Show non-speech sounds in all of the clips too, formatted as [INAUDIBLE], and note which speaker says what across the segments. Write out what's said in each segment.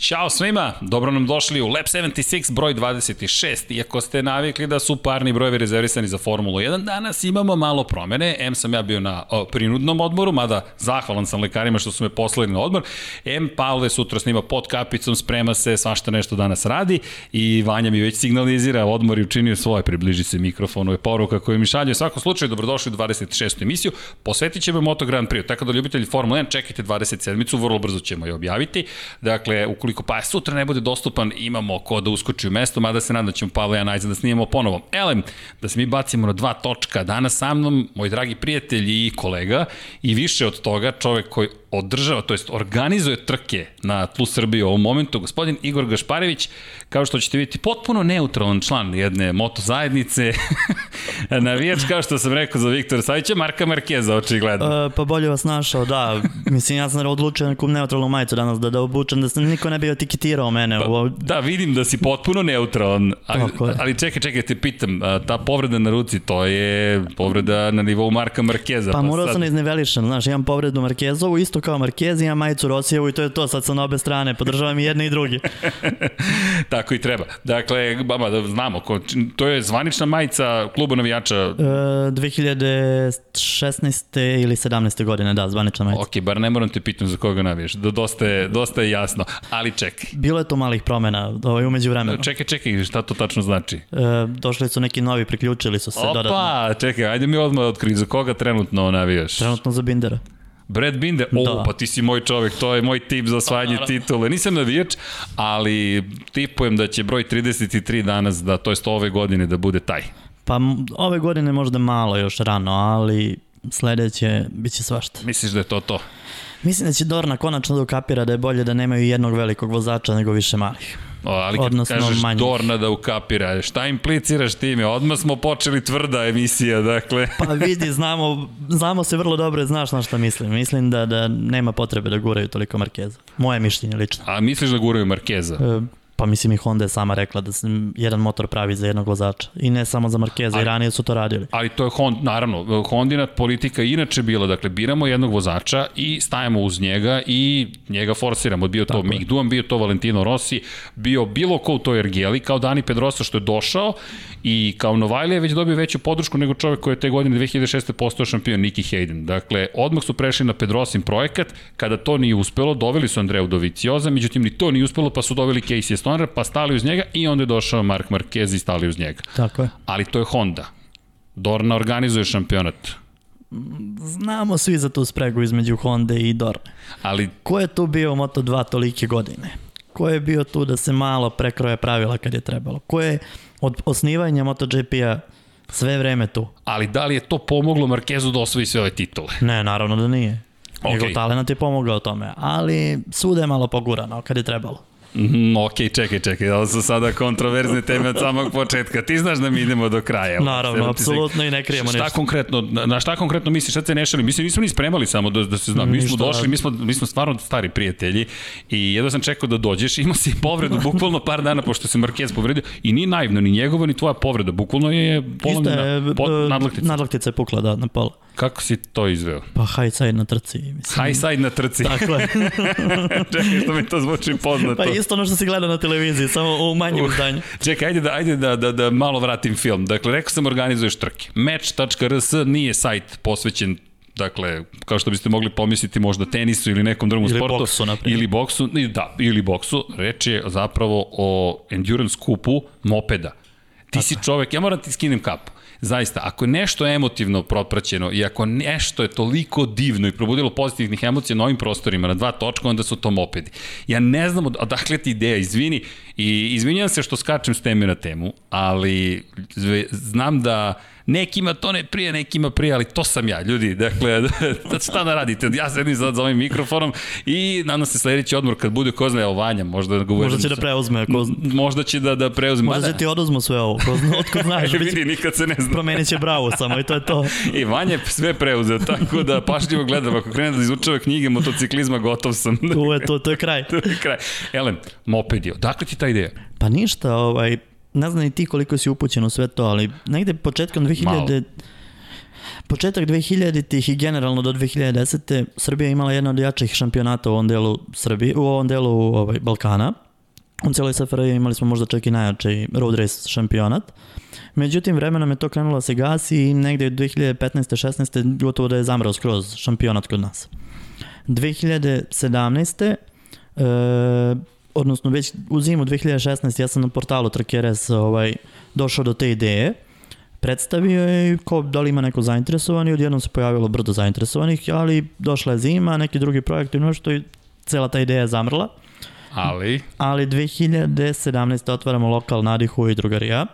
Speaker 1: Ćao svima, dobro nam došli u Lab 76 broj 26. Iako ste navikli da su parni brojevi rezervisani za Formulu 1, danas imamo malo promene. M sam ja bio na o, prinudnom odmoru, mada zahvalan sam lekarima što su me poslali na odmor. M Pavle sutra snima pod kapicom, sprema se, svašta nešto danas radi i Vanja mi već signalizira, odmor je učinio svoje, približi se mikrofonu, je poruka koju mi šalje. U svakom slučaju, dobrodošli u 26. emisiju, posvetit ćemo Moto Grand Prix, tako da ljubitelji Formule 1 čekajte 27. vrlo brzo ćemo je objaviti. Dakle, ukoliko pa sutra ne bude dostupan, imamo ko da uskoči u mesto, mada se nadam da ćemo Pavle ja najzad da snimamo ponovo. Elem, da se mi bacimo na dva točka. Danas sa mnom, moj dragi prijatelj i kolega, i više od toga, čovek koji održava, to jest organizuje trke na tlu Srbije u ovom momentu, gospodin Igor Gašparević, kao što ćete vidjeti, potpuno neutralan član jedne moto zajednice, [LAUGHS] navijač, kao što sam rekao za Viktora Savića, Marka Markeza, očigledno.
Speaker 2: E, pa bolje vas našao, da. Mislim, ja sam odlučio na nekom neutralnu majicu danas da, da obučem, da se niko ne bi etiketirao mene. Pa,
Speaker 1: Da, vidim da si potpuno neutralan, ali,
Speaker 2: Tako je.
Speaker 1: ali čekaj, čekaj, te pitam, a, ta povreda na ruci, to je povreda na nivou Marka Markeza.
Speaker 2: pa morao
Speaker 1: sad-
Speaker 2: sam da iznevelišem, znaš, imam povredu Markezovu, isto kao Markez, imam majicu Rosijevu i to je to, sad sam na obe strane, podržavam i jedne i drugi.
Speaker 1: Tako i treba. Dakle, baba, da znamo, ko, to je zvanična majica kluba navijača
Speaker 2: E, 2016. ili 17. godine, da, zvanična majica.
Speaker 1: Ok, bar ne moram te pitam za koga navijaš, da dosta je, dosta je jasno, ali čekaj.
Speaker 2: Bilo je tu malih promena ovaj, umeđu vremena.
Speaker 1: Čekaj, čekaj, šta to tačno znači?
Speaker 2: E, došli su neki novi, priključili su se dodatno.
Speaker 1: Opa, čekaj, ajde mi odmah otkri, za koga trenutno navijaš?
Speaker 2: Trenutno za Bindera.
Speaker 1: Brad Binder, o, da.
Speaker 2: Da. Pa,
Speaker 1: pa ti si moj čovek, to je moj tip za osvajanje titule. Nisam navijač, ali tipujem da će broj 33 danas, da, to jest ove godine, da bude taj.
Speaker 2: Pa m- ove godine možda malo još rano, ali sledeće bit će svašta.
Speaker 1: Misliš da je to to?
Speaker 2: Mislim da će Dorna konačno da ukapira da je bolje da nemaju jednog velikog vozača nego više malih.
Speaker 1: O, ali kad Odnosno
Speaker 2: Odnosno
Speaker 1: kažeš manjih.
Speaker 2: manjih.
Speaker 1: Dorna da ukapira, šta impliciraš time? Odmah smo počeli tvrda emisija, dakle.
Speaker 2: Pa vidi, znamo, znamo se vrlo dobro, i znaš na šta mislim. Mislim da, da nema potrebe da guraju toliko Markeza. Moje mišljenje lično.
Speaker 1: A misliš da guraju Markeza?
Speaker 2: E, Pa mislim i Honda je sama rekla da se jedan motor pravi za jednog vozača. I ne samo za Markeza,
Speaker 1: Ali-
Speaker 2: i ranije su to radili.
Speaker 1: Ali to je Honda, naravno, Hondina politika je inače bila, dakle, biramo jednog vozača i stajemo uz njega i njega forsiramo. Bio to Tako Mick Duan, bio to Valentino Rossi, bio bilo ko u toj ergeli, kao Dani Pedrosa što je došao i kao Novajlija je već dobio veću podršku nego čovek koji je te godine 2006. postao šampion Nicky Hayden. Dakle, odmah su prešli na Pedrosin projekat, kada to nije uspelo, doveli su Andreja Dovicioza, međutim ni to nije uspelo, pa su doveli Casey Stoner, pa stali uz njega i onda je došao Mark Marquez i stali uz njega
Speaker 2: Tako je.
Speaker 1: ali to je Honda. Dorna organizuje šampionat.
Speaker 2: Znamo svi za tu spregu između Honda i Dorne.
Speaker 1: Ali
Speaker 2: Ko je tu bio u Moto2 tolike godine? Ko je bio tu da se malo prekroje pravila kad je trebalo? Ko je od osnivanja MotoGP-a sve vreme tu?
Speaker 1: ali da li je to pomoglo Markezu da osvoji sve ove titule?
Speaker 2: Ne, naravno da nije.
Speaker 1: Okej.
Speaker 2: Okay. Njegov talent je pomogao tome, ali svuda je malo pogurano kad je trebalo.
Speaker 1: Mm, ok, čekaj, čekaj, ovo su sada kontroverzne teme od samog početka. Ti znaš da mi idemo do kraja.
Speaker 2: Naravno,
Speaker 1: Evo ti se-
Speaker 2: apsolutno i ne krijemo
Speaker 1: Šta
Speaker 2: ništa.
Speaker 1: konkretno, na na šta konkretno misliš, šta se ne šalim? Mislim, nismo ni spremali samo da, da se znam. Mi smo
Speaker 2: Ništa,
Speaker 1: došli,
Speaker 2: da.
Speaker 1: mi smo, mi smo stvarno stari prijatelji i jedva sam čekao da dođeš. Imao si
Speaker 2: [LAUGHS]
Speaker 1: povredu bukvalno par dana pošto se Marquez povredio i ni naivno, ni njegova, ni tvoja povreda. Bukvalno je
Speaker 2: Isto
Speaker 1: polomljena
Speaker 2: je,
Speaker 1: po,
Speaker 2: e,
Speaker 1: nadlaktica.
Speaker 2: nadlaktica je pukla, da, na pola.
Speaker 1: Kako si to izveo?
Speaker 2: Pa high side na trci,
Speaker 1: [LAUGHS]
Speaker 2: mislim.
Speaker 1: High side na trci.
Speaker 2: Tako je.
Speaker 1: [LAUGHS] Čekaj što mi to zvuči poznato.
Speaker 2: pa isto ono što si gledao na televiziji, samo u manjem
Speaker 1: Uh. [LAUGHS]
Speaker 2: izdanju.
Speaker 1: Čekaj, ajde da, ajde da, da, da malo vratim film. Dakle, rekao sam organizuješ trke. Match.rs nije sajt posvećen dakle, kao što biste mogli pomisliti možda tenisu ili nekom drugom
Speaker 2: Ili
Speaker 1: sportu.
Speaker 2: boksu, na primjer.
Speaker 1: Ili boksu, i da, ili boksu. Reč je zapravo o endurance kupu mopeda. Ti si čovek, ja moram ti skinem kapu. Zaista, ako je nešto emotivno propraćeno i ako nešto je toliko divno i probudilo pozitivnih emocija na ovim prostorima, na dva točka, onda su to mopedi. Ja ne znam od- odakle ti ideja, izvini. I izvinjam se što skačem s teme na temu, ali zve- znam da nekima to ne prije, nekima prije, ali to sam ja, ljudi. Dakle, [LAUGHS] sad šta da radite? Ja sedim sad za ovim mikrofonom i nadam se sledeći odmor kad bude ko zna, evo Vanja, možda da ga uvedem
Speaker 2: Možda će
Speaker 1: sa-
Speaker 2: da preuzme, ko zna.
Speaker 1: Možda će da, da preuzme.
Speaker 2: Možda
Speaker 1: Mada-
Speaker 2: će ti oduzmu sve ovo,
Speaker 1: [LAUGHS]
Speaker 2: ko zna, otkud znaš, bit će,
Speaker 1: Vidi, nikad se ne zna.
Speaker 2: promenit će bravu samo i to je
Speaker 1: [LAUGHS]
Speaker 2: to.
Speaker 1: I Vanja je sve preuzeo, tako da pašljivo gledam. Ako krene da izučava knjige motociklizma, gotov
Speaker 2: [LAUGHS]
Speaker 1: sam.
Speaker 2: Tu je to, to je kraj.
Speaker 1: [LAUGHS] Kraj. Elem, moped je. Odakle ti ta ideja?
Speaker 2: Pa ništa, ovaj, ne znam ni ti koliko si upućen u sve to, ali negde početkom 2000...
Speaker 1: Malo.
Speaker 2: početak 2000-ih i generalno do 2010. Srbija je imala jedna od jačih šampionata u ovom delu, Srbije, u ovom delu ovaj, Balkana. U celoj SFRJ imali smo možda čak i najjači road race šampionat. Međutim, vremenom je to krenulo da se gasi i negde od 2015. 16. gotovo da je zamrao skroz šampionat kod nas. 2017. E, odnosno već u zimu 2016. ja sam na portalu Trakeres ovaj, došao do te ideje predstavio je ko, da li ima neko zainteresovan i odjednom se pojavilo brdo zainteresovanih, ali došla je zima, neki drugi projekt i nešto i cela ta ideja je zamrla.
Speaker 1: Ali,
Speaker 2: Ali 2017. otvaramo lokal Nadihu i drugarija,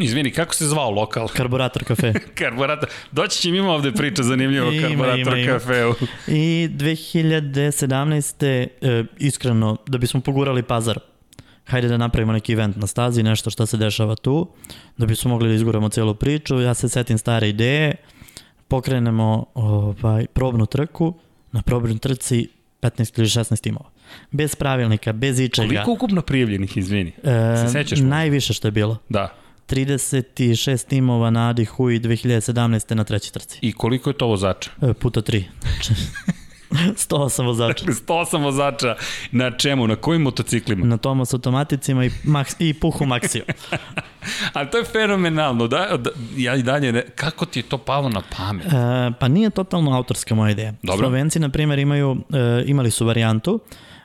Speaker 1: izvini, kako se zvao lokal? [LAUGHS]
Speaker 2: Karburator kafe.
Speaker 1: Karburator. Doći će im ima ovde priča zanimljiva o
Speaker 2: Ima, ima,
Speaker 1: Karburator
Speaker 2: ima.
Speaker 1: kafeu.
Speaker 2: I 2017. E, iskreno, da bismo pogurali pazar, hajde da napravimo neki event na stazi, nešto šta se dešava tu, da bismo mogli da izguramo celu priču, ja se setim stare ideje, pokrenemo ovaj, probnu trku, na probnoj trci 15 ili 16 timova. Bez pravilnika, bez ičega. E,
Speaker 1: Koliko ukupno prijavljenih, izvini? se sećaš možda?
Speaker 2: najviše što je bilo.
Speaker 1: Da.
Speaker 2: 36 timova na Adi Hui 2017. na trećoj trci.
Speaker 1: I koliko je to vozača?
Speaker 2: E, puta
Speaker 1: [LAUGHS]
Speaker 2: 3. 108 vozača.
Speaker 1: 108 vozača. Na čemu? Na kojim motociklima?
Speaker 2: na Tomas automaticima i, Max, i Puhu
Speaker 1: [LAUGHS]
Speaker 2: Maxiju. E,
Speaker 1: Ali to je fenomenalno. Da, da, ja i dalje, ne, kako ti je to palo na pamet?
Speaker 2: E, pa nije totalno autorska moja ideja.
Speaker 1: Dobro.
Speaker 2: Slovenci, na primjer, imaju, e, imali su varijantu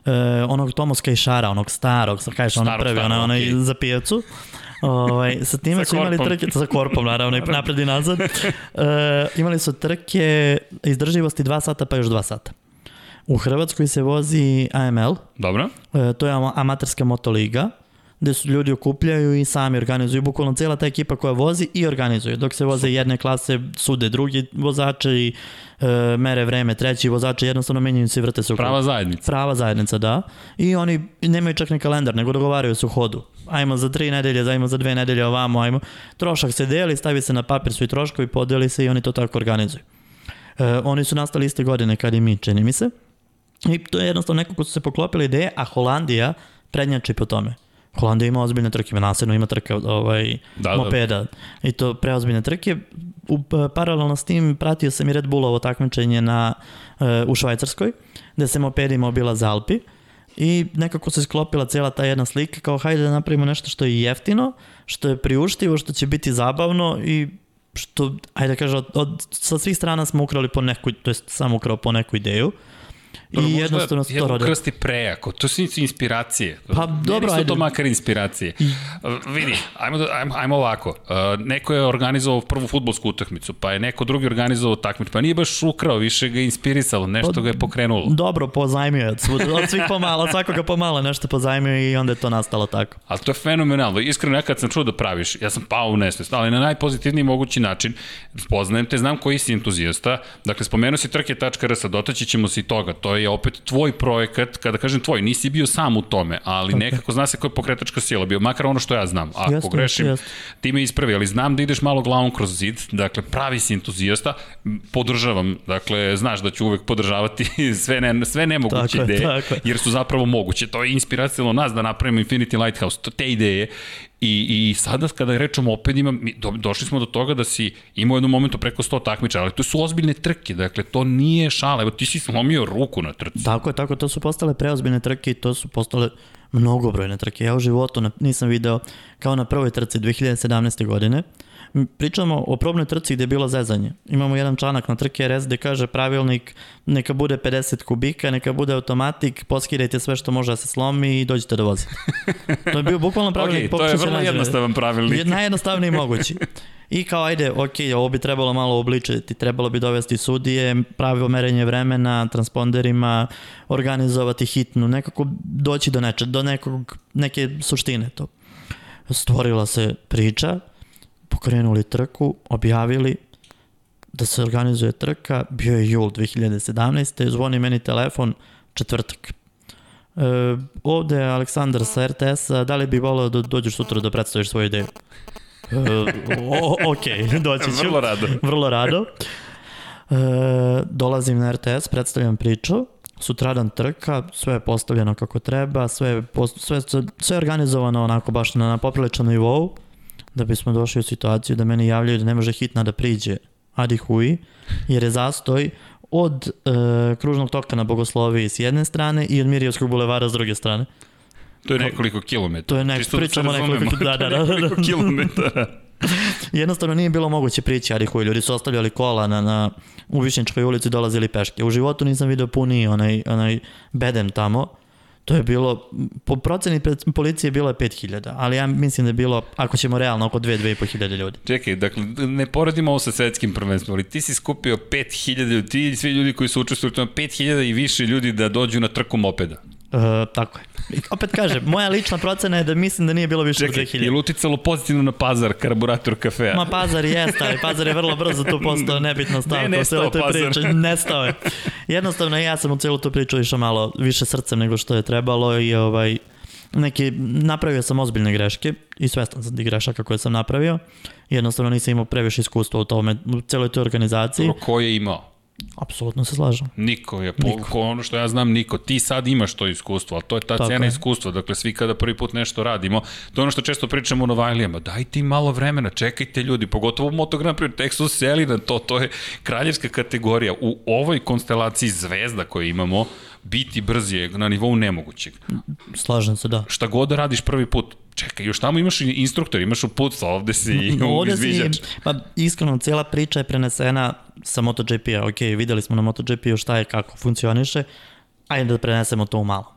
Speaker 2: e, onog Tomos Kajšara, onog starog, sa Kajša, ono
Speaker 1: Starog,
Speaker 2: prvi,
Speaker 1: starog,
Speaker 2: onaj, onaj
Speaker 1: okej.
Speaker 2: za pijacu. Ovaj, sa time
Speaker 1: Sa
Speaker 2: su imali
Speaker 1: korpom.
Speaker 2: trke, sa korpom naravno, i napred i nazad. E, imali su trke izdrživosti 2 sata pa još 2 sata. U Hrvatskoj se vozi AML,
Speaker 1: Dobro?
Speaker 2: E, to je ama- amaterska motoliga gde su ljudi okupljaju i sami organizuju. Bukvalno cijela ta ekipa koja vozi i organizuje. Dok se voze jedne klase, sude drugi vozače i e, mere vreme treći vozače, jednostavno menjaju se i vrte se u krug.
Speaker 1: Prava zajednica.
Speaker 2: Prava zajednica, da. I oni nemaju čak ni kalendar, nego dogovaraju se u hodu. Ajmo za tri nedelje, ajmo za dve nedelje ovamo, ajmo. Trošak se deli, stavi se na papir svi troškovi, podeli se i oni to tako organizuju. E, oni su nastali iste godine kad i mi, čini mi se. I to je jednostavno nekako su se poklopile ideje, a Holandija prednjači po tome. Holandija ima ozbiljne trke, ima nasadno, ima trke ovaj,
Speaker 1: Da,
Speaker 2: da,
Speaker 1: da.
Speaker 2: mopeda. I to preozbiljne trke. U, pa- paralelno s tim pratio sam i Red Bullovo takmičenje na, e, u Švajcarskoj, gde se mopedima obila za Alpi. I nekako se sklopila cijela ta jedna slika kao hajde da napravimo nešto što je jeftino, što je priuštivo, što će biti zabavno i što, hajde da kažem, od, od, sa svih strana smo ukrali po neku, to jest sam ukrao po neku ideju. I jednostavno se to
Speaker 1: rodilo.
Speaker 2: rodilo.
Speaker 1: Krsti prejako, to su nisu inspiracije.
Speaker 2: Pa,
Speaker 1: Meni
Speaker 2: dobro,
Speaker 1: su
Speaker 2: ajde.
Speaker 1: to makar inspiracije. Uh, vidi, ajmo, da- ajmo, ajmo ovako. Uh, neko je organizovao prvu futbolsku utakmicu, pa je neko drugi organizovao takmicu, pa nije baš ukrao, više ga je inspirisalo,
Speaker 2: Pa
Speaker 1: nešto ga je pokrenulo.
Speaker 2: Dobro, pozajmio je od, svud, od svih pomala, svakoga pomala nešto pozajmio i onda je to nastalo tako.
Speaker 1: Ali to je fenomenalno. Iskreno, ja kad sam čuo da praviš, ja sam pao u nesvest, ali na najpozitivniji mogući način. Poznajem te, znam koji si entuzijasta. Dakle, spomenuo si trke.rs, dotaći ćemo se i toga. To je opet tvoj projekat, kada kažem tvoj, nisi bio sam u tome, ali nekako zna se koja je pokretačka sila bio, makar ono što ja znam. Ako
Speaker 2: Jasno,
Speaker 1: grešim,
Speaker 2: jasno.
Speaker 1: ti me ispravi, ali znam da ideš malo glavom kroz zid, dakle, pravi si entuzijasta, m, podržavam, dakle, znaš da ću uvek podržavati [LAUGHS] sve, ne, sve nemoguće
Speaker 2: Tako je,
Speaker 1: ideje,
Speaker 2: tako je.
Speaker 1: jer su zapravo moguće. To je inspiracijalo nas da napravimo Infinity Lighthouse, to, te ideje. I, I sada kada rečemo opet imam, mi do, došli smo do toga da si imao u jednom momentu preko 100 takmiča, ali to su ozbiljne trke, dakle to nije šala, evo ti si slomio ruku na trci.
Speaker 2: Tako je, tako, to su postale preozbiljne trke i to su postale mnogobrojne trke. Ja u životu na, nisam video kao na prvoj trci 2017. godine. M, Pričamo o probnoj trci gde je bilo zezanje. Imamo jedan članak na trke RS gde kaže pravilnik neka bude 50 kubika, neka bude automatik, poskidajte sve što može da se slomi i dođite da vozite. To je bio bukvalno pravilnik.
Speaker 1: [LAUGHS] Ok, to je
Speaker 2: da, pokušaj se
Speaker 1: vrlo
Speaker 2: nađe.
Speaker 1: jednostavan pravilnik.
Speaker 2: Je- Najjednostavniji mogući. I kao, ajde, ok, ovo bi trebalo malo obličiti, trebalo bi dovesti sudije, pravilo merenje vremena, transponderima, organizovati hitnu, nekako doći do neče, do nekog, neke suštine to. Stvorila se priča, pokrenuli trku, objavili da se organizuje trka, bio je jul 2017. Zvoni meni telefon, četvrtak. E, ovde je Aleksandar sa RTS-a, da li bi volao da dođeš sutra da predstaviš svoju ideju? E, o, ok, [LAUGHS] doći ću.
Speaker 1: [LAUGHS] Vrlo rado.
Speaker 2: [LAUGHS] Vrlo rado. E, dolazim na RTS, predstavljam priču, sutradan trka, sve je postavljeno kako treba, sve je, post, sve, sve, sve je organizovano onako baš na, na popriličnom nivou, da bismo došli u situaciju da meni javljaju da ne može hitna da priđe Adi Hui, jer je zastoj od e, kružnog toka na Bogosloviji s jedne strane i od Mirjevskog bulevara s druge strane.
Speaker 1: To je nekoliko kilometara.
Speaker 2: To je nek-
Speaker 1: Čisto
Speaker 2: pričamo
Speaker 1: se
Speaker 2: nekoliko-
Speaker 1: razumemo.
Speaker 2: [LAUGHS] da, da,
Speaker 1: To je [LAUGHS]
Speaker 2: da,
Speaker 1: nekoliko
Speaker 2: da.
Speaker 1: kilometara.
Speaker 2: Jednostavno nije bilo moguće prići Adi Hui, ljudi su ostavljali kola na, na u Višnjičkoj ulici i dolazili peške. U životu nisam video puni onaj, onaj bedem tamo, To je bilo, po proceni pred- policije bilo je 5000, ali ja mislim da je bilo, ako ćemo realno, oko 2-2500 ljudi.
Speaker 1: Čekaj, dakle, ne poredimo ovo sa svetskim prvenstvom, ali ti si skupio 5000 ljudi, ti i svi ljudi koji su učestvili u tome, 5000 i više ljudi da dođu na trku mopeda.
Speaker 2: E, tako je. I opet kažem, moja lična procena je da mislim da nije bilo više od
Speaker 1: Čekaj, je
Speaker 2: 2000.
Speaker 1: li uticalo pozitivno na pazar karburator kafea?
Speaker 2: [LAUGHS] Ma Pazar jeste, ali Pazar je vrlo brzo tu postao nebitna stavka
Speaker 1: Mm, Ne,
Speaker 2: u celoj toj
Speaker 1: nestao Pazar.
Speaker 2: priči. [LAUGHS] Nestao je. Jednostavno ja sam u celu tu priču išao malo više srcem nego što je trebalo i ovaj, neki, napravio sam ozbiljne greške i svestan sam tih grešaka koje sam napravio. Jednostavno nisam imao previše iskustva u tome, u celoj toj organizaciji.
Speaker 1: Dobro, Ko je imao?
Speaker 2: Apsolutno se slažem.
Speaker 1: Niko je, po, Ko, ono što ja znam, niko. Ti sad imaš to iskustvo, ali to je ta
Speaker 2: Tako
Speaker 1: Tako cena
Speaker 2: je.
Speaker 1: iskustva. Dakle, svi kada prvi put nešto radimo, to je ono što često pričamo u Novajlijama, daj ti malo vremena, čekajte ljudi, pogotovo u Moto Grand Prix, tek su seli na to, to je kraljevska kategorija. U ovoj konstelaciji zvezda koje imamo, biti brz je na nivou nemogućeg.
Speaker 2: Slažem se, da.
Speaker 1: Šta god da radiš prvi put, čekaj, još tamo imaš i instruktor, imaš uputstva, ovde si i
Speaker 2: [LAUGHS] Ovde
Speaker 1: izviđač.
Speaker 2: si, pa iskreno, cijela priča je prenesena sa MotoGP-a. Ok, videli smo na MotoGP-u šta je, kako funkcioniše. Ajde da prenesemo to u malo.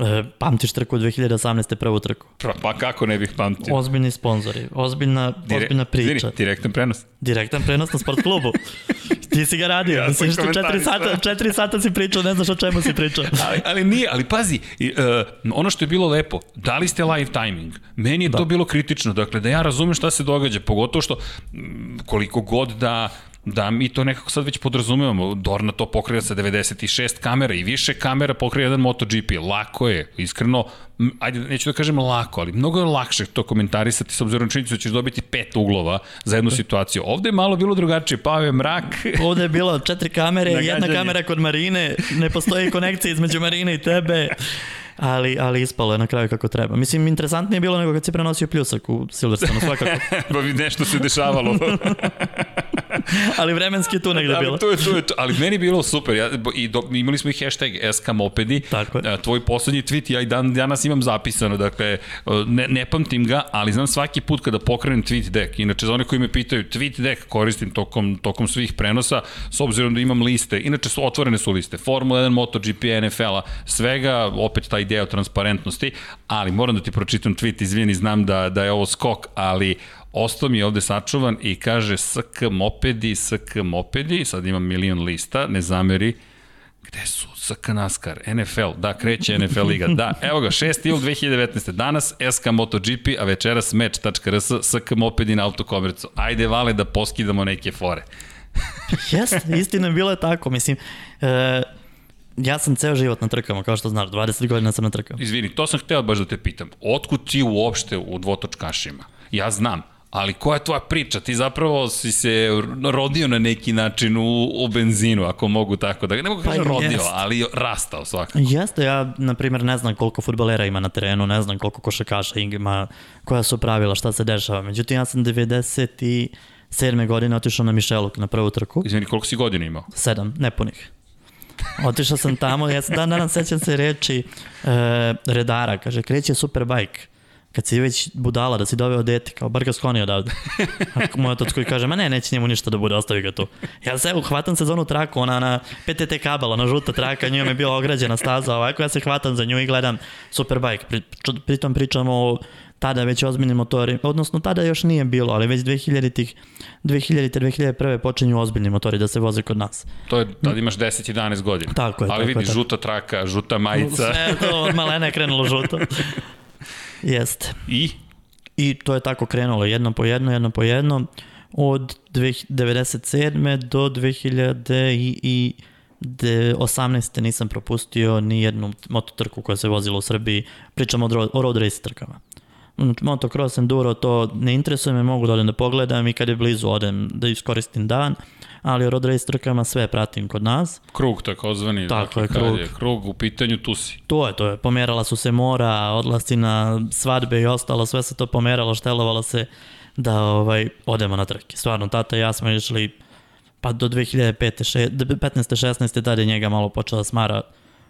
Speaker 2: E, pamtiš trku 2018. prvu trku.
Speaker 1: Pa, pa kako ne bih pamtio?
Speaker 2: Ozbiljni sponzori, ozbiljna,
Speaker 1: Dire-
Speaker 2: ozbiljna priča.
Speaker 1: vidi, direktan prenos.
Speaker 2: Direktan prenos na
Speaker 1: [LAUGHS]
Speaker 2: sport klubu. Ti si ga radio.
Speaker 1: Ja
Speaker 2: Ja
Speaker 1: sam
Speaker 2: Mislim što 4
Speaker 1: komentarisao.
Speaker 2: sata, 4 sata si pričao, ne znaš o čemu si pričao.
Speaker 1: [LAUGHS] ali, ali nije, ali pazi, i, uh, ono što je bilo lepo, dali ste live timing. Meni je da. to bilo kritično, dakle, da ja razumem šta se događa, pogotovo što mm, koliko god da da mi to nekako sad već podrazumevamo. Dorna to pokriva sa 96 kamera i više kamera pokriva jedan MotoGP. Lako je, iskreno, m, ajde, neću da kažem lako, ali mnogo je lakše to komentarisati s obzirom na činjenicu da ćeš dobiti pet uglova za
Speaker 2: Da.
Speaker 1: jednu situaciju. Ovde je malo bilo drugačije, pao je mrak, [LAUGHS]
Speaker 2: Ovde je bilo četiri kamere, jedna
Speaker 1: Nagađanje.
Speaker 2: kamera kod Marine, ne postoji konekcija između Marine i tebe, ali, ali ispalo je na kraju kako treba. Mislim, interesantnije je bilo nego kad si prenosio pljusak u Silverstonu, svakako.
Speaker 1: pa bi nešto se
Speaker 2: [LAUGHS]
Speaker 1: dešavalo.
Speaker 2: Ali vremenski je tu negde da bilo.
Speaker 1: Ali, to je, to je, to. ali meni je bilo super. Ja, i do, imali smo i hashtag SK Mopedi.
Speaker 2: Tako je.
Speaker 1: A, E, Tvoj poslednji tweet, ja i dan, danas imam zapisano, dakle, ne, ne pamtim ga, ali znam svaki put kada pokrenem tweet deck. Inače, za one koji me pitaju, tweet deck koristim tokom, tokom svih prenosa, s obzirom da imam liste. Inače, su, otvorene su liste. Formula 1, MotoGP, NFL-a, svega, opet ta ideja o transparentnosti, ali moram da ti pročitam tweet, izvini, znam da, da je ovo skok, ali ostao mi je ovde sačuvan i kaže SK mopedi, SK mopedi, sad imam milion lista, ne zameri, gde su SK NASCAR, NFL, da, kreće NFL liga, da, evo ga, 6. jul 2019. Danas SK MotoGP, a večeras meč.rs, SK mopedi na autokomercu. Ajde, vale, da poskidamo neke fore.
Speaker 2: Jeste, istina bilo je tako. Mislim, e, ja sam ceo život na trkama, kao što znaš, 20 godina sam na trkama.
Speaker 1: Izvini, to sam hteo baš da te pitam. Otkud ti uopšte u dvotočkašima? Ja znam, ali koja je tvoja priča? Ti zapravo si se rodio na neki način u, u benzinu, ako mogu tako da... Ne mogu
Speaker 2: Pa
Speaker 1: kažem rodio,
Speaker 2: jest.
Speaker 1: ali rastao svakako.
Speaker 2: Jeste, ja, na primjer, ne znam koliko futbalera ima na terenu, ne znam koliko košakaša ima, koja su pravila, šta se dešava. Međutim, ja sam 97. godine otišao na Mišeluk na prvu trku.
Speaker 1: Izvini, koliko si godina imao?
Speaker 2: sedam, nepunih. Otišao sam tamo, ja se dan danas sećam se reči e, redara, kaže, kreće superbike. Kad si već budala da si doveo dete, kao, bar ga skloni odavde. [LAUGHS] A moj otac koji kaže, ma ne, neće njemu ništa da bude, ostavi ga tu. Ja se, evo, hvatam se za onu traku, ona na PTT kabala, ona žuta traka, njom je bila ograđena staza, ovako ja se hvatam za nju i gledam superbike. Pri, ču- pritom pričamo o tada već ozbiljnim motori, odnosno tada još nije bilo, ali već 2000-ih, 2000-te, 2001. počinju ozbiljni motori da se voze kod nas.
Speaker 1: To je, tad imaš 10-11 godina.
Speaker 2: Tako je,
Speaker 1: Ali
Speaker 2: tako
Speaker 1: vidi,
Speaker 2: je, tako.
Speaker 1: žuta traka, žuta majica
Speaker 2: Sve je to od malena je krenulo žuto. Jeste.
Speaker 1: i
Speaker 2: I to je tako krenulo, jedno po jedno, jedno po jedno, od 97. do 2018. nisam propustio ni jednu mototrku koja se vozila u Srbiji, pričamo o, dro- o road race trkama. Mm, Motocross, enduro, to ne interesuje me, mogu da odem da pogledam i kad je blizu odem da iskoristim dan, ali o road race trkama sve pratim kod nas.
Speaker 1: krug takozvani. dakle,
Speaker 2: Tako je,
Speaker 1: kad
Speaker 2: krug.
Speaker 1: Je krug u pitanju, tu si.
Speaker 2: To je, to je. Pomerala su se mora, odlasci na svadbe i ostalo, sve se to pomeralo, štelovalo se da ovaj, odemo na trke. Stvarno, tata i ja smo išli pa do 2015. 16. tad je njega malo počela smara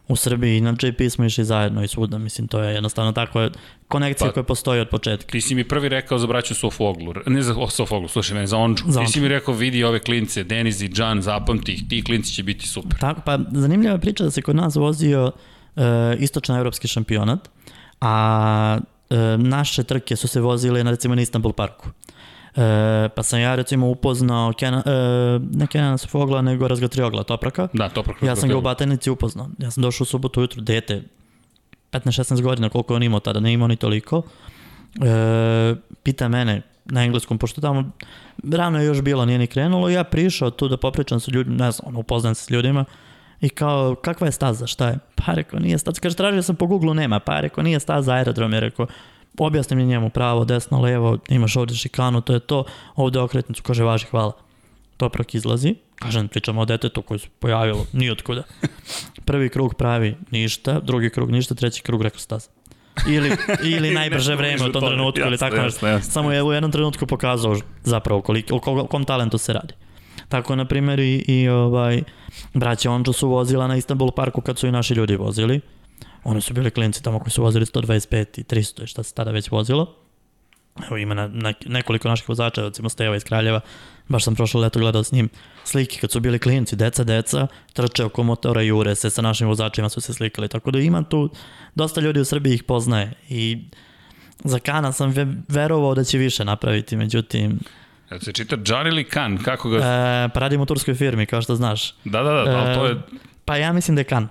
Speaker 2: u Srbiji, inače i pismo išli zajedno i svuda, mislim, to je jednostavno takva konekcija
Speaker 1: Pa-
Speaker 2: pa, koja postoji od početka.
Speaker 1: Ti si mi prvi rekao za braću Sofoglu, ne za o, Sofoglu, slušaj me, za Ondžu.
Speaker 2: Za
Speaker 1: Ti si mi
Speaker 2: Ondžu.
Speaker 1: rekao vidi ove klince, Deniz i Džan, zapamti ih, ti klinci će biti super.
Speaker 2: Tako, pa zanimljiva je priča da se kod nas vozio e, istočnoevropski šampionat, a e, naše trke su se vozile na recimo na Istanbul parku. E, pa sam ja recimo upoznao Kena, e, ne Kenana Sofogla, nego Razgatriogla Topraka.
Speaker 1: Da, to prokružno.
Speaker 2: Ja sam ga u Batajnici upoznao. Ja sam došao u subotu ujutru, dete, 15-16 godina, koliko je on imao tada, ne imao ni toliko. E, pita mene na engleskom, pošto tamo rano je još bilo, nije ni krenulo, ja prišao tu da popričam sa ljudima, ne znam, ono, upoznam se s ljudima, I kao, kakva je staza, šta je? Pa rekao, nije staza. Kaže, tražio sam po Google-u, nema. Pa rekao, nije staza, aerodrom je rekao, objasni mi njemu pravo, desno, levo, imaš ovde šikanu, to je to, ovde okretnicu, kaže, važi, hvala. Toprak izlazi, kažem, pričamo o detetu koje se pojavilo, nijotkuda. Prvi krug pravi ništa, drugi krug ništa, treći krug rekao staza. Ili,
Speaker 1: [LAUGHS]
Speaker 2: ili najbrže
Speaker 1: nešto
Speaker 2: vreme
Speaker 1: bliže
Speaker 2: u tom
Speaker 1: tome,
Speaker 2: trenutku ili
Speaker 1: jasno,
Speaker 2: tako nešto.
Speaker 1: jasno, jasno.
Speaker 2: Samo je u jednom trenutku pokazao zapravo koliko, o ko- o kom talentu se radi. Tako, na primjer, i, i ovaj, braća Ondžu su vozila na Istanbul parku kad su i naši ljudi vozili. Oni su bili klinci tamo koji su vozili 125 i 300 i šta se tada već vozilo. Evo ima na, na, nekoliko naših vozača, recimo Steva iz Kraljeva, baš sam prošlo leto gledao s njim slike kad su bili klinci, deca, deca, trče oko motora i jure se, sa našim vozačima su se slikali, tako da ima tu, dosta ljudi u Srbiji ih poznaje i za Kana sam ve, verovao da će više napraviti, međutim,
Speaker 1: Jel se čita Džan ili Kan, kako ga...
Speaker 2: e, pa radimo u turskoj firmi, kao što znaš.
Speaker 1: da, da, da, da, ali to je...
Speaker 2: Pa ja mislim da je Kan.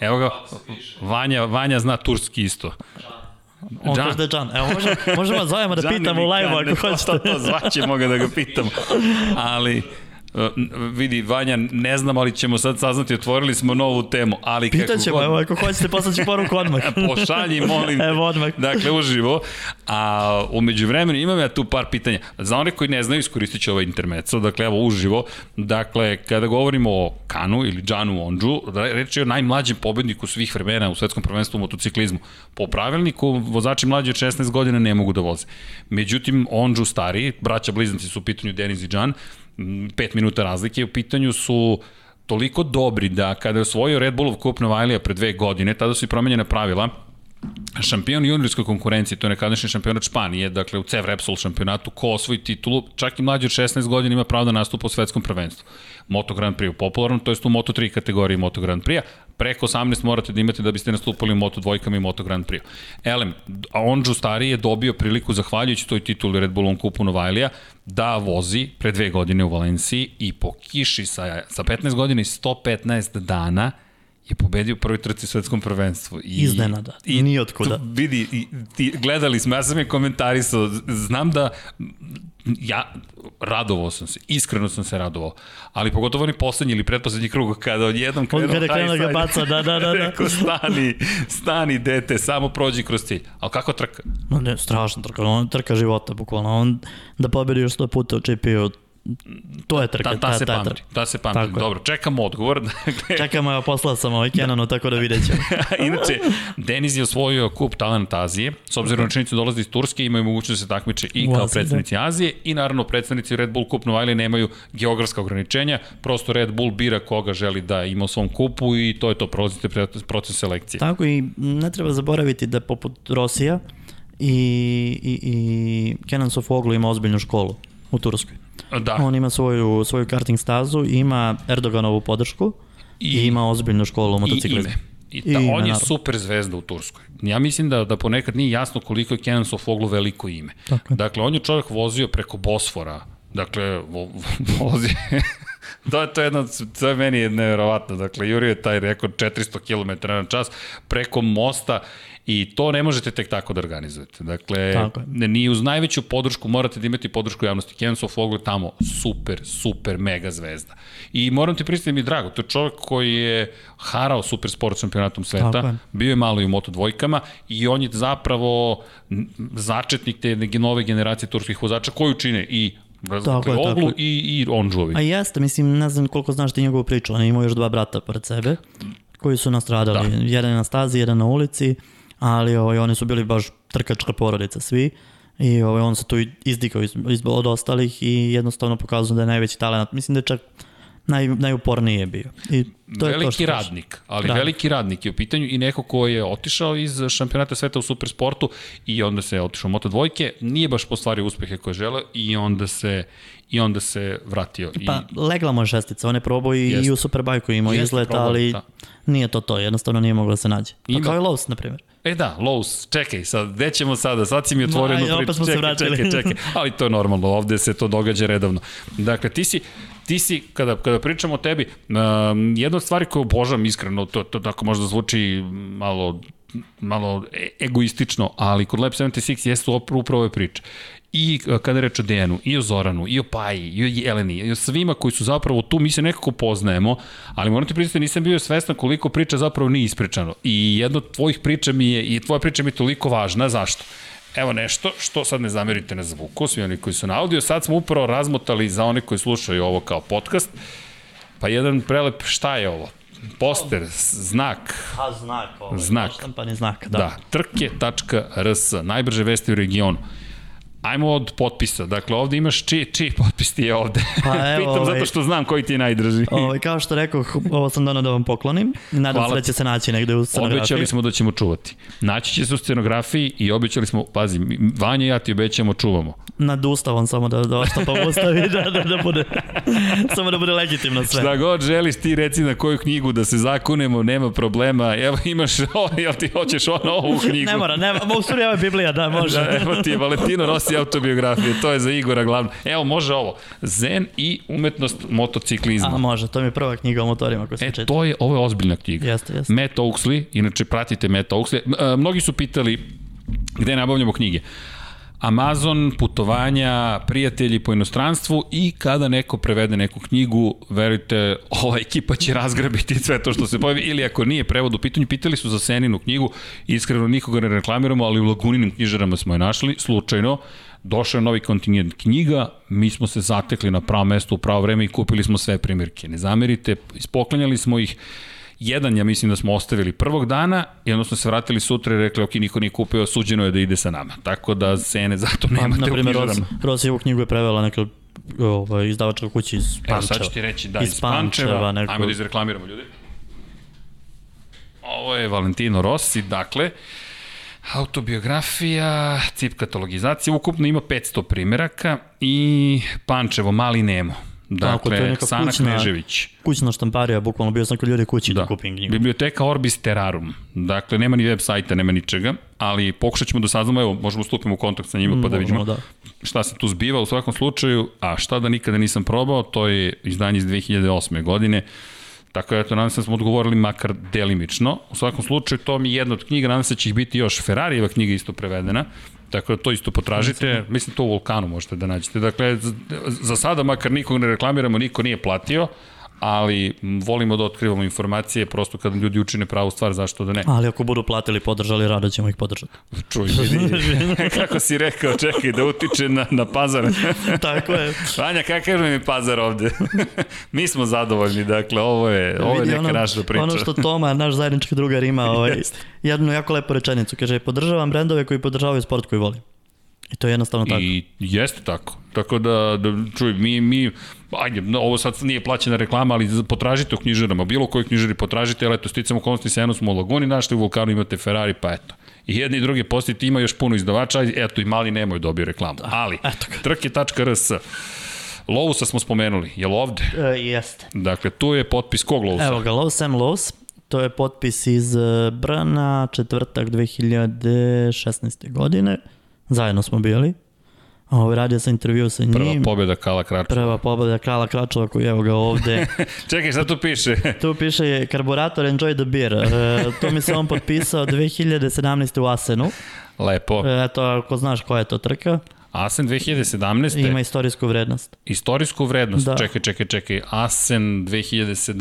Speaker 1: Evo ga, Vanja, Vanja zna turski isto.
Speaker 2: On
Speaker 1: Džan.
Speaker 2: kaže da je Džan. Evo, možemo, možemo vas zovemo da
Speaker 1: Džan
Speaker 2: pitamo u
Speaker 1: ili Kan,
Speaker 2: live-u
Speaker 1: [LAUGHS]
Speaker 2: ako
Speaker 1: To,
Speaker 2: hoćete.
Speaker 1: to, to zvaćemo ga da ga pitamo. Ali, e, vidi, Vanja, ne znam, ali ćemo sad saznati, otvorili smo novu temu, ali kako
Speaker 2: Pitaćemo,
Speaker 1: god, E, da
Speaker 2: evo, ako hoćete, poslaću poruku odmah.
Speaker 1: pošalji, molim te.
Speaker 2: [LAUGHS] Evo odmah.
Speaker 1: Dakle, uživo. A umeđu vremenu imam ja tu par pitanja. Za one koji ne znaju, iskoristit ću ovaj intermeco. Dakle, evo, uživo. Dakle, kada govorimo o Kanu ili Džanu Ondžu, reč je o najmlađem pobedniku svih vremena u svetskom prvenstvu u motociklizmu. Po pravilniku, vozači mlađi od 16 godina ne mogu da voze. Međutim, Ondžu stariji, braća blizanci su u pitanju Deniz i Džan, 5 minuta razlike, u pitanju su toliko dobri da kada je osvojio Red Bullov kup Novajlija pre dve godine, tada su i promenjena pravila, šampion juniorske konkurencije, to je nekadašnji šampionat Španije, dakle u CEV Repsol šampionatu, ko osvoji titulu, čak i mlađi od 16 godina ima pravo da nastupa u svetskom prvenstvu. Moto Grand Prix u popularnom, to je u Moto 3 kategoriji Moto Grand Prix-a, preko 18 morate da imate da biste nastupali u Moto dvojkama i Moto Grand Prix-u. Elem, a Ondžu Stari je dobio priliku, zahvaljujući toj tituli Red Bullom kupu Novajlija, da vozi pre dve godine u Valenciji i po kiši sa, sa 15 godina i 115 dana je pobedio u prvoj trci u svetskom prvenstvu. I,
Speaker 2: Iznenada.
Speaker 1: I
Speaker 2: Nijotkuda.
Speaker 1: tu Vidi, i, ti, gledali smo, ja sam je komentarisao, z- znam da ja radovao sam se, iskreno sam se radovao, ali pogotovo oni poslednji ili pretposlednji krug kada odjednom
Speaker 2: On
Speaker 1: krenu
Speaker 2: kada
Speaker 1: high
Speaker 2: krenu da ga
Speaker 1: side. [LAUGHS]
Speaker 2: baca, da, da, da. da.
Speaker 1: Rekao, stani, stani dete, samo prođi kroz cilj. Ali kako trka?
Speaker 2: Ma ne, strašno trka, on trka života, bukvalno. On da pobedi još sto puta u čipiju, to je trka,
Speaker 1: Ta,
Speaker 2: E, ta,
Speaker 1: ta se
Speaker 2: ta,
Speaker 1: pamti, [LAUGHS]
Speaker 2: trka.
Speaker 1: ta se pamti.
Speaker 2: Tako je.
Speaker 1: Dobro, čekamo odgovor. [LAUGHS] Dakle,
Speaker 2: Čekamo, evo, poslao sam ovaj Kenanu, tako da vidjet ćemo.
Speaker 1: [LAUGHS] Inače, Deniz je osvojio kup talenta Azije, s obzirom na činjenicu da dolazi iz Turske, imaju mogućnost da se takmiče i
Speaker 2: U
Speaker 1: kao
Speaker 2: Aziji,
Speaker 1: predstavnici Azije i naravno predstavnici Red Bull Cup Novajlije nemaju geografska ograničenja, prosto Red Bull bira koga želi da ima u svom kupu i to je to, prolazite pre- proces selekcije.
Speaker 2: Tako i ne treba zaboraviti da poput Rosija i, i, i Kenan Sofoglu ima ozbiljnu školu u Turskoj.
Speaker 1: Da,
Speaker 2: On ima svoju, svoju karting stazu, ima Erdoganovu podršku i,
Speaker 1: I-
Speaker 2: i ima ozbiljnu školu u
Speaker 1: I
Speaker 2: motociklizmu.
Speaker 1: ime. I ta,
Speaker 2: I ime,
Speaker 1: on je
Speaker 2: naravno.
Speaker 1: super zvezda u Turskoj. Ja mislim da, da ponekad nije jasno koliko je Kenan Sofoglu veliko ime.
Speaker 2: Tako je.
Speaker 1: Dakle, on je čovjek vozio preko Bosfora. Dakle, vo, [LAUGHS] vozi... to, je, to, je jedna, to je meni nevjerovatno. Dakle, Jurio je taj rekord 400 km na čas preko mosta i to ne možete tek tako da organizujete. Dakle,
Speaker 2: Tako je.
Speaker 1: ne, ni uz najveću podršku morate da imate podršku javnosti. Kenan Sofoglu je tamo super, super, mega zvezda. I moram ti pristati mi je drago, to je čovjek koji je harao super sport šampionatom
Speaker 2: Tako
Speaker 1: sveta,
Speaker 2: je.
Speaker 1: bio je malo i u Moto dvojkama i on je zapravo n- začetnik te neke nove generacije turskih vozača koju čine i
Speaker 2: Tako je, tako
Speaker 1: Oglu
Speaker 2: je.
Speaker 1: i, i Ondžovi.
Speaker 2: A jeste, mislim, ne znam koliko znaš ti njegovu priču, on je imao još dva brata pored sebe, koji su nastradali, da. jedan je na stazi, jedan na ulici, ali ovaj, oni su bili baš trkačka porodica svi I ovaj, on se tu izdigao iz, iz, od ostalih i jednostavno pokazano da je najveći talent. Mislim da je čak naj, najuporniji je bio. I to
Speaker 1: veliki
Speaker 2: je to što Da. kaže.
Speaker 1: radnik, ali
Speaker 2: Radnik.
Speaker 1: veliki radnik je u pitanju i neko ko je otišao iz eh, šampionata sveta u supersportu i onda se otišao u Moto dvojke, nije baš postvario uspehe koje žele i onda se i onda se vratio. I,
Speaker 2: Pa, legla mu je šestica, on je probao i,
Speaker 1: Jeste.
Speaker 2: i u Superbajku imao
Speaker 1: Jeste
Speaker 2: izlet,
Speaker 1: probao,
Speaker 2: ali
Speaker 1: da.
Speaker 2: nije to to, jednostavno nije moglo da se nađe. Pa
Speaker 1: Ima-
Speaker 2: kao i Lowe's, na primjer.
Speaker 1: E da, Lowe's, čekaj, sad, gde ćemo sada? Sad si mi otvorio
Speaker 2: Ma,
Speaker 1: jednu
Speaker 2: aj, opet
Speaker 1: priču.
Speaker 2: smo se
Speaker 1: čekaj,
Speaker 2: vratili.
Speaker 1: Čekaj, čekaj, ali to je normalno, ovde se to događa redovno. Dakle, ti si, ti si kada, kada pričamo o tebi, um, jedna od stvari koju obožavam iskreno, to, to tako možda zvuči malo malo e- egoistično, ali kod Lab 76 jesu opr- upravo ove priče. I e, kada je reč o Dejanu, i o Zoranu, i o Paji, i o Jeleni, i o svima koji su zapravo tu, mi se nekako poznajemo, ali moram ti priznati, nisam bio svestan koliko priča zapravo nije ispričano. I jedna od tvojih priča mi je, i tvoja priča mi je toliko važna, zašto? Evo nešto što sad ne zamerite na zvuku, svi oni koji su na audio, sad smo upravo razmotali za one koji slušaju ovo kao podcast, pa jedan prelep, šta je ovo? Poster, s- znak,
Speaker 2: A znak ovaj.
Speaker 1: Znak.
Speaker 2: Štampani znak,
Speaker 1: Da,
Speaker 2: da.
Speaker 1: da trke.rs, najbrže vesti u regionu. Ajmo od potpisa. Dakle, ovde imaš čiji, čiji potpis ti je ovde. [LAUGHS]
Speaker 2: Pa, evo,
Speaker 1: Pitam
Speaker 2: ovaj-
Speaker 1: zato što znam koji ti je najdrži.
Speaker 2: Ovaj, kao što rekao, ovo sam donao da vam poklonim. Nadam
Speaker 1: Hvala
Speaker 2: se da
Speaker 1: ti.
Speaker 2: će se naći negde u scenografiji.
Speaker 1: Obećali smo da ćemo čuvati. Naći će se u scenografiji i obećali smo, pazi, mi- Vanja i ja ti obećamo, čuvamo.
Speaker 2: Nad ustavom samo da, da oštapam ustavi, [LAUGHS] da, da, da bude, samo da bude legitimno sve.
Speaker 1: Šta god želiš ti reci na koju knjigu da se zakunemo, nema problema. Evo imaš, [LAUGHS] o, jel ti hoćeš ono ovu knjigu?
Speaker 2: Ne mora, ne, ma, u stvari ovo je Biblija, da, može.
Speaker 1: Da, [LAUGHS] evo ti je Valentino Rossi autobiografije, to je za Igora glavno. Evo, može ovo. Zen i umetnost motociklizma.
Speaker 2: A može, to mi je prva knjiga o motorima koju sam
Speaker 1: E,
Speaker 2: čitao.
Speaker 1: to je, ovo je ozbiljna knjiga.
Speaker 2: Jeste, jeste.
Speaker 1: Matt Oaksley, inače pratite Matt Oaksley. M- e, Mnogi su pitali gde nabavljamo knjige. Amazon, putovanja, prijatelji po inostranstvu i kada neko prevede neku knjigu, verujte, ova ekipa će razgrabiti sve to što se pojavi ili ako nije prevod u pitanju, pitali su za Seninu knjigu, iskreno nikoga ne reklamiramo, ali u Laguninim knjižarama smo je našli, slučajno, došao je novi kontingent knjiga, mi smo se zatekli na pravo mesto u pravo vreme i kupili smo sve primjerke. Ne zamerite, ispoklanjali smo ih, jedan, ja mislim da smo ostavili prvog dana i onda smo se vratili sutra i rekli, ok, niko nije kupio, suđeno je da ide sa nama. Tako da cene zato nemate
Speaker 2: Pa, na primjer,
Speaker 1: u
Speaker 2: Ros,
Speaker 1: knjižarama.
Speaker 2: Rosijevu knjigu je prevela neka ovaj, izdavačka kuća iz Pančeva.
Speaker 1: Evo sad ću ti reći, da, iz,
Speaker 2: Iz
Speaker 1: Pančeva,
Speaker 2: Pančeva neko-
Speaker 1: ajmo da izreklamiramo ljudi. Ovo je Valentino Rossi, dakle, autobiografija, cip katalogizacije, ukupno ima 500 primeraka i Pančevo, Mali Nemo.
Speaker 2: Tako, to je
Speaker 1: Dakle,
Speaker 2: neka
Speaker 1: Sana
Speaker 2: kućna-
Speaker 1: Knežević.
Speaker 2: Kućna štamparija, bukvalno bio sam kod ljudi kući da, da kupim knjigu.
Speaker 1: Biblioteka Orbis Terrarum. Dakle, nema ni web sajta, nema ničega, ali pokušat ćemo da saznamo, evo, možemo stupimo u kontakt sa njima pa da vidimo
Speaker 2: Da.
Speaker 1: šta se tu zbiva u svakom slučaju, a šta da nikada nisam probao, to je izdanje iz 2008. godine, Tako da, eto, nadam se da smo odgovorili makar delimično. U svakom slučaju, to mi je jedna od knjiga, nadam se da će ih biti još. Ferrarijeva knjiga je isto prevedena, tako da to isto potražite.
Speaker 2: da.
Speaker 1: Mislim, to u Vulkanu možete da nađete. Dakle, z- za sada makar nikog ne reklamiramo, niko nije platio, ali m, volimo da otkrivamo informacije, prosto kad ljudi učine pravu stvar, zašto da ne?
Speaker 2: Ali ako budu platili, podržali, rado ćemo ih podržati.
Speaker 1: Čuj, vidi, [LAUGHS] kako si rekao, čekaj, da utiče na, na pazar.
Speaker 2: [LAUGHS] Tako je.
Speaker 1: Vanja, kakav nam je pazar ovde? [LAUGHS] Mi smo zadovoljni, dakle, ovo je, ovo je
Speaker 2: Vidi,
Speaker 1: neka
Speaker 2: ono-
Speaker 1: naša priča.
Speaker 2: Ono što Toma, naš zajednički
Speaker 1: [LAUGHS]
Speaker 2: drugar, ima ovaj,
Speaker 1: Jeste.
Speaker 2: jednu jako lepu rečenicu. Kaže, podržavam brendove koji podržavaju sport koji volim. I to je jednostavno tako.
Speaker 1: I jeste tako. Tako da, da čuj, mi, mi, ajde, no, ovo sad nije plaćena reklama, ali za- potražite u knjižarama, bilo koji knjižari potražite, ali eto, sticamo konstni senu smo u Laguni, našli u Vulkanu imate Ferrari, pa eto. I jedni i drugi postiti ima još puno izdavača, ali eto i mali nemoj dobio reklamu.
Speaker 2: Da.
Speaker 1: Ali, trke.rs, Lovusa smo spomenuli, je li ovde?
Speaker 2: E, jeste.
Speaker 1: Dakle, tu je potpis kog Lovusa?
Speaker 2: Evo ga, Low Sam Lows. To je potpis iz e, Brna, četvrtak 2016. godine. Zajedno smo bili. Ovo, radio sam intervju sa njim.
Speaker 1: Prva pobjeda Kala Krača.
Speaker 2: Prva pobeda Krala Kračova koji evo ga
Speaker 1: [LAUGHS]
Speaker 2: ovde.
Speaker 1: Čekaj, šta tu piše? [LAUGHS]
Speaker 2: Tu piše je karburator enjoy the beer. E, to mi se on potpisao 2017. u Asenu.
Speaker 1: Lepo.
Speaker 2: E, Eto, ako znaš koja je to trka,
Speaker 1: Asen 2017.
Speaker 2: ima istorijsku vrednost.
Speaker 1: Istorijsku vrednost, da.
Speaker 2: Da.
Speaker 1: čekaj, čekaj, čekaj, Asen 2017.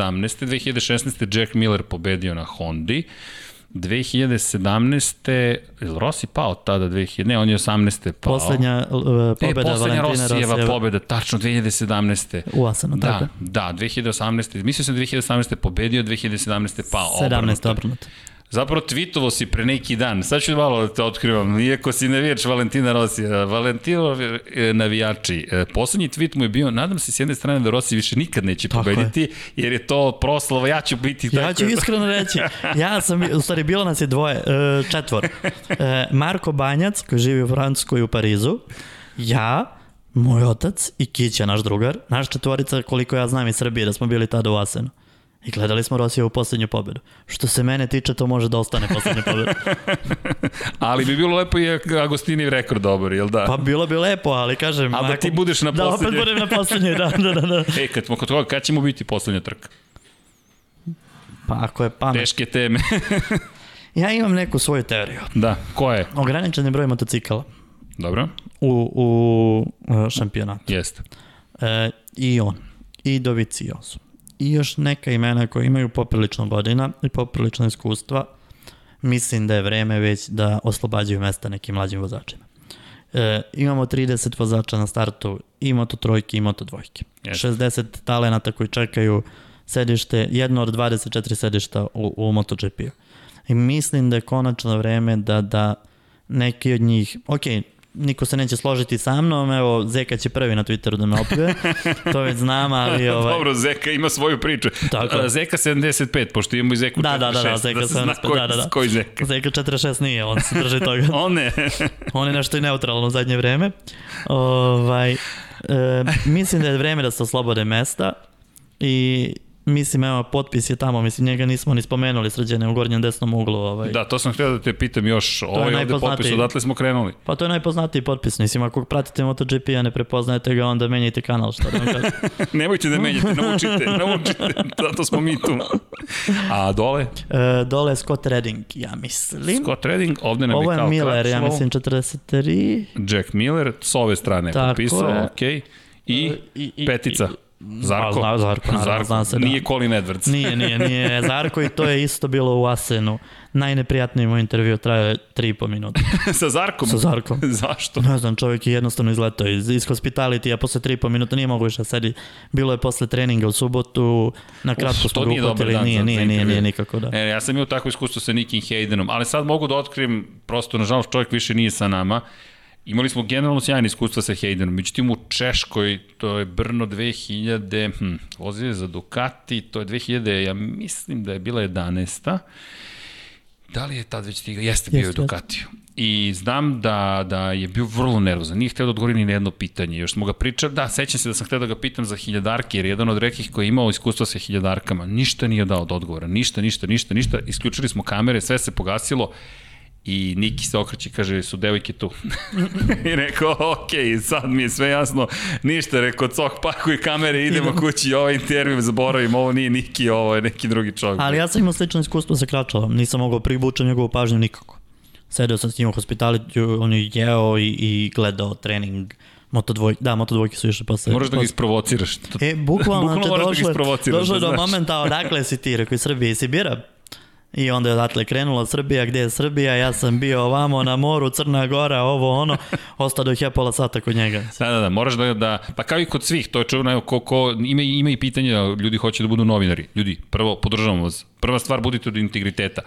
Speaker 1: 2016. Jack Miller pobedio na Hondi, 2017. Je li Rossi pao tada? 2000, ne, on je 18. pao.
Speaker 2: Poslednja e,
Speaker 1: e,
Speaker 2: pobeda
Speaker 1: poslednja
Speaker 2: Valentina
Speaker 1: Rossijeva
Speaker 2: Rosijeva
Speaker 1: pobeda, tačno 2017.
Speaker 2: u Asenu, da.
Speaker 1: Da,
Speaker 2: tako?
Speaker 1: da, 2018. Mislio sam 2018. pobedio, 2017. pao.
Speaker 2: 17.
Speaker 1: obrnuto.
Speaker 2: pa, obrnuto.
Speaker 1: Zapravo tweetovo si pre neki dan, sad ću malo da te otkrivam, iako si navijač Valentina Rossi, Valentino e, navijači, e, poslednji tweet mu je bio, nadam se s jedne strane da Rossi više nikad neće
Speaker 2: Tako je.
Speaker 1: pobediti, jer je to proslava, ja ću biti tako.
Speaker 2: Ja ću iskreno [LAUGHS] reći, ja sam, u stvari bilo nas je dvoje, e, četvor. E, Marko Banjac, koji živi u Francuskoj i u Parizu, ja, moj otac i Kića, naš drugar, naš četvorica, koliko ja znam iz Srbije, da smo bili tada u Asenu. I gledali smo Rosiju u poslednju pobedu. Što se mene tiče, to može da ostane poslednja pobeda.
Speaker 1: Ali bi bilo lepo i Agostinijev rekord dobar, jel da?
Speaker 2: Pa bilo bi lepo, ali kažem...
Speaker 1: Ali da
Speaker 2: ako-
Speaker 1: ti budeš na
Speaker 2: Da, opet
Speaker 1: poslednjoj.
Speaker 2: budem na poslednjoj, da, da, da. da.
Speaker 1: E, kad smo kod toga, kad ćemo biti poslednja trka?
Speaker 2: Pa ako je pamet.
Speaker 1: Teške teme. [LAUGHS]
Speaker 2: Ja imam neku svoju teoriju.
Speaker 1: da, ko je?
Speaker 2: Ograničen je broj motocikala
Speaker 1: Dobro,
Speaker 2: u, u e, šampionatu.
Speaker 1: jeste.
Speaker 2: E, I on. I Dovicioso. I još neka imena koja imaju poprilično godina i poprilično iskustva. Mislim da je vreme već da oslobađaju mesta nekim mlađim vozačima. E, imamo 30 vozača na startu i moto trojke i moto dvojke.
Speaker 1: Jeste.
Speaker 2: 60 talenata koji čekaju sedište, jedno od 24 sedišta u, u MotoGP-u. I mislim da je konačno vreme da, da neki od njih, ok, niko se neće složiti sa mnom, evo, Zeka će prvi na Twitteru da me opljuje, to već
Speaker 1: [LAUGHS]
Speaker 2: znam, ali ovaj,
Speaker 1: Dobro, Zeka ima svoju priču.
Speaker 2: Tako
Speaker 1: A,
Speaker 2: je.
Speaker 1: Zeka 75, pošto imamo i Zeku
Speaker 2: Da, da, da, da,
Speaker 1: 46,
Speaker 2: Zeka
Speaker 1: se zna
Speaker 2: 75,
Speaker 1: koji,
Speaker 2: da, da, da.
Speaker 1: koji Zeka.
Speaker 2: Zeka 46 nije, on se drži toga.
Speaker 1: [LAUGHS] On ne.
Speaker 2: On je nešto i neutralno u zadnje vreme. Ovaj, e, mislim da je vreme da se oslobode mesta i mislim, evo, potpis je tamo, mislim, njega nismo ni spomenuli srđene u gornjem desnom uglu. Ovaj.
Speaker 1: da, to sam htio da te pitam još. Ovo je ovde
Speaker 2: najpoznatiji.
Speaker 1: potpis, odatle smo krenuli. [LAUGHS]
Speaker 2: Pa to je najpoznatiji potpis, mislim, ako pratite MotoGP, a ne prepoznajete ga, onda menjajte kanal, šta da vam
Speaker 1: [LAUGHS]
Speaker 2: kažem.
Speaker 1: Nemojte da menjate,
Speaker 2: [LAUGHS]
Speaker 1: naučite, naučite. Zato smo mi tu. A dole,
Speaker 2: E, dole Scott Redding, ja mislim.
Speaker 1: Scott Redding, ovde nam
Speaker 2: Ovo
Speaker 1: je
Speaker 2: je
Speaker 1: kao
Speaker 2: Miller, ja
Speaker 1: Crutchlow,
Speaker 2: mislim 43.
Speaker 1: Jack Miller, s ove strane je
Speaker 2: Tako
Speaker 1: potpisao,
Speaker 2: je.
Speaker 1: okej. I,
Speaker 2: I- i-
Speaker 1: petica. Zarko.
Speaker 2: Pa, zna- Zarko, naravno, zna se, da.
Speaker 1: Nije Colin Edwards.
Speaker 2: Nije, nije, nije Zarko i to je isto bilo u Asenu. Najneprijatniji moj intervju trajao je 3,5
Speaker 1: [LAUGHS]
Speaker 2: minuta
Speaker 1: [LAUGHS] Sa Zarkom?
Speaker 2: sa Zarkom.
Speaker 1: [LAUGHS] Zašto?
Speaker 2: Ne znam, čovjek je jednostavno izletao iz, iz hospitality, a posle 3,5 minuta nije mogo više da sedi. Bilo je posle treninga u subotu, na kratko
Speaker 1: Uf, to
Speaker 2: smo ga
Speaker 1: nije dobar
Speaker 2: uhvatili,
Speaker 1: dan za
Speaker 2: nije, nije, nije,
Speaker 1: intervju.
Speaker 2: nije nikako da.
Speaker 1: E, ja sam imao takvo iskustvo sa Nikim Haydenom, ali sad mogu da otkrijem, prosto, nažalost, čovjek više nije sa nama. Imali smo generalno sjajne iskustva sa Haydenom, međutim u Češkoj, to je Brno 2000, hm, vozio je za Ducati, to je 2000, ja mislim da je bila 11. Da li je tad već stigao? Jeste bio je u
Speaker 2: Jeste.
Speaker 1: Ducatiju. I znam da, da je bio vrlo nervozan, nije hteo da odgovori ni na jedno pitanje. Još smo ga pričali, da, sećam se da sam hteo da ga pitam za hiljadarke, jer je jedan od rekih koji je imao iskustva sa hiljadarkama, ništa nije dao od odgovora, ništa, ništa, ništa, ništa, isključili smo kamere, sve se pogasilo, I Niki se okreće i kaže, su devojke tu. [LAUGHS] I rekao, ok, sad mi je sve jasno, ništa, rekao, cok, pakuj kamere, idemo kući, ovaj intervju zaboravim, ovo nije Niki, ovo je neki drugi čovjek.
Speaker 2: Ali ja sam imao slično iskustvo sa Kračalom, nisam mogao privući njegovu pažnju nikako. Sedeo sam s njim u hospitalitiju, on je jeo i, i gledao trening. Moto dvoj, da, moto dvojke su išle posle.
Speaker 1: Moraš da ga
Speaker 2: posle-
Speaker 1: isprovociraš. To-
Speaker 2: E, bukvalno,
Speaker 1: [LAUGHS] Bukvalno
Speaker 2: znači,
Speaker 1: moraš da ga
Speaker 2: došlo, je-
Speaker 1: isprovociraš,
Speaker 2: došlo je
Speaker 1: da
Speaker 2: do
Speaker 1: znaš.
Speaker 2: momenta, odakle si ti, rekao iz Srbije, iz Sibira. I onda je odatle krenula Srbija, gde je Srbija, ja sam bio ovamo na moru, Crna Gora, ovo, ono, ostao dok ja pola sata kod njega.
Speaker 1: Da, da, da, moraš da, da, pa kao i kod svih, to je čuvno, evo, ko, ko, ima, i- ima i pitanje, da ljudi hoće da budu novinari. Ljudi, prvo, podržavamo vas. Prva stvar, budite od integriteta.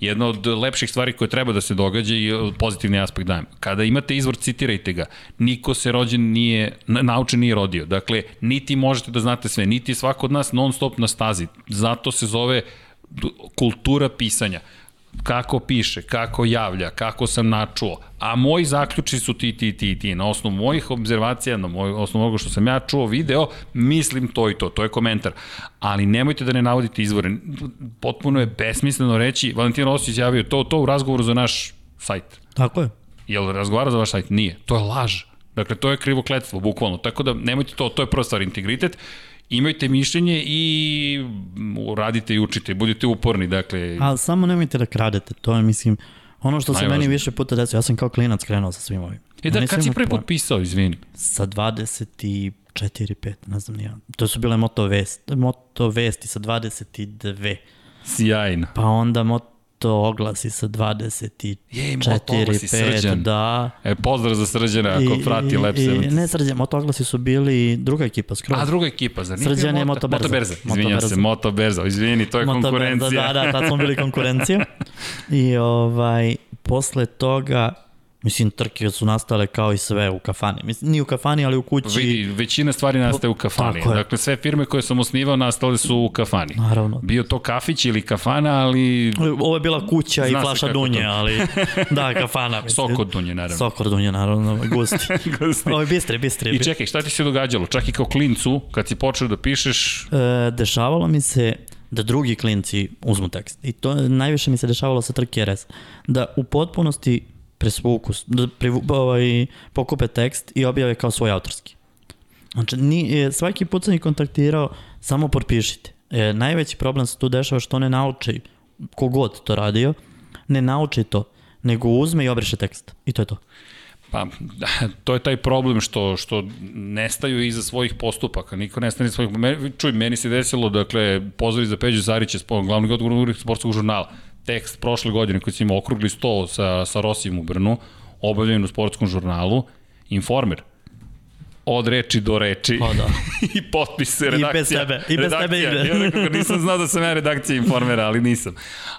Speaker 1: Jedna od lepših stvari koje treba da se događa i e, pozitivni aspekt dajem. Kada imate izvor, citirajte ga. Niko se rođen nije, na- naučen nije rodio. Dakle, niti možete da znate sve, niti je svako od nas non stop na stazi. Zato se zove du- kultura pisanja kako piše, kako javlja, kako sam načuo, a moji zaključi su ti, ti, ti, ti. Na osnovu mojih obzervacija, na moj, osnovu onoga što sam ja čuo, video, mislim to i to, to je komentar. Ali nemojte da ne navodite izvore. Potpuno je besmisleno reći, Valentin Rosić javio to, to u razgovoru za naš sajt.
Speaker 2: Tako je.
Speaker 1: Jel razgovara za vaš sajt? Nije. To je laž. Dakle, to je krivo kletstvo, bukvalno. Tako da nemojte to, to je prva stvar, integritet. Imajte mišljenje i mm, radite i učite, budite uporni, dakle,
Speaker 2: A samo nemojte da kradete, to je, mislim, ono što se
Speaker 1: Najvažnije.
Speaker 2: meni više puta desilo, ja sam kao klinac krenuo sa svim ovim.
Speaker 1: E da,
Speaker 2: Nisam
Speaker 1: kad si
Speaker 2: imao
Speaker 1: prvi put
Speaker 2: pojma.
Speaker 1: pisao, izvini.
Speaker 2: Sa 24, 5, ne znam nija. To su bile moto, vest, moto vesti sa 22.
Speaker 1: Sjajno.
Speaker 2: Pa onda moto oglasi sa 24,
Speaker 1: Jej, moto oglasi,
Speaker 2: 5,
Speaker 1: Srđan.
Speaker 2: da.
Speaker 1: E, pozdrav za srđana ako prati Lab
Speaker 2: i-
Speaker 1: 70.
Speaker 2: Ne srđan, moto oglasi su bili druga ekipa skroz.
Speaker 1: A druga ekipa, zar nije
Speaker 2: Srđan
Speaker 1: bio
Speaker 2: je
Speaker 1: Moto-
Speaker 2: Motoberza.
Speaker 1: Motoberza, izvinjam
Speaker 2: Motoberza.
Speaker 1: se, Motoberza, izvini, to je
Speaker 2: Moto-
Speaker 1: konkurencija. [LAUGHS]
Speaker 2: Da, da, da, tad smo bili konkurencija. I ovaj, posle toga, mislim, trke su nastale kao i sve u kafani. Mislim, ni u kafani, ali u kući.
Speaker 1: Vidi, većina stvari nastaje u kafani.
Speaker 2: Znači, Tako je.
Speaker 1: Dakle, sve firme koje sam osnivao nastale su u kafani.
Speaker 2: Naravno.
Speaker 1: Bio to kafić ili kafana,
Speaker 2: [LAUGHS]
Speaker 1: ali
Speaker 2: Ovo je bila kuća i
Speaker 1: Zna se
Speaker 2: flaša
Speaker 1: kako
Speaker 2: dunje,
Speaker 1: to. [LAUGHS]
Speaker 2: ali da, kafana. Mislim.
Speaker 1: sok od dunje, naravno.
Speaker 2: Sokor dunje, naravno, [LAUGHS] gusti.
Speaker 1: Gusti.
Speaker 2: Ovo je bistre, bistre.
Speaker 1: I čekaj, šta ti se događalo? Čak i kao klincu, kad si počeo da pišeš,
Speaker 2: E, dešavalo mi se da drugi klinci uzmu tekst. I to je- najviše mi se dešavalo sa trke RS. Da u potpunosti presvuku, da privu- ovaj, pokupe tekst i objave kao svoj autorski. Znači, ni, e, svaki put sam ih kontaktirao, samo potpišite. E, najveći problem se tu dešava što ne nauče, kogod to radio, ne nauči to, nego uzme i obriše tekst. I to je to.
Speaker 1: pa [LAUGHS] to je taj problem što, što nestaju iza svojih postupaka. Niko nestane iza svojih... Me, čuj, meni se desilo, dakle, pozori za Peđu Zarića, spo- glavnog odgovornog urednika sportskog žurnala. Tekst prošle godine koji si imao okrugli sto sa, sa Rosijem u Brnu, objavljen u sportskom žurnalu, Informer. Od reči do reči.
Speaker 2: Pa da.
Speaker 1: [LAUGHS] I potpis
Speaker 2: bez
Speaker 1: redakcija.
Speaker 2: tebe, i bez
Speaker 1: redakcija.
Speaker 2: tebe ide.
Speaker 1: Ja rekao, nisam znao da sam ja redakcija informera, ali nisam.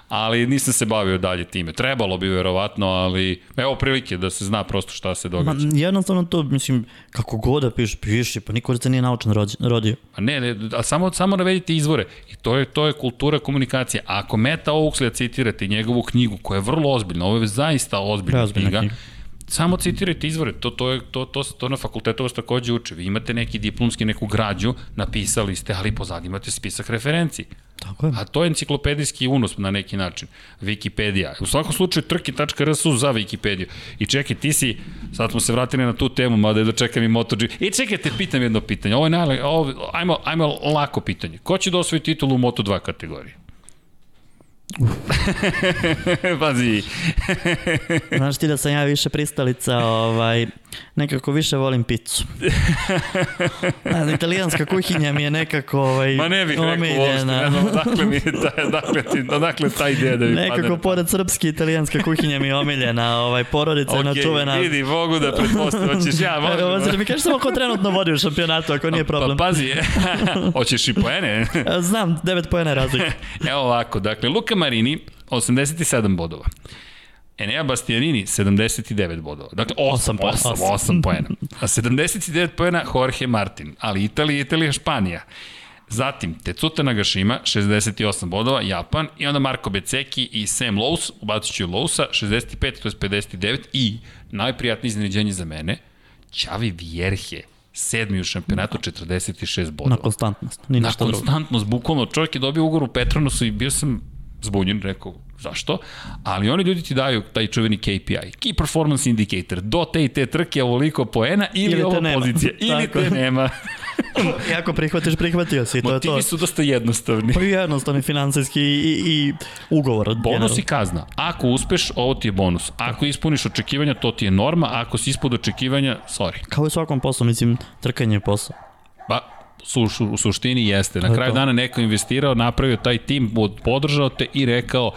Speaker 1: Ali nisam se bavio dalje time. Trebalo bi verovatno, ali evo prilike da se zna prosto šta se
Speaker 2: Ma,
Speaker 1: događa.
Speaker 2: jednostavno to, mislim, kako god da piše, piši, pa niko se nije naučen rođen- rodio.
Speaker 1: A ne, ne a samo, samo navedite izvore. I to je, to je kultura komunikacije. A ako Meta Oaksley citirate njegovu knjigu, koja je vrlo ozbiljna, ovo je zaista ozbiljna,
Speaker 2: Preozbiljna
Speaker 1: knjiga,
Speaker 2: knjiga.
Speaker 1: samo citirajte izvore, to, to, je, to, to, to na fakultetu vas takođe uče. Vi imate neki diplomski, neku građu, napisali ste, ali pozadi imate spisak referenci.
Speaker 2: Tako je.
Speaker 1: A to je enciklopedijski unos na neki način. Wikipedia. U svakom slučaju trki.rs su za Wikipediju. I čekaj, ti si, sad smo se vratili na tu temu, mada je da čekam i MotoGP. I čekaj, te pitam jedno pitanje. Ovo je najla, ovo, ajmo, ajmo lako pitanje. Ko će da osvoji titulu u Moto2 kategoriji? [LAUGHS] Pazi,
Speaker 2: Znaš ti da sam ja više pristalica, ovaj, nekako više volim
Speaker 1: [LAUGHS]
Speaker 2: picu. Ne znam, italijanska kuhinja mi je nekako ovaj,
Speaker 1: ma ne bih rekao uopšte, ne znam [LAUGHS] da odakle, mi, je ta, odakle, ti, odakle ta ideja da mi padne.
Speaker 2: Nekako pored srpske italijanska kuhinja mi je omiljena, ovaj, porodica okay,
Speaker 1: Okej,
Speaker 2: načuvena.
Speaker 1: vidi, mogu da pretpostavim, hoćeš ja,
Speaker 2: Evo,
Speaker 1: možemo.
Speaker 2: sad mi kažeš samo ko trenutno vodi u šampionatu, ako nije problem. E,
Speaker 1: Pa pazi, [LAUGHS] hoćeš i poene? [LAUGHS]
Speaker 2: Znam, 9 pojene razlike.
Speaker 1: Evo ovako, dakle, Luka Marini, 87 bodova. Enea Bastianini, 79 bodova. Dakle, 8,
Speaker 2: Osam
Speaker 1: 8,
Speaker 2: po-
Speaker 1: 8,
Speaker 2: osam.
Speaker 1: 8 poena. A 79 poena Jorge Martin, ali Italija, Italija, Španija. Zatim, Tecuta Nagashima, 68 bodova, Japan, i onda Marko Beceki i Sam Lowe's, ubacit ću Lowesa, 65, to je 59, i najprijatnije iznenađenje za mene, Ćavi Vjerhe, sedmi u šampionatu, 46 bodova
Speaker 2: Na konstantnost, ni
Speaker 1: na
Speaker 2: ništa drugo.
Speaker 1: konstantnost, bukvalno čovjek je dobio ugovor u Petronosu i bio sam zbunjen, rekao zašto, ali oni ljudi ti daju taj čuveni KPI, Key Performance Indicator, do te i te trke ovoliko poena ili,
Speaker 2: Ili te
Speaker 1: ili ova
Speaker 2: nema. [LAUGHS]
Speaker 1: pozicija, ili
Speaker 2: Tako.
Speaker 1: te nema.
Speaker 2: I ako prihvatiš, prihvatio si, to je to.
Speaker 1: Motivi su dosta jednostavni.
Speaker 2: Pa i jednostavni finansijski i, i, i ugovor.
Speaker 1: [LAUGHS]
Speaker 2: generalno.
Speaker 1: Bonus i kazna. Ako uspeš, ovo ti je bonus. Ako ispuniš očekivanja, to ti je norma. Ako si ispod očekivanja, sorry.
Speaker 2: Kao i u svakom poslu, mislim, trkanje je posao.
Speaker 1: Pa, su, su, u suštini jeste.
Speaker 2: To
Speaker 1: Na
Speaker 2: je
Speaker 1: kraju
Speaker 2: to.
Speaker 1: dana neko je investirao, napravio taj tim, od- podržao te i rekao,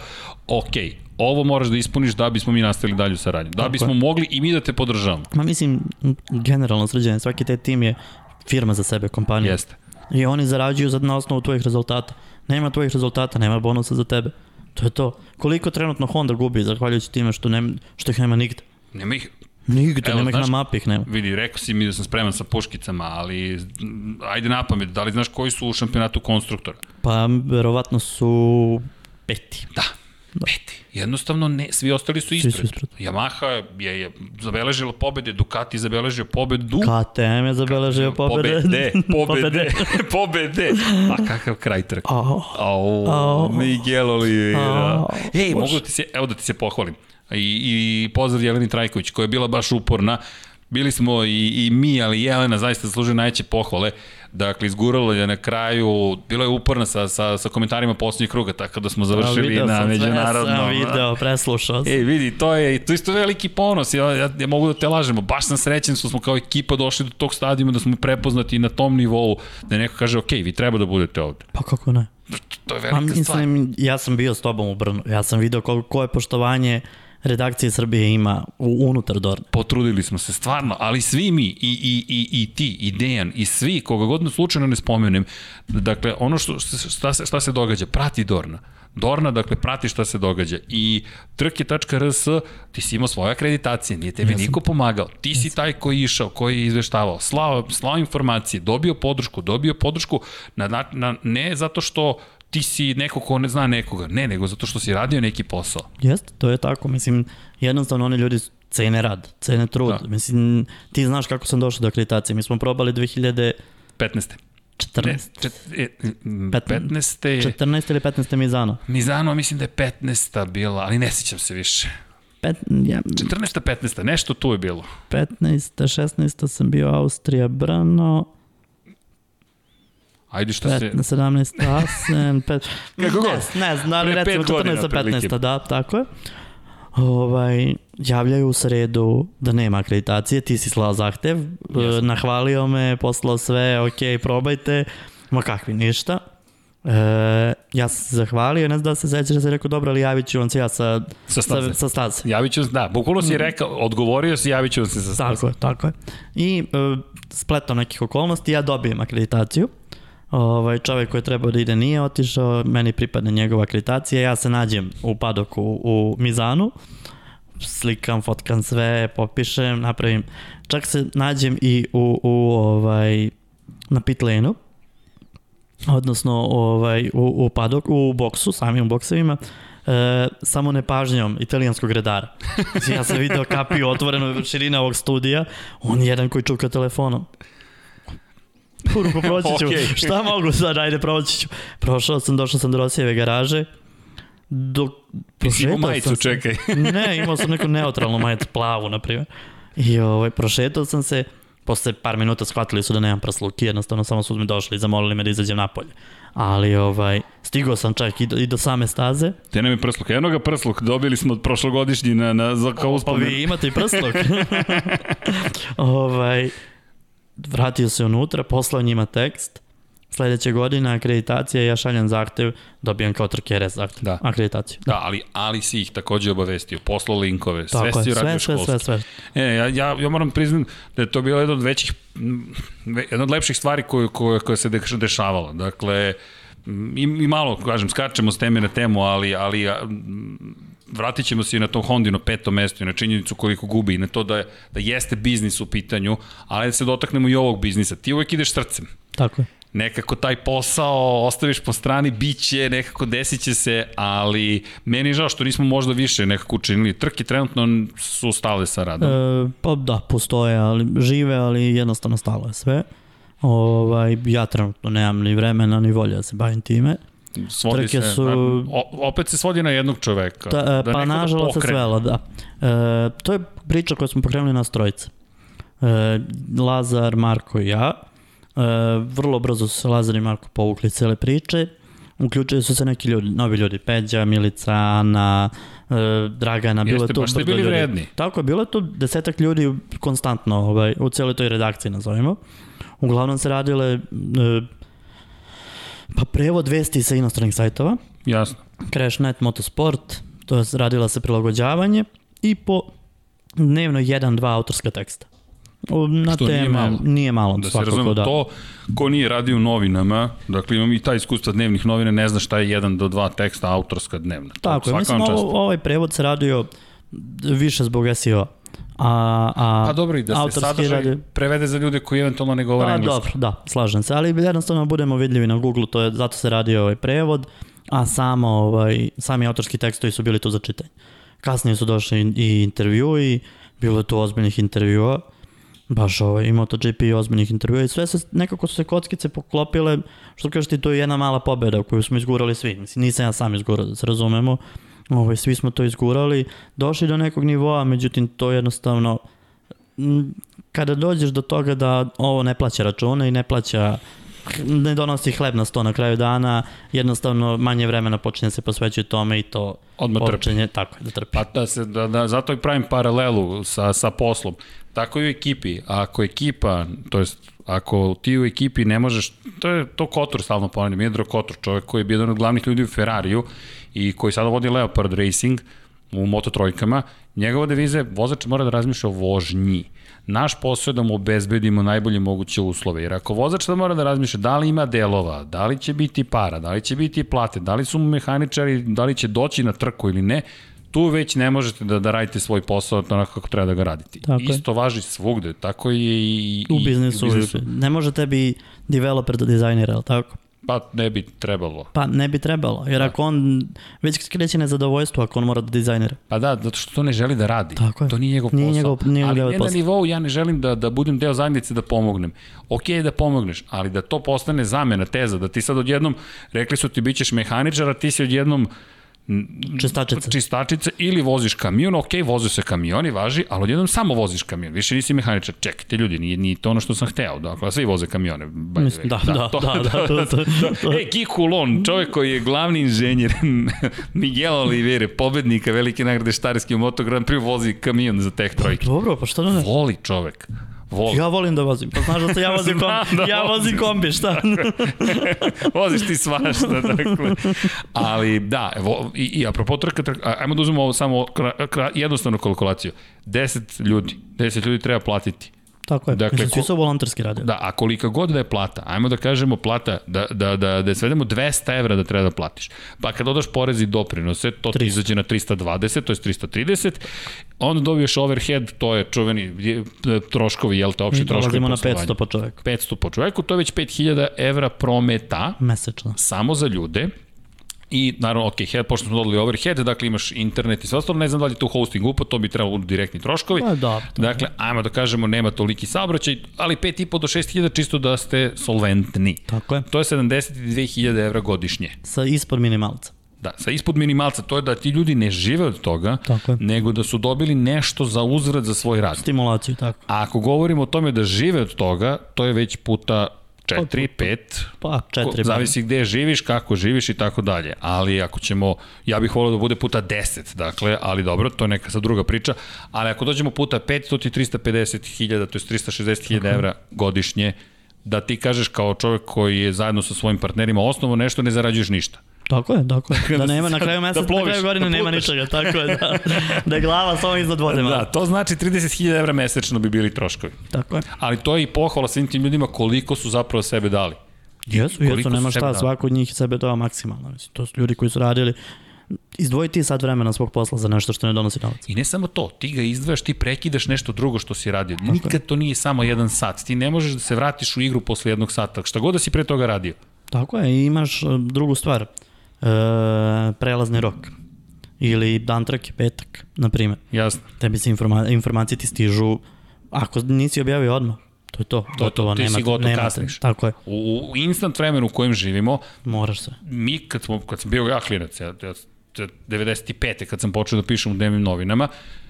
Speaker 1: ok, ovo moraš da ispuniš da bismo mi nastavili dalju saradnju. Da bismo mogli i mi da te podržavamo.
Speaker 2: Ma mislim, generalno sređenje, svaki taj tim je firma za sebe, kompanija.
Speaker 1: Jeste.
Speaker 2: I oni zarađuju za, na osnovu tvojih rezultata. Nema tvojih rezultata, nema bonusa za tebe. To je to. Koliko trenutno Honda gubi, zahvaljujući time što, nema, što ih nema nigde?
Speaker 1: Nema ih,
Speaker 2: Nigde,
Speaker 1: Evo,
Speaker 2: nema ih
Speaker 1: znaš-
Speaker 2: na mapi, ih nema.
Speaker 1: vidi, rekao si mi da sam spreman sa puškicama, ali mm, ajde na pamet, da li znaš koji su u šampionatu konstruktora?
Speaker 2: Pa, verovatno su peti.
Speaker 1: Da. da. Peti. Jednostavno ne, svi ostali su
Speaker 2: su
Speaker 1: ispred.
Speaker 2: ispred.
Speaker 1: Yamaha je, je zabeležila pobede, Ducati je zabeležio pobedu.
Speaker 2: KTM je zabeležio pobede. [LAUGHS]
Speaker 1: Pobede, pobede, [LAUGHS] pobede. A kakav kraj trka.
Speaker 2: Au.
Speaker 1: Au,
Speaker 2: Au.
Speaker 1: Miguel Oliveira.
Speaker 2: Au,
Speaker 1: Ej, mogu ti se, evo da ti se pohvalim. I, i pozdrav Jeleni Trajković koja je bila baš uporna. Bili smo i, i mi, ali Jelena zaista zaslužuje najveće pohvale. Dakle, izgurala je na kraju, bila je uporna sa, sa, sa komentarima poslednjeg kruga, tako da smo
Speaker 2: A,
Speaker 1: završili
Speaker 2: video
Speaker 1: na
Speaker 2: sam, sve sam
Speaker 1: međunarodnom.
Speaker 2: video, preslušao sam.
Speaker 1: E, vidi, to je, to je isto veliki ponos, ja, ja, ja mogu da te lažemo, baš sam srećen što smo kao ekipa došli do tog stadijuma, da smo prepoznati na tom nivou, da neko kaže, ok, vi treba da budete ovde.
Speaker 2: Pa kako ne?
Speaker 1: To je
Speaker 2: Pa
Speaker 1: velika stvar.
Speaker 2: mislim, ja sam bio s tobom u Brnu. Ja sam video ko, ko je poštovanje redakcije Srbije ima u, unutar Dorne.
Speaker 1: Potrudili smo se, stvarno, ali svi mi, i, i, i, i ti, i Dejan, i svi, koga god slučajno ne spomenem, dakle, ono što, šta, se, šta se događa, prati Dorna. Dorna, dakle, prati šta se događa. I trke.rs, ti si imao svoje akreditacije, nije tebi niko pomagao. Ti si taj koji je išao, koji je izveštavao, slao, slao informacije, dobio podršku, dobio podršku, na, na, na, ne zato što ti si neko ko ne zna nekoga, ne, nego zato što si radio neki posao.
Speaker 2: Jeste, to je tako, mislim, jednostavno oni ljudi cene rad, cene trud, da. mislim, ti znaš kako sam došao do akreditacije, mi smo probali 2000...
Speaker 1: 15.
Speaker 2: 14.
Speaker 1: Ne, čet, e, 15. je-
Speaker 2: 14 ili 15. Mizano.
Speaker 1: Mizano mislim da je 15. bila, ali ne sjećam se više.
Speaker 2: Pet, ja,
Speaker 1: 14. 15. nešto tu je bilo.
Speaker 2: 15. 16. sam bio Austrija Brno,
Speaker 1: Ajde šta se...
Speaker 2: 15. 17. Asen, pet,
Speaker 1: [LAUGHS] Kako
Speaker 2: ne,
Speaker 1: god.
Speaker 2: ne znam, ali
Speaker 1: Pre
Speaker 2: recimo
Speaker 1: pet godina
Speaker 2: 14. 15.
Speaker 1: otprilike.
Speaker 2: da, tako je. Ovaj, javljaju u sredu da nema akreditacije, ti si slao zahtev, e, nahvalio me, poslao sve, ok, probajte, ma kakvi ništa. E, ja sam se zahvalio, ne znam da se sećaš, ja sam rekao, dobro, ali javit ću vam se ja sa,
Speaker 1: Sa staze.
Speaker 2: sa, sa staze.
Speaker 1: Javit ću, da, bukvalno si rekao, odgovorio si, javit ću se za
Speaker 2: Mm. Tako je, tako je. I e, spletom nekih okolnosti ja dobijem akreditaciju. Ovaj, čovek koji je trebao da ide nije otišao, meni pripadne njegova akreditacija, ja se nađem u padoku u Mizanu, slikam, fotkam sve, popišem, napravim. Čak se nađem i u, u ovaj, na pit lane-u, odnosno ovaj, u, u padok, u boksu, samim boksevima, e, samo nepažnjom italijanskog redara. Mislim, Ja sam video kapiju otvorenu širina ovog studija, on je jedan koji čuka telefonom. Kurko, proći
Speaker 1: [LAUGHS]
Speaker 2: ću.
Speaker 1: Okej.
Speaker 2: Šta mogu sad, ajde, proći ću. Prošao sam, došao sam do Rosijeve garaže, dok
Speaker 1: Mislim,
Speaker 2: prošetao
Speaker 1: majicu,
Speaker 2: sam se-
Speaker 1: čekaj.
Speaker 2: ne, imao sam neku neutralnu majicu, plavu, na primjer. I ovaj, prošetao sam se, posle par minuta shvatili su da nemam prsluki, jednostavno samo su mi došli i zamolili me da izađem napolje. Ali ovaj, stigao sam čak i do, i do same staze.
Speaker 1: Te nam je prsluk. Eno ga prsluk, dobili smo od prošlogodišnji na, na, za kao
Speaker 2: Pa
Speaker 1: uspomen.
Speaker 2: vi imate i prsluk. [LAUGHS] ovaj, vratio se unutra, poslao njima tekst. Sledeće godine akreditacija, ja šaljem zahtev, dobijam kao trkere zahtev.
Speaker 1: Da.
Speaker 2: Akreditaciju.
Speaker 1: Da, ali, ali si ih takođe obavestio, poslao linkove, sve
Speaker 2: Tako
Speaker 1: si
Speaker 2: je,
Speaker 1: uradio
Speaker 2: sve,
Speaker 1: u
Speaker 2: sve,
Speaker 1: školstvu.
Speaker 2: sve, sve.
Speaker 1: E, ja, ja, ja moram priznam da je to bila jedna od većih, m, ve- jedna od lepših stvari koje, koje, koje se deš- dešavala. Dakle, m, i, i malo, kažem, skačemo s teme na temu, ali, ali a, m, vratit ćemo se i na to Hondino peto mesto i na činjenicu koliko gubi i na to da, da jeste biznis u pitanju, ali da se dotaknemo i ovog biznisa. Ti uvek ideš srcem
Speaker 2: Tako je.
Speaker 1: nekako taj posao ostaviš po strani, bit će, nekako desit će se, ali meni je žao što nismo možda više nekako učinili. Trke trenutno su stale sa radom.
Speaker 2: E, pa da, postoje, ali žive, ali jednostavno stalo je sve. Ovaj, ja trenutno nemam ni vremena, ni volje da se bavim time.
Speaker 1: Svodi
Speaker 2: trke
Speaker 1: se,
Speaker 2: su-
Speaker 1: o, opet se svodi na jednog čoveka. Da
Speaker 2: Ta, e, pa
Speaker 1: neko
Speaker 2: nažalost se
Speaker 1: pokrene.
Speaker 2: svelo, da. E, to je priča koju smo pokrenuli nas trojice. E, Lazar, Marko i ja. E, vrlo brzo su se Lazar i Marko povukli iz cele priče. Uključili su se neki ljudi, novi ljudi, Peđa, Milica, Ana, e, Dragana, bilo
Speaker 1: Jeste,
Speaker 2: je tu
Speaker 1: baš ste
Speaker 2: brdo
Speaker 1: bili
Speaker 2: ljudi.
Speaker 1: vredni.
Speaker 2: Tako je, bilo je tu desetak ljudi konstantno ovaj, u cijeloj toj redakciji, nazovimo. Uglavnom se radile e, pa prevod vesti sa inostranih sajtova,
Speaker 1: Jasno.
Speaker 2: Crashnet Motosport, to je radila se prilagođavanje i po dnevno 1-2 autorska teksta. O, Na
Speaker 1: Što
Speaker 2: teme,
Speaker 1: nije malo.
Speaker 2: Nije malo,
Speaker 1: Da se
Speaker 2: svakako
Speaker 1: razumemo,
Speaker 2: da.
Speaker 1: da. to ko nije radio u novinama, dakle imam i ta iskustva dnevnih novina, ne zna šta je jedan do dva teksta autorska dnevna. To
Speaker 2: Tako je,
Speaker 1: svaka
Speaker 2: mislim
Speaker 1: vam čast.
Speaker 2: ovo, ovaj prevod se radio više zbog SEO. A, a,
Speaker 1: Pa dobro i da se
Speaker 2: autorski
Speaker 1: sadržaj
Speaker 2: radio-
Speaker 1: prevede za ljude koji eventualno ne govore
Speaker 2: Pa
Speaker 1: engleski.
Speaker 2: dobro, da, slažem se, ali jednostavno budemo vidljivi na Google, to je, zato se radi ovaj prevod, a samo, ovaj, sami autorski tekstovi su bili tu za čitanje. Kasnije su došli i- i intervjui, bilo je tu ozbiljnih intervjua, baš ovaj, i MotoGP i ozbiljnih intervjua i sve se, nekako su se kockice poklopile, što kažeš ti, to je jedna mala pobeda koju smo izgurali svi, mislim, nisam ja sam izgurao, da se razumemo, ovaj, svi smo to izgurali, došli do nekog nivoa, međutim, to jednostavno, m, kada dođeš do toga da ovo ne plaća račune i ne plaća ne donosi hleb na sto na kraju dana, jednostavno manje vremena počinje da se posvećuje tome i to
Speaker 1: Odmah trpi.
Speaker 2: počinje tako je, da trpi.
Speaker 1: Pa da se, da, da, zato i pravim paralelu sa, sa poslom. Tako i u ekipi. Ako ekipa, to jest ako ti u ekipi ne možeš, to je to Kotor stalno ponavljam, Jedro Kotor, čovjek koji je bio jedan od glavnih ljudi u Ferrariju i koji sada vodi Leopard Racing, u Moto Trojkama, njegova deviza je vozač mora da razmišlja o vožnji. Naš posao je da mu obezbedimo najbolje moguće uslove, jer ako vozač da mora da razmišlja da li ima delova, da li će biti para, da li će biti plate, da li su mu mehaničari, da li će doći na trku ili ne, tu već ne možete da, da radite svoj posao onako kako treba da ga radite.
Speaker 2: Tako je.
Speaker 1: Isto važi svugde, tako je i, i
Speaker 2: U biznisu,
Speaker 1: i
Speaker 2: u biznisu. Ne može tebi developer da dizajnira, ali tako?
Speaker 1: Pa ne bi trebalo.
Speaker 2: Pa ne bi trebalo, jer ako on već kreće nezadovoljstvo ako on mora da dizajnira.
Speaker 1: Pa da, zato što to ne želi da radi.
Speaker 2: Tako je.
Speaker 1: To nije njegov
Speaker 2: Nije
Speaker 1: posao.
Speaker 2: njegov- nije
Speaker 1: ali
Speaker 2: njegov
Speaker 1: ne na
Speaker 2: posao.
Speaker 1: nivou ja ne želim da, da budem deo zajednice da pomognem. Ok je da pomogneš, ali da to postane zamena, teza, da ti sad odjednom, rekli su ti bit ćeš mehaničar, a ti si odjednom
Speaker 2: Čestačica.
Speaker 1: čistačica ili voziš kamion, ok, vozi se kamion i važi, ali odjednom samo voziš kamion, više nisi mehaničar. Čekajte ljudi, nije, nije to ono što sam hteo, dakle, svi voze kamione. by the
Speaker 2: Mislim,
Speaker 1: way.
Speaker 2: da, da,
Speaker 1: to-
Speaker 2: da, da,
Speaker 1: [LAUGHS]
Speaker 2: to- to- to-
Speaker 1: E, Kikulon, čovjek koji je glavni inženjer [LAUGHS] Miguel Olivere, pobednika velike nagrade Štarijski u Moto Grand Prix, vozi kamion za teh trojke.
Speaker 2: Dobro, pa što da ne?
Speaker 1: Voli čovjek. Voli.
Speaker 2: Ja volim da vozim, pa znaš da se ja vozim
Speaker 1: Znam
Speaker 2: kombi,
Speaker 1: da
Speaker 2: ja vozim kombi, šta?
Speaker 1: Voziš ti svašta, dakle. Ali da, evo, i, i apropo trka, trka, a- ajmo da uzmemo ovo samo kra, kra, jednostavnu kalkulaciju. 10 ljudi, 10 ljudi treba platiti.
Speaker 2: Tako je,
Speaker 1: Dakle,
Speaker 2: dakle, svi
Speaker 1: ko-
Speaker 2: su volonterski radio.
Speaker 1: Da, a kolika god da je plata, ajmo da kažemo plata, da, da, da, da je svedemo 200 evra da treba da platiš. Pa kad dodaš porez i doprinose, to ti izađe na 320, to je 330, onda dobiješ overhead, to je čuveni je, e, troškovi, jel te, opšti
Speaker 2: Mi
Speaker 1: troškovi
Speaker 2: dolazimo Da,
Speaker 1: poslovanja.
Speaker 2: na 500 po čoveku,
Speaker 1: 500 po čoveku, to je već 5000 evra prometa
Speaker 2: mesečno.
Speaker 1: samo za ljude i naravno, ok, head, pošto smo dodali overhead, dakle imaš internet i sve ostalo, ne znam da li je tu hosting upo, to bi trebalo da budu direktni troškovi.
Speaker 2: Pa da, to
Speaker 1: dakle, ajmo da kažemo, nema toliki saobraćaj, ali 5,5 do 6.000 čisto da ste solventni.
Speaker 2: Tako je,
Speaker 1: To je 72.000 evra godišnje.
Speaker 2: sa ispod minimalca.
Speaker 1: Da, sa ispod minimalca, to je da ti ljudi ne žive od toga,
Speaker 2: Tako je.
Speaker 1: nego da su dobili nešto za uzvrat za svoj rad.
Speaker 2: Stimulaciju, tako.
Speaker 1: A ako govorimo o tome da žive od toga, to je već puta 4, 5,
Speaker 2: Pa, četiri.
Speaker 1: Ko- Zavisi gde živiš, kako živiš i tako dalje. Ali ako ćemo, ja bih volio da bude puta 10, dakle, ali dobro, to je neka sad druga priča. Ali ako dođemo puta 5, to ti je 350 hiljada, to je 360 hiljada evra godišnje, da ti kažeš kao čovek koji je zajedno sa svojim partnerima osnovo nešto, ne zarađuješ ništa.
Speaker 2: Tako je,
Speaker 1: [LAUGHS]
Speaker 2: tako je. Da nema na
Speaker 1: Da
Speaker 2: kraju meseca, da
Speaker 1: ploviš,
Speaker 2: na kraju godine
Speaker 1: da
Speaker 2: nema
Speaker 1: plutaš.
Speaker 2: ničega, tako je,
Speaker 1: [LAUGHS]
Speaker 2: da. Da je glava samo iznad vode.
Speaker 1: Da,
Speaker 2: malo.
Speaker 1: to znači 30 hiljada evra mesečno bi bili troškovi.
Speaker 2: Tako je.
Speaker 1: Ali to je i pohvala svim tim ljudima koliko su zapravo sebe dali.
Speaker 2: Jesu,
Speaker 1: koliko
Speaker 2: jesu,
Speaker 1: su da.
Speaker 2: nema
Speaker 1: sebi
Speaker 2: šta,
Speaker 1: dali.
Speaker 2: svako od njih sebe dao maksimalno. Mislim, to su ljudi koji su radili. Izdvoji ti sad vremena svog posla za nešto što ne donosi novac.
Speaker 1: I ne samo to, ti ga izdvajaš, ti prekidaš nešto drugo što si radio. Nikad to nije samo jedan sat. Ti ne možeš da se vratiš u igru posle jednog sata. Šta god da si pre toga radio.
Speaker 2: Tako je, i imaš e, drugu stvar. E, prelazni rok. Ili dan trke, petak, na primjer.
Speaker 1: Jasno.
Speaker 2: Tebi se informa informacije ti stižu, ako nisi objavio odmah, to je to.
Speaker 1: to, ti si gotov, kasniš.
Speaker 2: Tako je,
Speaker 1: U, u instant vremenu u kojem živimo,
Speaker 2: moraš se.
Speaker 1: mi kad, smo, kad sam bio ja klinac, ja, ja, ja 95. kad sam počeo da pišem u dnevnim novinama,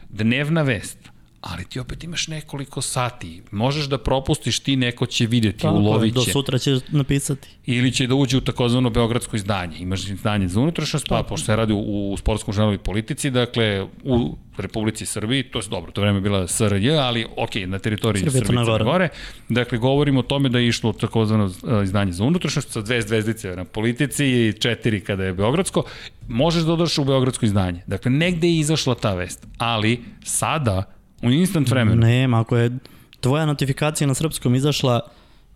Speaker 1: dnevna vest, ali ti opet imaš nekoliko sati. Možeš da propustiš, ti neko će videti,
Speaker 2: Tako je,
Speaker 1: ulovit će.
Speaker 2: Do sutra ćeš napisati.
Speaker 1: ili će da uđe u takozvano beogradsko izdanje. Imaš izdanje za unutrašnjost, pa pošto se radi u, u sportskom žanalu i politici, dakle u Republici Srbiji, to je dobro, to vreme je bila SRJ, ali ok, na teritoriji
Speaker 2: Srbije,
Speaker 1: Srbije, Srbije
Speaker 2: Crna
Speaker 1: Crne Gore.
Speaker 2: Gora.
Speaker 1: Dakle, govorimo o tome da je išlo takozvano e, izdanje za unutrašnjost sa dve zvezdice na politici i četiri kada je beogradsko. Možeš da odaš u beogradsko izdanje. Dakle, negde je izašla ta vest, ali sada u instant vremenu
Speaker 2: Nema, ako je tvoja notifikacija na srpskom izašla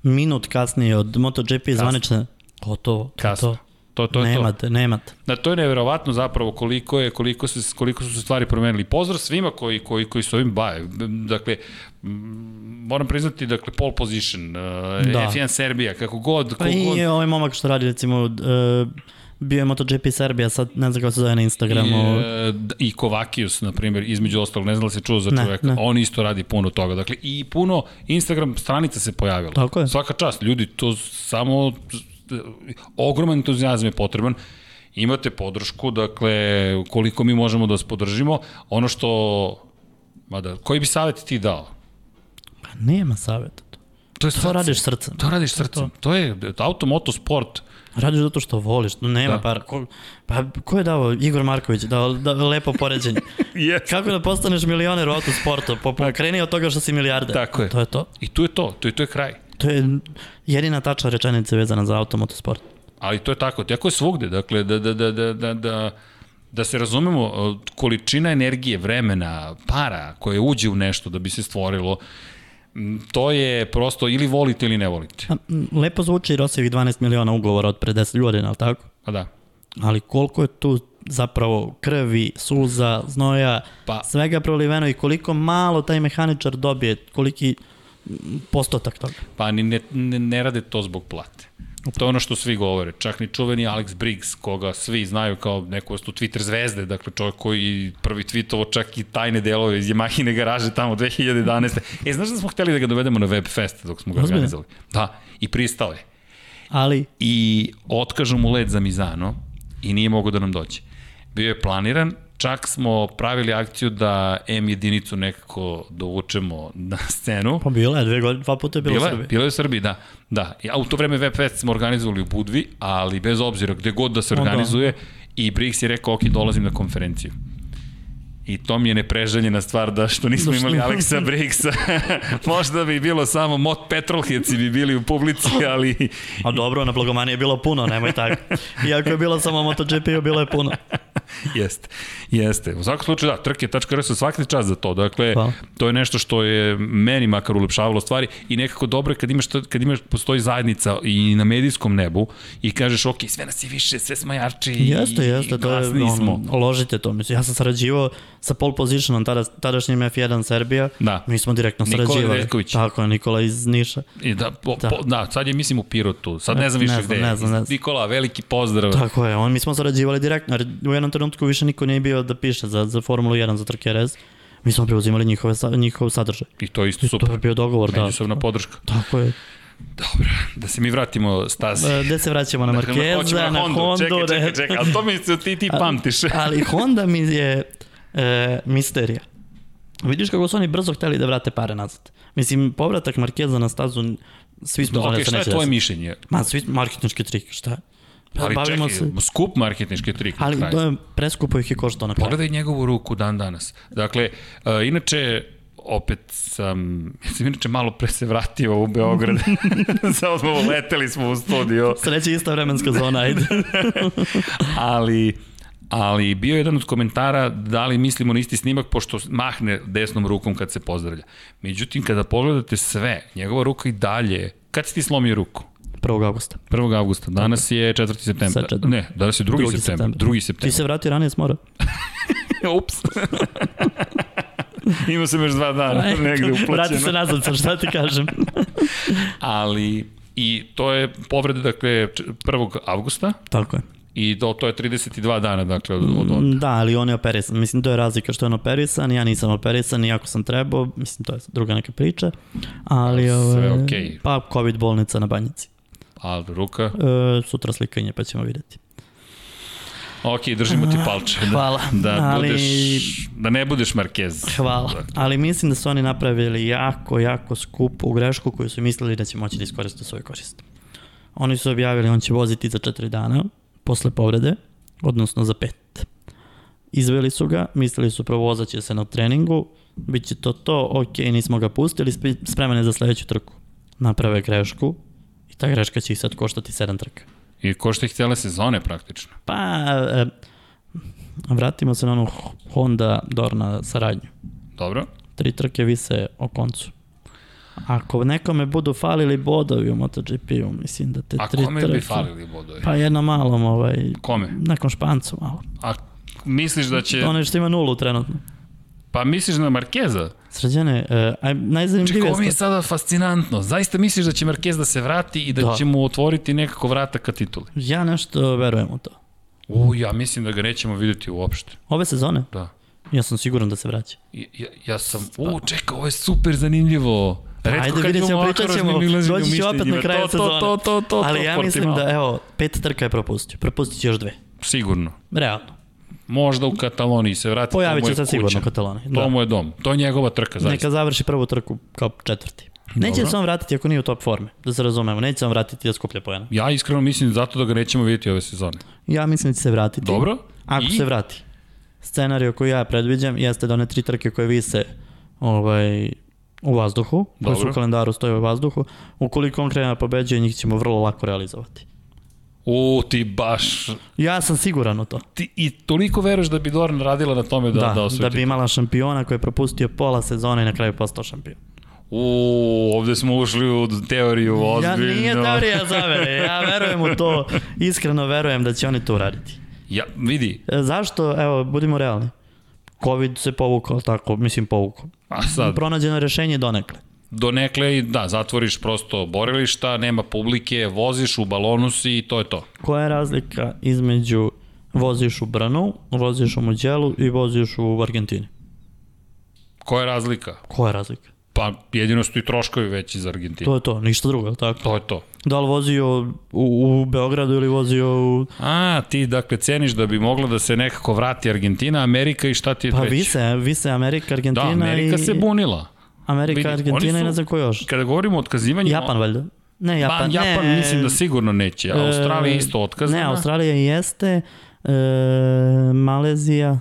Speaker 2: minut kasnije od MotoGP zvanične, gotovo, to je
Speaker 1: Kasno.
Speaker 2: to.
Speaker 1: To, to je to.
Speaker 2: nemate, nemate.
Speaker 1: Da, to je neverovatno zapravo koliko je koliko se koliko su se stvari promenili. Pozdrav svima koji koji koji su ovim bave. Dakle m, moram priznati dakle pole position, da.
Speaker 2: Da.
Speaker 1: F1 Serbija, kako god,
Speaker 2: Pa
Speaker 1: koliko
Speaker 2: i
Speaker 1: god.
Speaker 2: ovaj momak što radi, recimo, uh, bio je MotoGP Serbija, sad ne znam kako se zove na Instagramu.
Speaker 1: I, e, d- I Kovakius, na primjer, između ostalog, ne znam da se čuo za
Speaker 2: Ne,
Speaker 1: čoveka,
Speaker 2: ne.
Speaker 1: on isto radi puno toga. Dakle, i puno Instagram stranica se pojavila.
Speaker 2: Tako je.
Speaker 1: Svaka čast, ljudi, to samo e, ogroman entuzijazam je potreban. Imate podršku, dakle, koliko mi možemo da vas podržimo. Ono što, mada, koji bi savjet ti dao?
Speaker 2: Pa nema savjeta. to.
Speaker 1: To, je
Speaker 2: To
Speaker 1: srce.
Speaker 2: radiš srcem.
Speaker 1: To radiš srcem. To je automoto sport.
Speaker 2: Radiš zato što voliš, no nema
Speaker 1: Da.
Speaker 2: da. para. Ko, pa ko je dao? Igor Marković, dao da, lepo
Speaker 1: [LAUGHS]
Speaker 2: poređenje.
Speaker 1: Yes.
Speaker 2: Kako da postaneš milioner u autosportu? Po, po, kreni od toga što si milijarder.
Speaker 1: Tako je.
Speaker 2: To je to.
Speaker 1: I tu je to, tu je, tu je kraj.
Speaker 2: To je jedina tačna rečenica vezana za automotosport.
Speaker 1: Ali to je tako, tako je svugde, dakle, da, da, da, da, da, da da se razumemo, e, količina energije, vremena, para koje uđe u nešto da bi se stvorilo, to je prosto ili volite ili ne volite.
Speaker 2: Pa, Lepo zvuči Rosijevih 12 miliona ugovora od pre 10 godina, ali tako?
Speaker 1: Pa da.
Speaker 2: Ali koliko je tu zapravo krvi, suza, znoja,
Speaker 1: Pa-
Speaker 2: pa. svega proliveno i koliko malo taj mehaničar dobije, koliki postotak toga.
Speaker 1: Pa ni ne, ne, ne rade to zbog plate. To je ono što svi govore. Čak ni čuveni Alex Briggs, koga svi znaju kao neku vrstu Twitter zvezde, dakle čovjek koji prvi tweetovo čak i tajne delove iz Yamahine garaže tamo 2011. E, znaš da smo hteli da ga dovedemo na web fest dok smo ga
Speaker 2: Ozbiljno?
Speaker 1: organizali? Da, i pristao je.
Speaker 2: Ali
Speaker 1: i otkažu mu let za Mizano i nije mogo da nam dođe. Bio je planiran, čak smo pravili akciju da M jedinicu nekako dovučemo na scenu.
Speaker 2: pa bila je dve godine, dva puta je bila,
Speaker 1: Bila,
Speaker 2: u Srbiji.
Speaker 1: bila je u Srbiji, da. da. Ja, u to vreme Web Fest smo organizovali u Budvi, ali bez obzira gde god da se
Speaker 2: da.
Speaker 1: organizuje, i Briggs je rekao, ok, dolazim na konferenciju. I to mi je nepreželjena stvar da što nismo
Speaker 2: Da što-
Speaker 1: imali Aleksa Briggsa. [LAUGHS] Možda bi bilo samo Mot Petrolheci bi bili u
Speaker 2: [LAUGHS]
Speaker 1: publici, ali
Speaker 2: A Pa dobro, na Blagomani je bilo puno, nemoj [LAUGHS] tako. Iako je bilo samo MotoGP, bilo je puno.
Speaker 1: jeste, jeste. U svakom slučaju, da, trke.rs svaki čas za to. Dakle,
Speaker 2: Hvala.
Speaker 1: to je nešto što je meni makar ulepšavalo stvari i nekako dobro je kad imaš, to- kad imaš, postoji zajednica i na medijskom nebu i kažeš, ok, sve nas je više, sve smo jači
Speaker 2: Jeste,
Speaker 1: i,
Speaker 2: jeste,
Speaker 1: i
Speaker 2: to je,
Speaker 1: glasniji smo.
Speaker 2: ono, ložite to, mislim, ja sam sarađivao sa pole positionom, tada, tadašnjim F1 Serbija,
Speaker 1: Da.
Speaker 2: mi smo direktno
Speaker 1: Nikola
Speaker 2: sarađivali.
Speaker 1: Nedeljković.
Speaker 2: Tako je, Nikola iz Niša.
Speaker 1: I da, po, da.
Speaker 2: Da.
Speaker 1: Po, da, sad je mislim u Pirotu, sad ne znam
Speaker 2: Ne
Speaker 1: više
Speaker 2: znam,
Speaker 1: gde. je.
Speaker 2: ne znam, ne znam.
Speaker 1: Nikola, veliki pozdrav.
Speaker 2: Tako je, on, mi smo sarađivali direktno, jer u jednom trenutku više niko nije bio da piše za, za Formulu 1, za trke RS, mi smo preuzimali njihove, sa- njihov sadržaj.
Speaker 1: I to je isto
Speaker 2: I to
Speaker 1: super.
Speaker 2: je bio dogovor, da.
Speaker 1: Međusobna podrška.
Speaker 2: Tako
Speaker 1: [LAUGHS]
Speaker 2: je.
Speaker 1: Dobro, da se mi vratimo stazi.
Speaker 2: E, Gde se vraćamo na
Speaker 1: Dakle, hoćemo
Speaker 2: Markeza, na Hondu,
Speaker 1: čekaj, čekaj,
Speaker 2: ne?
Speaker 1: čekaj,
Speaker 2: [LAUGHS]
Speaker 1: ali to mi se ti, ti pamtiš.
Speaker 2: ali Honda mi je e, misterija. Vidiš kako su oni brzo hteli da vrate pare nazad. Mislim, povratak Markeza na stazu, svi smo znali
Speaker 1: Ok,
Speaker 2: da se
Speaker 1: šta je
Speaker 2: neće
Speaker 1: tvoje
Speaker 2: desiti.
Speaker 1: mišljenje?
Speaker 2: Ma, svi marketinški trik, šta?
Speaker 1: Ali
Speaker 2: Pa Bavimo
Speaker 1: čekaj, skup marketnički trik
Speaker 2: Ali
Speaker 1: na
Speaker 2: to
Speaker 1: kraju.
Speaker 2: je preskupo ih je koštao na kraju. [LAUGHS]
Speaker 1: Pogledaj njegovu ruku dan danas. Dakle, e, inače, opet sam, [LAUGHS] ja sam inače malo pre se vratio u
Speaker 2: [LAUGHS]
Speaker 1: Beograd. Samo smo leteli smo u studio.
Speaker 2: Sreće ista vremenska zona,
Speaker 1: [LAUGHS]
Speaker 2: ajde.
Speaker 1: ali ali bio je jedan od komentara da li mislimo na isti snimak pošto mahne desnom rukom kad se pozdravlja. Međutim, kada pogledate sve, njegova ruka i dalje, kad si ti slomio ruku?
Speaker 2: 1. augusta.
Speaker 1: 1. avgusta, danas je 4. septembra.
Speaker 2: Sad četvrti.
Speaker 1: Ne, danas je 2.
Speaker 2: Drugi
Speaker 1: septembra.
Speaker 2: septembar.
Speaker 1: 2.
Speaker 2: Ti
Speaker 1: septembra.
Speaker 2: se vrati ranije
Speaker 1: [LAUGHS]
Speaker 2: s mora.
Speaker 1: Ups. Imao sam još dva dana
Speaker 2: Eto,
Speaker 1: negde
Speaker 2: E, Vrati se
Speaker 1: uplaćeno.
Speaker 2: nazad, sa šta ti
Speaker 1: [LAUGHS]
Speaker 2: kažem.
Speaker 1: Ali i to je povreda dakle 1. avgusta
Speaker 2: Tako je.
Speaker 1: i do, to je 32 dana dakle od, od, od
Speaker 2: Da, ali on je operisan. Mislim, to je razlika što je on operisan, ja nisam operisan, iako sam trebao, mislim, to je druga neka priča. Ali, ove,
Speaker 1: Sve okej.
Speaker 2: Pa, COVID bolnica na banjici.
Speaker 1: a ruka.
Speaker 2: E, sutra slikanje, pa ćemo vidjeti.
Speaker 1: Ok, držimo ti palče. Da,
Speaker 2: [LAUGHS] Hvala.
Speaker 1: da,
Speaker 2: ali,
Speaker 1: budeš, da ne budeš Marquez.
Speaker 2: Hvala. Ali mislim da su oni napravili jako, jako skupu grešku koju su mislili da će moći da iskoriste u svoju korist. Oni su objavili on će voziti za četiri dana posle povrede, odnosno za pet. Izveli su ga, mislili su provozat će se na treningu, bit će to to, ok, nismo ga pustili, spi- spreman je za sledeću trku. Naprave grešku i ta greška će ih sad koštati sedam trka.
Speaker 1: I košta ih cijele sezone praktično.
Speaker 2: Pa, e, vratimo se na onu Honda Dorna saradnju.
Speaker 1: Dobro.
Speaker 2: tri trke vise o koncu. Ako nekome budu falili bodovi u MotoGP-u, mislim da te
Speaker 1: A
Speaker 2: tri
Speaker 1: kome
Speaker 2: trke...
Speaker 1: bi falili bodovi?
Speaker 2: Pa jedno malom, ovaj,
Speaker 1: Kome?
Speaker 2: nekom špancu malo.
Speaker 1: A misliš da će...
Speaker 2: Onaj što ima nulu trenutno.
Speaker 1: Pa misliš na Markeza?
Speaker 2: Srđane, e, aj, najzanimljivija
Speaker 1: Čekaj, ovo mi je
Speaker 2: stvar.
Speaker 1: sada fascinantno. Zaista misliš da će Marquez da se vrati i da,
Speaker 2: Da.
Speaker 1: će mu otvoriti nekako vrata ka tituli?
Speaker 2: Ja nešto verujem u to.
Speaker 1: U, ja mislim da ga nećemo videti uopšte.
Speaker 2: Ove sezone,
Speaker 1: Da.
Speaker 2: ja sam siguran da se vraća.
Speaker 1: I- Ja, ja sam, u, čekaj, ovo je super zanimljivo. Retko
Speaker 2: Ajde,
Speaker 1: kad
Speaker 2: vidjet ćemo,
Speaker 1: imamo
Speaker 2: pričat
Speaker 1: ovako
Speaker 2: ćemo,
Speaker 1: razmimoilaženje u
Speaker 2: doći će opet na
Speaker 1: mišljenjima.
Speaker 2: kraju
Speaker 1: to,
Speaker 2: sezone.
Speaker 1: To, to, to, to,
Speaker 2: Ali
Speaker 1: to,
Speaker 2: ja mislim
Speaker 1: Portimao.
Speaker 2: da, evo, pet trka je propustio. Propustit će još dve.
Speaker 1: Sigurno.
Speaker 2: Realno.
Speaker 1: Možda u Kataloniji se vrati.
Speaker 2: Pojavit
Speaker 1: to mu
Speaker 2: će
Speaker 1: je kuća.
Speaker 2: se sigurno Katalani.
Speaker 1: To
Speaker 2: Da.
Speaker 1: mu je dom. To je njegova trka, zaista.
Speaker 2: Neka završi prvu trku kao četvrti. Neće
Speaker 1: Dobro.
Speaker 2: se on vratiti ako nije u top forme, da se razumemo. Neće se on vratiti da skuplja pojena.
Speaker 1: Ja iskreno mislim zato da ga nećemo vidjeti ove sezone.
Speaker 2: Ja mislim da će se vratiti.
Speaker 1: Dobro?
Speaker 2: Ako
Speaker 1: I?
Speaker 2: I? se vrati. Scenario koji ja predviđam jeste da one tri trke koje vise ovaj, u vazduhu, koje su
Speaker 1: Dobro.
Speaker 2: u kalendaru stoje u vazduhu, ukoliko on krene da pobeđuje, njih ćemo vrlo lako realizovati.
Speaker 1: U, ti baš...
Speaker 2: Ja sam siguran u to.
Speaker 1: Ti, I toliko veruješ da bi Dorn radila na tome da, da, da osvoji
Speaker 2: da bi imala šampiona koji je propustio pola sezona i na kraju postao šampion.
Speaker 1: U, ovde smo ušli u teoriju ozbiljno.
Speaker 2: Ja nije teorija zavere, ja verujem u to, iskreno verujem da će oni to uraditi.
Speaker 1: Ja, vidi,
Speaker 2: E, Zašto, evo, budimo realni. Covid se povukao, ali tako, mislim povukao.
Speaker 1: a sad,
Speaker 2: Pronađeno je rešenje donekle.
Speaker 1: donekle, i da, zatvoriš prosto borilišta, nema publike, voziš u balonu si i to je to.
Speaker 2: Koja je razlika između voziš u Brnu, voziš u Muđelu i voziš u Argentini?
Speaker 1: Koja je razlika?
Speaker 2: Koja je razlika?
Speaker 1: Pa jedino su i troškovi veći za Argentinu. To,
Speaker 2: To je to, ništa drugo, je li tako?
Speaker 1: to je to.
Speaker 2: Da li vozio u, u Beogradu ili vozio u...
Speaker 1: A, ti dakle ceniš da bi mogla da se nekako vrati Argentina, Amerika i šta ti je
Speaker 2: Pa
Speaker 1: treći?
Speaker 2: vise, vise Amerika,
Speaker 1: Da,
Speaker 2: Argentina
Speaker 1: Amerika
Speaker 2: i...
Speaker 1: se bunila. Vidi,
Speaker 2: Amerika,
Speaker 1: oni
Speaker 2: Argentina
Speaker 1: su-
Speaker 2: i ne znam ko još.
Speaker 1: Kada govorimo o otkazivanju...
Speaker 2: Japan valjda. Pa Ne,
Speaker 1: Japan,
Speaker 2: Japan,
Speaker 1: ba, Japan
Speaker 2: ne,
Speaker 1: mislim da sigurno neće. A Australija
Speaker 2: E,
Speaker 1: isto otkazana.
Speaker 2: Ne, Australija i jeste, e, Malezija,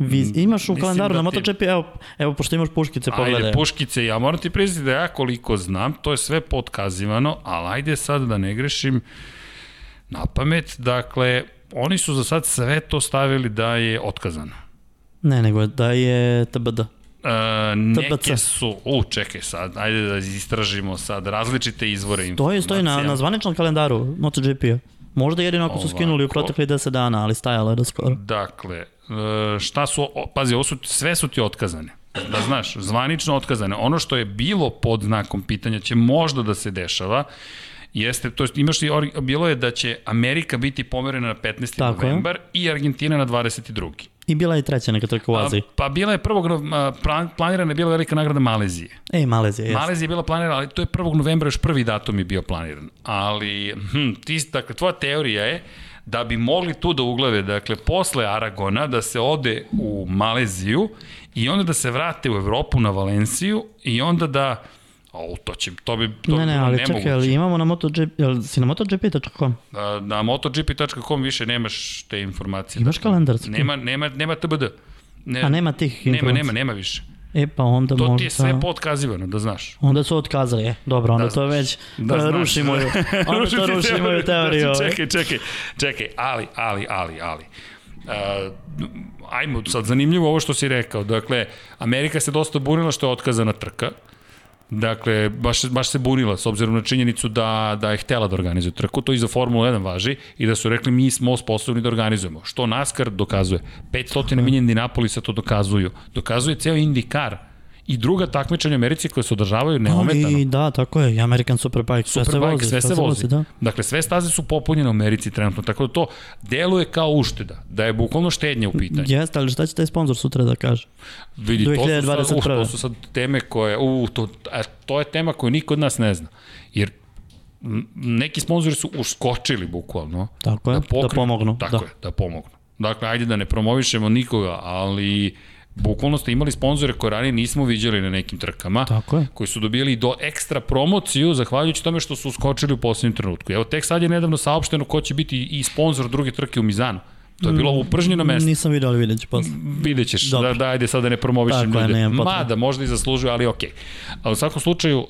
Speaker 2: Viz, imaš u
Speaker 1: mislim
Speaker 2: kalendaru
Speaker 1: da
Speaker 2: na
Speaker 1: ti-
Speaker 2: MotoGP, evo, evo pošto imaš puškice,
Speaker 1: Ajde,
Speaker 2: pogledaj.
Speaker 1: puškice, ja moram ti priznati da ja koliko znam, to je sve potkazivano, ali ajde sad da ne grešim na pamet. Dakle, oni su za sad sve to stavili da je otkazano.
Speaker 2: Ne, nego da je TBD.
Speaker 1: E, neke
Speaker 2: TBC.
Speaker 1: su, u, čekaj sad, ajde da istražimo sad različite izvore
Speaker 2: To
Speaker 1: informacija.
Speaker 2: je stoji na, na zvaničnom kalendaru MotoGP-a. Možda jedino ako su skinuli u
Speaker 1: Ovako.
Speaker 2: proteklih 10 dana, ali stajalo je do skoro.
Speaker 1: Dakle, e, šta su, o, pazi, ovo su, sve su ti otkazane. Da znaš, zvanično otkazane. Ono što je bilo pod znakom pitanja će možda da se dešava, jeste, to jest imaš i, ori- bilo je da će Amerika biti pomerena na 15.
Speaker 2: Tako je.
Speaker 1: novembar i Argentina na 22.
Speaker 2: I bila je treća neka trka u Aziji.
Speaker 1: A, pa bila je prvog, nov- a, plan, planirana je bila velika nagrada Malezije.
Speaker 2: Ej, Malezija, jeste.
Speaker 1: Malezija je bila planirana, ali to je 1. novembra, još prvi datum je bio planiran. Ali, hm, ti, dakle, tvoja teorija je da bi mogli tu da uglave, dakle, posle Aragona, da se ode u Maleziju i onda da se vrate u Evropu na Valenciju i onda da... O, to će, to bi, to
Speaker 2: ne,
Speaker 1: bi
Speaker 2: ne,
Speaker 1: bilo
Speaker 2: ali
Speaker 1: nemoguće.
Speaker 2: čekaj, ali imamo na MotoGP, jel si na MotoGP.com?
Speaker 1: Na, na MotoGP.com više nemaš te informacije. Dakle,
Speaker 2: Imaš kalendar? sa tim?
Speaker 1: Nema, nema, nema TBD. Ne,
Speaker 2: A nema tih
Speaker 1: nema,
Speaker 2: informacija?
Speaker 1: nema, nema više.
Speaker 2: E pa onda
Speaker 1: To
Speaker 2: možda...
Speaker 1: ti je sve potkazivano, da znaš.
Speaker 2: Onda su otkazali, e, dobro, onda da, to već
Speaker 1: da
Speaker 2: da,
Speaker 1: znaš.
Speaker 2: rušimo
Speaker 1: [LAUGHS]
Speaker 2: ju. Onda
Speaker 1: Rušim
Speaker 2: to
Speaker 1: ti
Speaker 2: rušimo ju teoriju.
Speaker 1: Znači,
Speaker 2: ovaj.
Speaker 1: čekaj, čekaj, čekaj, ali, ali, ali, ali. Uh, ajmo, sad zanimljivo ovo što si rekao. Dakle, Amerika se dosta bunila što je otkazana trka. Dakle, baš, baš se bunila s obzirom na činjenicu da, da je htela da organizuje trku, to i za Formulu 1 važi, i da su rekli mi smo sposobni da organizujemo, što NASCAR dokazuje. 500 milija Indianapolisa to dokazuju. Dokazuje ceo IndyCar i druga takmičenja u Americi koje se održavaju neometano.
Speaker 2: I da, tako je, i American Superbike, sve se
Speaker 1: Superbike,
Speaker 2: vozi.
Speaker 1: sve se vozi.
Speaker 2: Da.
Speaker 1: Dakle, sve staze su popunjene u Americi trenutno, tako da to deluje kao ušteda, da je bukvalno štednja u pitanju.
Speaker 2: Jeste, ali šta će taj sponsor sutra da kaže?
Speaker 1: Vidi, to su, sad, uh,
Speaker 2: 2021..
Speaker 1: to su sad teme koje, uh, to, a, to je tema koju niko od nas ne zna. Jer m, neki sponzori su uskočili bukvalno
Speaker 2: Tako je, da,
Speaker 1: pokrenu-
Speaker 2: pomognu.
Speaker 1: Tako
Speaker 2: da.
Speaker 1: je, da pomognu. Dakle, ajde da ne promovišemo nikoga, ali bukvalno ste imali sponzore koje ranije nismo viđali na nekim trkama.
Speaker 2: Tako je.
Speaker 1: koji su dobili do ekstra promociju zahvaljujući tome što su skočili u poslednjem trenutku. Evo tek sad je nedavno saopšteno ko će biti i sponsor druge trke u Mizanu. To je bilo
Speaker 2: Mm,
Speaker 1: upržnjeno mesto.
Speaker 2: Nisam vidio, ali vidjet ću posle.
Speaker 1: Vidjet ćeš, da,
Speaker 2: Dobro.
Speaker 1: da ajde sad da ne promovišem
Speaker 2: Tako je,
Speaker 1: ljude.
Speaker 2: nema potrebe.
Speaker 1: Mada, možda i zaslužuju, ali okej. Okay. U svakom slučaju, uh,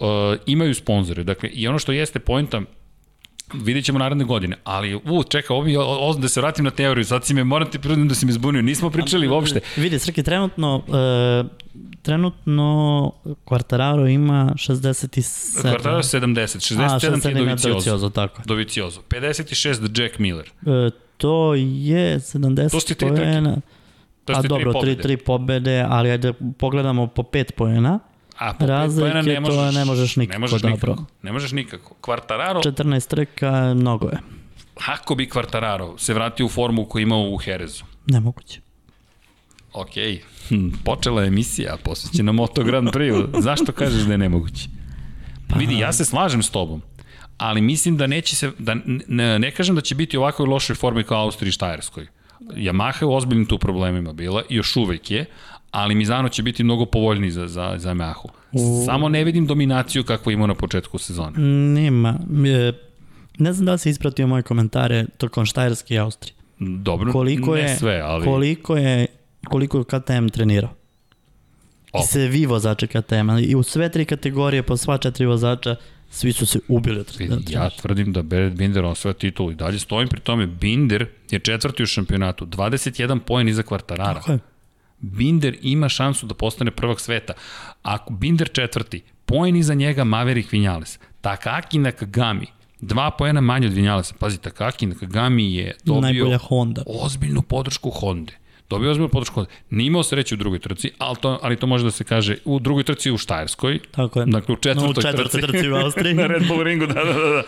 Speaker 1: imaju sponzore. Dakle, i ono što jeste pojenta, vidjet ćemo naredne godine, ali u, čeka, ovo mi, je- o, o, da se vratim na teoriju, sad si me, moram ti priznam da si me zbunio, nismo pričali uopšte.
Speaker 2: Vidi, Srki, trenutno, e, trenutno Quartararo ima 67.
Speaker 1: Kvartara 70, 67 ti je
Speaker 2: A, 67 je
Speaker 1: Doviciozo.
Speaker 2: Doviciozo, tako je.
Speaker 1: Doviciozo. 56 Jack Miller.
Speaker 2: E, to je 70
Speaker 1: To su ti tri trke.
Speaker 2: poena.
Speaker 1: To
Speaker 2: A
Speaker 1: ste
Speaker 2: dobro,
Speaker 1: tri,
Speaker 2: tri,
Speaker 1: pobjede.
Speaker 2: tri pobede, ali ajde pogledamo po pet poena.
Speaker 1: A po
Speaker 2: razlike,
Speaker 1: pet poena
Speaker 2: to ne možeš nikako,
Speaker 1: ne možeš
Speaker 2: dobro.
Speaker 1: Nikako, ne možeš nikako. Kvartararo,
Speaker 2: 14 trka, mnogo je.
Speaker 1: ako bi Kvartararo se vratio u formu koju je imao u Herezu,
Speaker 2: Nemoguće.
Speaker 1: Ok, hm, počela je emisija posvećena Moto Grand Prix. Zašto kažeš da je nemoguće? Pa... Vidi, ja se slažem s tobom, ali mislim da neće se, da ne, ne kažem da će biti u ovakvoj lošoj formi kao Austriji i Štajerskoj. Yamaha je u ozbiljnim tu problemima bila i još uvek je, ali Mizano će biti mnogo povoljniji za, za, za Yamahu. Samo ne vidim dominaciju kakvu ima na početku sezone.
Speaker 2: Nema. E, Ne znam da li si ispratio moje komentare tokom Štajerske i Austrije.
Speaker 1: Dobro,
Speaker 2: Koliko
Speaker 1: ne
Speaker 2: je,
Speaker 1: sve, ali...
Speaker 2: koliko je, koliko je KTM trenirao?
Speaker 1: O.
Speaker 2: I se vi vozače KTM, i u sve tri kategorije po sva četiri vozača Svi su se ubili od
Speaker 1: Ja
Speaker 2: trenaža.
Speaker 1: tvrdim da Beret Binder osvaja titulu i dalje stojim pri tome. Binder je četvrti u šampionatu, 21 poen iza kvartarara.
Speaker 2: Tako je.
Speaker 1: Binder ima šansu da postane prvak sveta. Ako Binder četvrti, poen iza njega Maverick Vinales. Takaki Nakagami, dva poena manje od Vinalesa. Pazi, Takaki Nakagami je dobio
Speaker 2: Najbolja Honda.
Speaker 1: ozbiljnu podršku Honda. Dobio je ozbiljnu podršku Honda. Nije imao sreće u drugoj trci, ali to, ali to može da se kaže u drugoj trci u Štajerskoj.
Speaker 2: Tako je.
Speaker 1: Dakle, u četvrtoj,
Speaker 2: No, u četvrtoj
Speaker 1: [LAUGHS]
Speaker 2: trci u Austriji.
Speaker 1: na Red Bull ringu, da, da, da. da.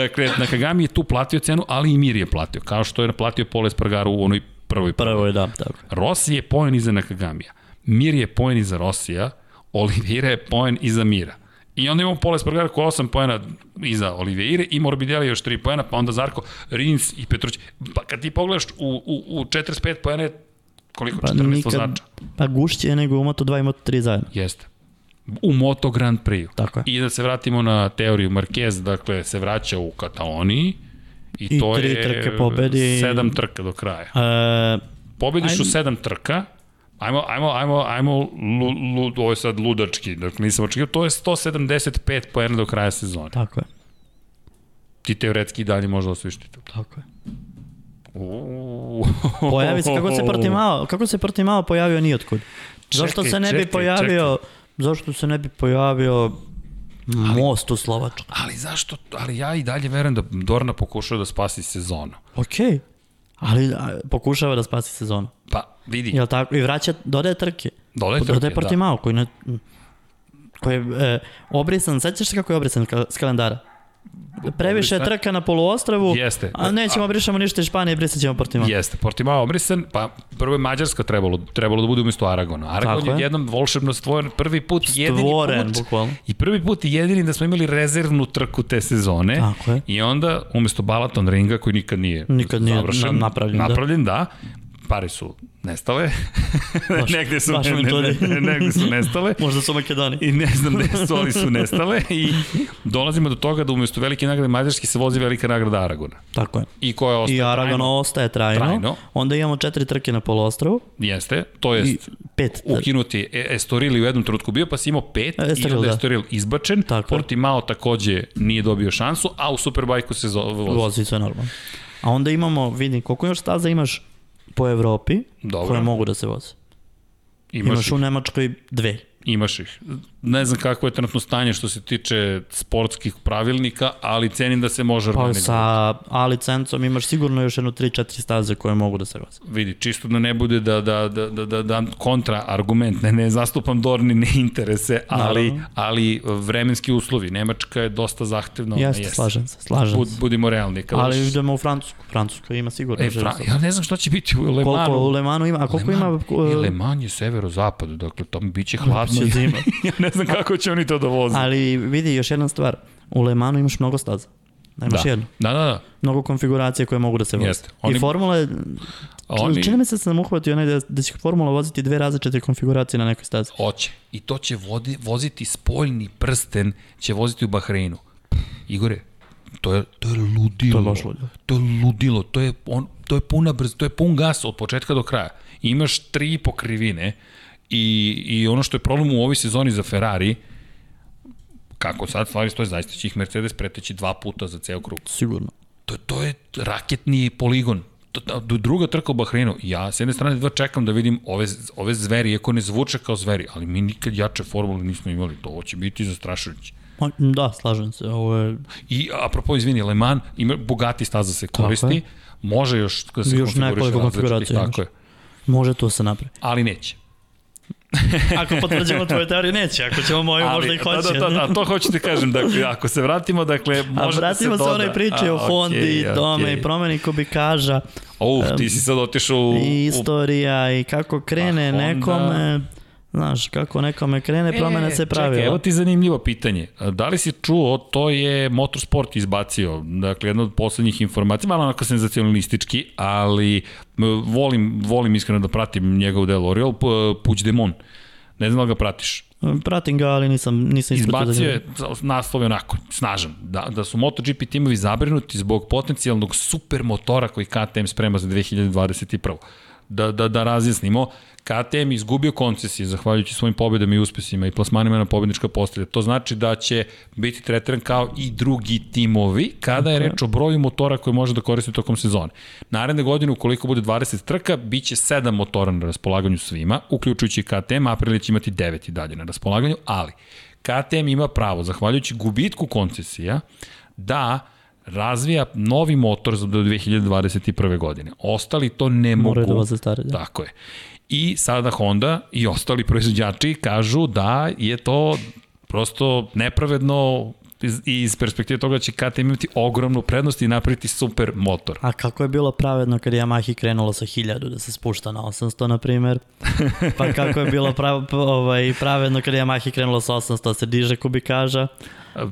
Speaker 1: Dakle, Nakagami je tu platio cenu, ali i Mir je platio. Kao što je platio Poles Pragaru u onoj prvoj
Speaker 2: Prvo je da, tako. je.
Speaker 1: Rossi je poen iza Nakagamija. Mir je poen iza Rossija, Oliveira je poen iza Mira. I onda imamo Poles Spargara koja je 8 poena iza Oliveire i Morbidelli još 3 poena, pa onda Zarko, Rins i Petrović. Pa kad ti pogledaš u, u, u 45 poena je koliko?
Speaker 2: Pa
Speaker 1: 14
Speaker 2: nikad-
Speaker 1: vozača.
Speaker 2: Pa gušće je nego u Moto2 i Moto3 zajedno.
Speaker 1: Jeste. U Moto Grand Prix.
Speaker 2: Tako je.
Speaker 1: I da se vratimo na teoriju Marquez, dakle se vraća u Kataloniji i,
Speaker 2: I
Speaker 1: to
Speaker 2: tri
Speaker 1: je
Speaker 2: trke pobedi.
Speaker 1: 7 trka do kraja.
Speaker 2: E,
Speaker 1: Pobediš
Speaker 2: Ajmo.
Speaker 1: u sedam trka, ajmo, ajmo, ajmo, ajmo, lu, lu, ovo je sad ludački, dakle nisam očekio, to je 175 poena do kraja sezone.
Speaker 2: tako je,
Speaker 1: Ti teoretski i dalje možda osvojiš titul.
Speaker 2: tako je.
Speaker 1: Uuu.
Speaker 2: Pojavi se, kako se Portimao, kako se Portimao pojavio nijotkud. Zašto
Speaker 1: Čekaj,
Speaker 2: se ne bi
Speaker 1: čekaj,
Speaker 2: pojavio, zašto se ne bi pojavio most u Slovačku?
Speaker 1: Ali zašto, ali ja i dalje verujem da Dorna pokušao da spasi sezonu.
Speaker 2: Okej, ali a, pokušava da spasi sezonu.
Speaker 1: Pa, vidi,
Speaker 2: Jel tako? I vraća, dodaje trke.
Speaker 1: Dodaje trke,
Speaker 2: Dodaje
Speaker 1: da.
Speaker 2: Portimao, koji, ne, koji je e, obrisan, sećaš se kako je obrisan ka- s kalendara? Previše je
Speaker 1: Obrisan-
Speaker 2: trka na poluostravu,
Speaker 1: Jeste.
Speaker 2: a nećemo brišemo ništa iz Španije, brisat ćemo Portimao.
Speaker 1: Jeste, Portimao obrisan, pa prvo je Mađarska trebalo, trebalo da bude umesto Aragona. Aragon
Speaker 2: Tako
Speaker 1: je
Speaker 2: je.
Speaker 1: jednom volšebno stvoren, prvi put, jedini
Speaker 2: Stvoren,
Speaker 1: put.
Speaker 2: bukvalno.
Speaker 1: I prvi put i jedini da smo imali rezervnu trku te sezone.
Speaker 2: Tako je.
Speaker 1: I onda, umesto Balaton ringa, koji nikad nije,
Speaker 2: Nikad nije
Speaker 1: završen,
Speaker 2: na- napravljen, da.
Speaker 1: napravljen da. pare su nestale.
Speaker 2: [LAUGHS] Baš-
Speaker 1: negde, su,
Speaker 2: baš
Speaker 1: ne, ne,
Speaker 2: metodi.
Speaker 1: ne, negde su nestale.
Speaker 2: Možda su Makedoniji.
Speaker 1: I ne znam gde su, ali su nestale. I dolazimo do toga da umesto velike nagrade Mađarske se vozi velika nagrada Aragona.
Speaker 2: Tako je.
Speaker 1: I koja ostaje
Speaker 2: I Aragon
Speaker 1: trajno.
Speaker 2: ostaje trajno.
Speaker 1: Trajno.
Speaker 2: Onda imamo četiri trke na poluostrovu
Speaker 1: Jeste, to jest...
Speaker 2: i pet trke.
Speaker 1: ukinuti E- Estoril je u jednom trenutku bio, pa si imao pet Estoril,
Speaker 2: Estoril,
Speaker 1: i onda
Speaker 2: da.
Speaker 1: Estoril izbačen.
Speaker 2: Tako je.
Speaker 1: Portimao takođe nije dobio šansu, a u Superbajku se zo- vozi. vozi.
Speaker 2: Vozi sve normalno. A onda imamo, vidim, koliko još staza imaš po Evropi
Speaker 1: Dobro.
Speaker 2: koje mogu da se voze.
Speaker 1: Imaš,
Speaker 2: Imaš
Speaker 1: imaš,
Speaker 2: u
Speaker 1: ih,
Speaker 2: Nemačkoj dve.
Speaker 1: imaš ih. Ne znam kako je trenutno stanje što se tiče sportskih pravilnika, ali cenim da se može
Speaker 2: Pa
Speaker 1: organizovati.
Speaker 2: sa A licencom imaš sigurno još jedno 3-4 staze koje mogu da se voze.
Speaker 1: vidi, čisto da ne bude da, da, da, da, da dam kontra argument, ne, ne zastupam Dornine interese, ali,
Speaker 2: Naravno.
Speaker 1: ali eh, vremenski uslovi. Nemačka je dosta zahtevna. ona
Speaker 2: Jeste,
Speaker 1: jeste.
Speaker 2: slažem se, slažem
Speaker 1: Bud,
Speaker 2: se.
Speaker 1: budimo realni. Kada
Speaker 2: Ali idemo u Francusku. Francuska ima sigurno.
Speaker 1: E,
Speaker 2: želju
Speaker 1: Fra,
Speaker 2: za-
Speaker 1: ja ne znam šta će biti u Le
Speaker 2: koliko
Speaker 1: Mansu.
Speaker 2: u Lemanu ima, a koliko ima...
Speaker 1: I
Speaker 2: e,
Speaker 1: Le Mans je severo-zapad, dakle tamo biće hladno.
Speaker 2: će zima. [LAUGHS]
Speaker 1: ja ne znam kako će oni to da voze.
Speaker 2: Ali vidi, još jedna stvar. U Le Manu imaš mnogo staza. Nemaš da.
Speaker 1: da.
Speaker 2: jednu.
Speaker 1: da, da, da.
Speaker 2: Mnogo konfiguracije koje mogu da se voze.
Speaker 1: Jeste. Oni-
Speaker 2: I formula je...
Speaker 1: Oni
Speaker 2: Oni... Čini mi se da sam uhvatio onaj da, da će formula voziti dve različite konfiguracije na nekoj stazi.
Speaker 1: hoće. I to će vodi, voziti spoljni prsten, će voziti u Bahreinu. Igore, to je, to je ludilo.
Speaker 2: To je baš ludilo.
Speaker 1: To je ludilo. To je, on, to je puna brz, to je pun gas od početka do kraja. Imaš tri pokrivine i, i ono što je problem u ovoj sezoni za Ferrari, kako sad stvari stoje, zaista će ih Mercedes preteći dva puta za ceo krug.
Speaker 2: Sigurno.
Speaker 1: to, to je raketni poligon. To- to- do druga trka u Bahreinu. Ja s jedne strane dva čekam da vidim ove, ove zveri, iako ne zvuče kao zveri, ali mi nikad jače formule nismo imali. To ovo će biti zastrašujuće.
Speaker 2: Ma, Da, slažem se. Ovo je...
Speaker 1: I apropo, izvini, Le Mans, ima, bogati staza se koristi,
Speaker 2: je.
Speaker 1: može još da se
Speaker 2: Još
Speaker 1: konfiguriše
Speaker 2: nekoliko
Speaker 1: različitih,
Speaker 2: konfiguracija
Speaker 1: Tako je.
Speaker 2: Može to se
Speaker 1: [LAUGHS]
Speaker 2: napravi.
Speaker 1: Ali neće.
Speaker 2: Ako potvrđujemo tvoje teorije, neće. Ako ćemo moju,
Speaker 1: Ali,
Speaker 2: možda i hoće.
Speaker 1: Da, da, da, da, to hoću ti kažem. Dakle, ako se vratimo, dakle, može
Speaker 2: A
Speaker 1: da se
Speaker 2: vratimo se
Speaker 1: doda.
Speaker 2: onoj priči
Speaker 1: A,
Speaker 2: o fondi,
Speaker 1: okej,
Speaker 2: tome
Speaker 1: okej.
Speaker 2: i promeni kubikaža
Speaker 1: Uf, ti si sad otišao u,
Speaker 2: i
Speaker 1: u
Speaker 2: istorija i kako krene
Speaker 1: A Honda-
Speaker 2: nekome, znaš, kako nekome krene, promena se pravi.
Speaker 1: E, Čekaj, evo ti zanimljivo pitanje. Da li si čuo, to je Motorsport izbacio, dakle jedna od poslednjih informacija, malo onako senzacionalistički, ali m, volim, volim iskreno da pratim njegov del Oriol, P- Puigdemont. Ne znam da li ga pratiš.
Speaker 2: Pratim ga, ali nisam, nisam ispratio. da
Speaker 1: Izbacio
Speaker 2: ga-
Speaker 1: je naslov je onako, snažan, da, da su MotoGP timovi zabrinuti zbog potencijalnog supermotora koji KTM sprema za 2021. da, da, da razjasnimo, KTM izgubio koncesije zahvaljujući svojim pobedama i uspesima i plasmanima na pobednička postelja. To znači da će biti tretiran kao i drugi timovi kada je reč o broju motora koje može da koristi tokom sezone. Naredne godine, ukoliko bude 20 trka, bit će 7 motora na raspolaganju svima, uključujući KTM, Aprilia će imati 9 i dalje na raspolaganju, ali KTM ima pravo, zahvaljujući gubitku koncesija, da razvija novi motor za do 2021. godine. Ostali to ne
Speaker 2: Moraju da
Speaker 1: mogu.
Speaker 2: voze stare, da.
Speaker 1: Tako je. I sada Honda i ostali proizvođači kažu da je to prosto nepravedno iz, iz perspektive toga da će KTM imati ogromnu prednost i napraviti super motor.
Speaker 2: A kako je bilo pravedno kad je Yamaha krenula sa 1000 da se spušta na 800, na primer? Pa kako je bilo prav, ovaj, pravedno kad je Yamaha krenula sa 800 da se diže kubikaža?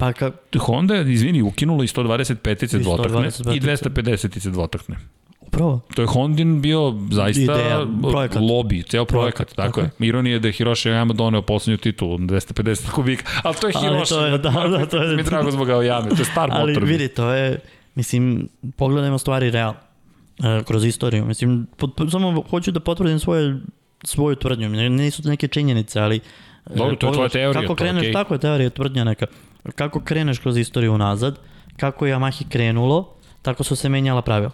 Speaker 2: Pa ka,
Speaker 1: Honda je, izvini, ukinula i 125-ice
Speaker 2: I
Speaker 1: dvotakne
Speaker 2: 125-ice.
Speaker 1: i 250-ice dvotakne.
Speaker 2: upravo,
Speaker 1: To je Hondin bio zaista
Speaker 2: Ideja,
Speaker 1: Ideja,
Speaker 2: projekat.
Speaker 1: lobby, ceo projekat,
Speaker 2: Projekat,
Speaker 1: tako,
Speaker 2: tako
Speaker 1: je. Ironija je da je Hiroshi Yama doneo poslednju titulu, 250 kubika, ali to je
Speaker 2: Ali
Speaker 1: Hiroshi.
Speaker 2: to je- da, da, to je-
Speaker 1: Mi je drago zbog Yama, to je star
Speaker 2: ali
Speaker 1: motor. bio.
Speaker 2: vidi, to je, mislim, pogledajmo stvari realno, e, kroz istoriju. Mislim, pot, samo hoću da potvrdim svoje, svoju tvrdnju, Ne- nisu to neke činjenice, ali... e,
Speaker 1: Dobro, to je tvoja
Speaker 2: pogledaš
Speaker 1: teorija,
Speaker 2: Kako
Speaker 1: to je
Speaker 2: kreneš,
Speaker 1: okej.
Speaker 2: tako je teorija, tvrdnja neka. Kako kreneš kroz istoriju unazad, kako je Yamaha krenulo, tako su se menjala pravila.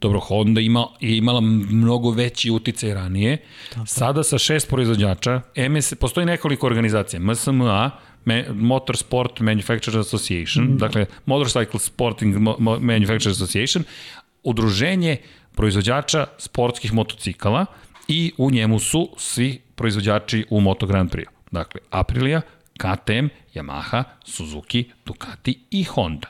Speaker 1: Dobro, Honda ima, je imala mnogo veći uticaj ranije. Tako. Sada sa šest proizvođača, MS, postoji nekoliko organizacija, MSMA, Me, Motorsport Manufacturers Association, mm. dakle Motorcycle Sporting Mo, Mo, Manufacturers Association, udruženje proizvođača sportskih motocikala i u njemu su svi proizvođači u Moto Grand Prix. Dakle, Aprilia, KTM, Yamaha, Suzuki, Ducati i Honda.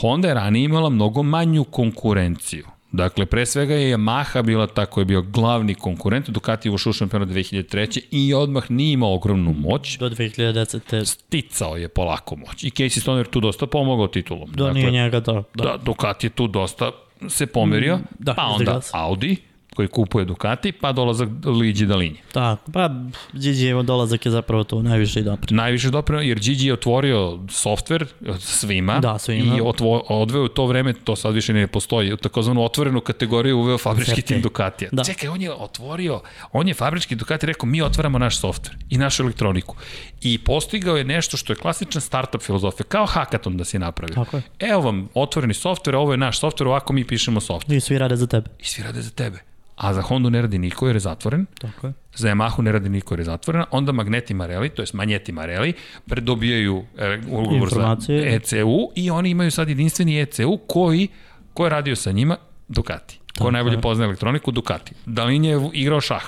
Speaker 1: Honda je ranije imala mnogo manju konkurenciju. Dakle, pre svega je Yamaha bila ta koja je bio glavni konkurent, Ducati je ušao u šampionat 2003. i odmah nije imao ogromnu moć,
Speaker 2: Do 2010.
Speaker 1: sticao je polako moć. I Casey Stoner tu dosta pomogao titulom.
Speaker 2: Do nije njega to.
Speaker 1: Da, da Ducati je tu dosta se pomerio,
Speaker 2: da,
Speaker 1: da, pa onda
Speaker 2: izdigao se.
Speaker 1: Audi koji kupuje Ducati, pa dolazak Luigi Dalinje.
Speaker 2: Da, pa Gigi je dolazak je zapravo tu najviše i dopre.
Speaker 1: Najviše doprinao, jer Gigi je otvorio softver e, svima,
Speaker 2: Da, svima.
Speaker 1: i otvo, odveo je u to vreme, to sad više ne postoji, u takozvanu otvorenu kategoriju uveo fabrički tim Ducatija.
Speaker 2: Da.
Speaker 1: Da. Čekaj, on je otvorio, on je fabrički Ducati rekao mi otvaramo naš softver i našu elektroniku. I postigao je nešto što je klasična startup filozofija, kao hackathon da si napravio.
Speaker 2: Tako je.
Speaker 1: Evo vam otvoreni softver, ovo je naš softver, ovako mi pišemo softver.
Speaker 2: I svi rade za tebe.
Speaker 1: I svi rade za tebe. A za Honda ne radi niko jer je zatvoren,
Speaker 2: Tako je.
Speaker 1: za Yamahu ne radi niko jer je zatvorena, onda Magneti Marelli, to je Magneti Marelli, predobijaju e, ugovor za
Speaker 2: Informacije.
Speaker 1: ECU i oni imaju sad jedinstveni ECU koji, ko je radio sa njima? Ducati. Ko najbolje poznaje elektroniku? Ducati. Dalinje je igrao šah.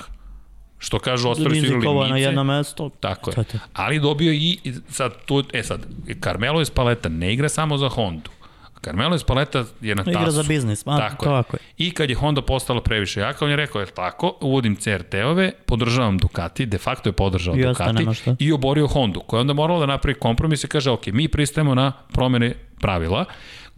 Speaker 1: Što kažu, ostali su
Speaker 2: Rizikovao
Speaker 1: igrali
Speaker 2: na jedno
Speaker 1: mice.
Speaker 2: mesto.
Speaker 1: Tako je.
Speaker 2: To je to.
Speaker 1: Ali dobio i, i sad, tu, e sad, Carmelo Espaleta ne igra samo za Hondu. Carmelo Espaleta je na tasu.
Speaker 2: Igra za biznis, ma,
Speaker 1: Tako je.
Speaker 2: tako je.
Speaker 1: I kad je Honda postala previše jaka, on je rekao, je tako, uvodim CRT-ove, podržavam Ducati, de facto je podržao
Speaker 2: Jeste,
Speaker 1: Ducati
Speaker 2: nema šta.
Speaker 1: i oborio Hondu, koja je onda morala da napravi kompromis i kaže, ok, mi pristajemo na promene pravila,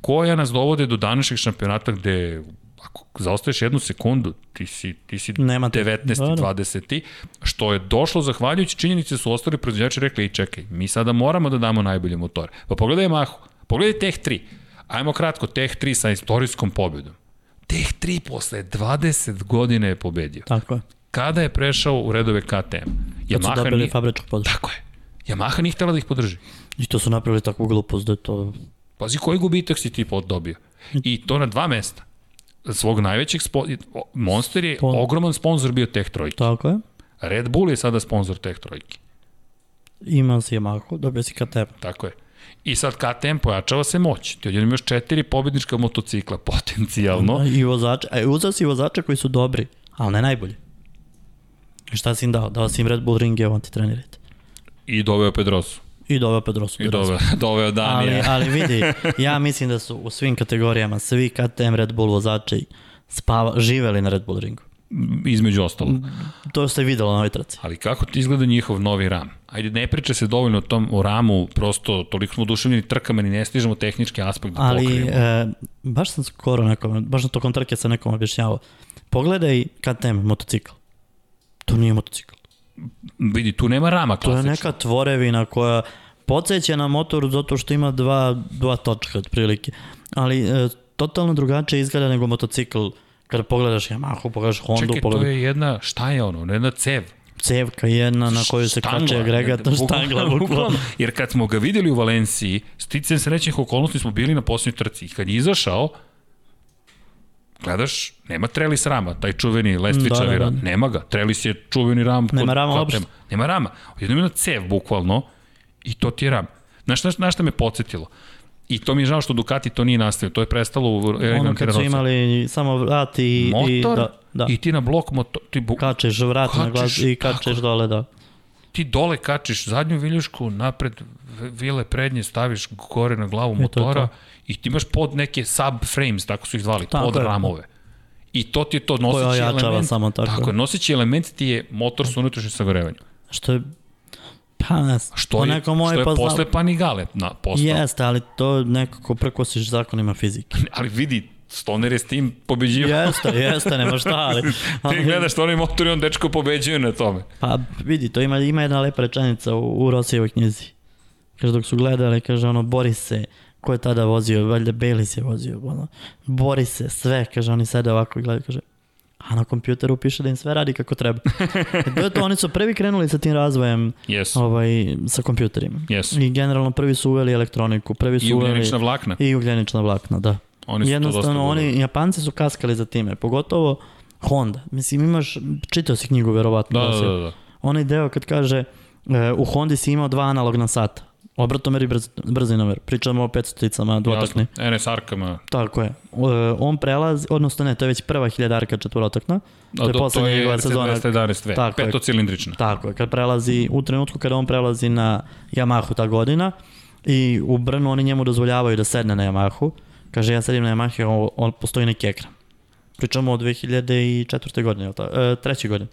Speaker 1: koja nas dovode do današnjeg šampionata gde ako zaostaješ jednu sekundu, ti si, ti si
Speaker 2: Nema te-
Speaker 1: 19.
Speaker 2: Da,
Speaker 1: 20. što je došlo zahvaljujući činjenici da su ostali proizvođači rekli i čekaj, mi sada moramo da damo najbolje motore. Pa pogledaj Mahu, pogledaj Tech 3. Ajmo kratko, Tech 3 sa istorijskom pobedom. Tech 3 posle 20 godine je pobedio.
Speaker 2: Tako je.
Speaker 1: Kada je prešao u redove KTM?
Speaker 2: Kad su
Speaker 1: Yamaha
Speaker 2: dobili
Speaker 1: nije...
Speaker 2: fabričku podršku.
Speaker 1: Tako je. Yamaha nije htjela da ih podrži.
Speaker 2: I to su napravili takvu glupost da je to...
Speaker 1: Pazi koji gubitak si ti pod- dobio. I to na dva mesta. Svog najvećeg... Spo... o- Monster je
Speaker 2: Pon-
Speaker 1: ogroman sponsor bio Tech Trojke.
Speaker 2: Tako je.
Speaker 1: Red Bull je sada sponsor Tech Trojke.
Speaker 2: Imao si Yamaha, dobio si KTM.
Speaker 1: Tako je. I sad KTM pojačava se moć. Ti odjednom imaš četiri pobednička motocikla [LAUGHS] potencijalno.
Speaker 2: I vozače, a uzao si vozače koji su dobri, ali ne najbolji. I šta si im dao? Dao si im Red Bull ringe, on ti trenirajte.
Speaker 1: I doveo Pedrosu.
Speaker 2: I doveo Pedrosu.
Speaker 1: I doveo, [LAUGHS] doveo Danija.
Speaker 2: Ali, ali [LAUGHS] vidi, ja mislim da su u svim kategorijama svi KTM Red Bull vozači spava, živeli na Red Bull ringu.
Speaker 1: Između ostalo.
Speaker 2: Mhm. To se videlo na ovoj traci.
Speaker 1: Ali kako ti izgleda njihov novi RAM? Ajde, ne priča se dovoljno o tom o ramu, prosto toliko smo oduševljeni trkama, ni ne stižemo tehnički aspekt da
Speaker 2: Ali
Speaker 1: pokrijemo.
Speaker 2: e, baš sam skoro nekom, baš na tokom trke sam nekom objašnjavao. Pogledaj KTM motocikl. To nije motocikl.
Speaker 1: Vidi, tu nema rama
Speaker 2: To je
Speaker 1: klasično.
Speaker 2: neka tvorevina koja podsjeća na motor zato što ima dva, dva točka otprilike. Ali e, totalno drugačije izgleda nego motocikl Kada pogledaš Yamahu, pogledaš Hondu,
Speaker 1: Čekaj, to
Speaker 2: pogledaš
Speaker 1: je jedna, šta je ono, jedna cev.
Speaker 2: cevka jedna na kojoj se
Speaker 1: Štangla,
Speaker 2: kače agregat,
Speaker 1: bukvalno,
Speaker 2: štangla, bukvalno.
Speaker 1: Jer kad smo ga videli u Valenciji, sticam srećnih okolnosti smo bili na posljednjoj trci. I kad je izašao, gledaš, nema treli s rama, taj čuveni lestvičavi
Speaker 2: Da, da, da.
Speaker 1: ram. Nema ga. Trelis je čuveni ram. kod-
Speaker 2: Nema rama
Speaker 1: kod-
Speaker 2: uopšte.
Speaker 1: Nema, nema rama. Jednom je na cev, bukvalno, i to ti je ram. Znaš, znaš, znaš šta me podsjetilo? I to mi je žao što Ducati to nije nastavio. To je prestalo u
Speaker 2: Ono
Speaker 1: Elegant
Speaker 2: kad su imali samo vrat i... i,
Speaker 1: motor
Speaker 2: da, da.
Speaker 1: i ti na blok motor, ti, bu,
Speaker 2: kačeš vrat na glas
Speaker 1: Kačeš,
Speaker 2: i kačeš dole, da.
Speaker 1: ti dole kačiš zadnju viljušku, napred v- vile prednje staviš gore na glavu
Speaker 2: to je
Speaker 1: motora
Speaker 2: to.
Speaker 1: i ti imaš pod neke subframes, tako su ih zvali,
Speaker 2: Tako
Speaker 1: pod
Speaker 2: je.
Speaker 1: ramove. I to ti je to noseći
Speaker 2: ojačava
Speaker 1: element.
Speaker 2: samo tako.
Speaker 1: Tako je, noseći element ti je motor sa unutrašnjim sagorevanjem.
Speaker 2: Što je... Pa, ne,
Speaker 1: Što je,
Speaker 2: neko moje
Speaker 1: što je
Speaker 2: pa
Speaker 1: posle Panigale na, postao.
Speaker 2: Jeste, ali to nekako prekosiš zakonima fizike.
Speaker 1: [LAUGHS] Ali vidi, Stoner je s tim pobeđivao.
Speaker 2: Jeste, jeste, nema šta, ali...
Speaker 1: [LAUGHS] Ti gledaš onaj motor i on dečko pobeđuje na tome.
Speaker 2: Pa vidi, to ima, ima jedna lepa rečenica u, u Rosijevoj knjizi. Kaže, dok su gledali, kaže, ono, bori se, ko je tada vozio, valjda Belis je vozio, ono, bori se, sve, kaže, oni sede ovako i gledaju, kaže, a na kompjuteru piše da im sve radi
Speaker 1: [LAUGHS]
Speaker 2: kako treba. E, to je to, oni su prvi krenuli sa tim razvojem,
Speaker 1: Yes.
Speaker 2: ovaj, sa kompjuterima.
Speaker 1: Yes.
Speaker 2: I generalno prvi su uveli elektroniku, prvi su
Speaker 1: I
Speaker 2: uveli...
Speaker 1: ugljenična vlakna.
Speaker 2: I ugljenična vlakna, da.
Speaker 1: Oni su to dosta
Speaker 2: Jednostavno,
Speaker 1: govorili.
Speaker 2: oni, Japanci su kaskali za time, pogotovo Honda. Mislim, imaš, čitao si knjigu, verovatno.
Speaker 1: Da, da,
Speaker 2: si-
Speaker 1: da, da.
Speaker 2: onaj deo kad kaže e, u Hondi si imao dva analogna sata. Obratomer i brz, brzinomer. Pričamo o 500 ticama, dvotakne.
Speaker 1: Jasno. NS arkama.
Speaker 2: Tako je. E, on prelazi, odnosno ne, to je već prva hiljadarka četvorotakna. To je
Speaker 1: A do, to
Speaker 2: poslednja
Speaker 1: je
Speaker 2: njegova sezona.
Speaker 1: RC211V,
Speaker 2: Tako je.
Speaker 1: petocilindrična.
Speaker 2: Tako je, kad prelazi, u trenutku kada on prelazi na Yamahu ta godina i u Brnu oni njemu dozvoljavaju da sedne na Yamahu. Kaže, ja sedim na Yamahu, on, on postoji neki ekran. Pričamo o 2004. godine, je li ta, e, treće godine.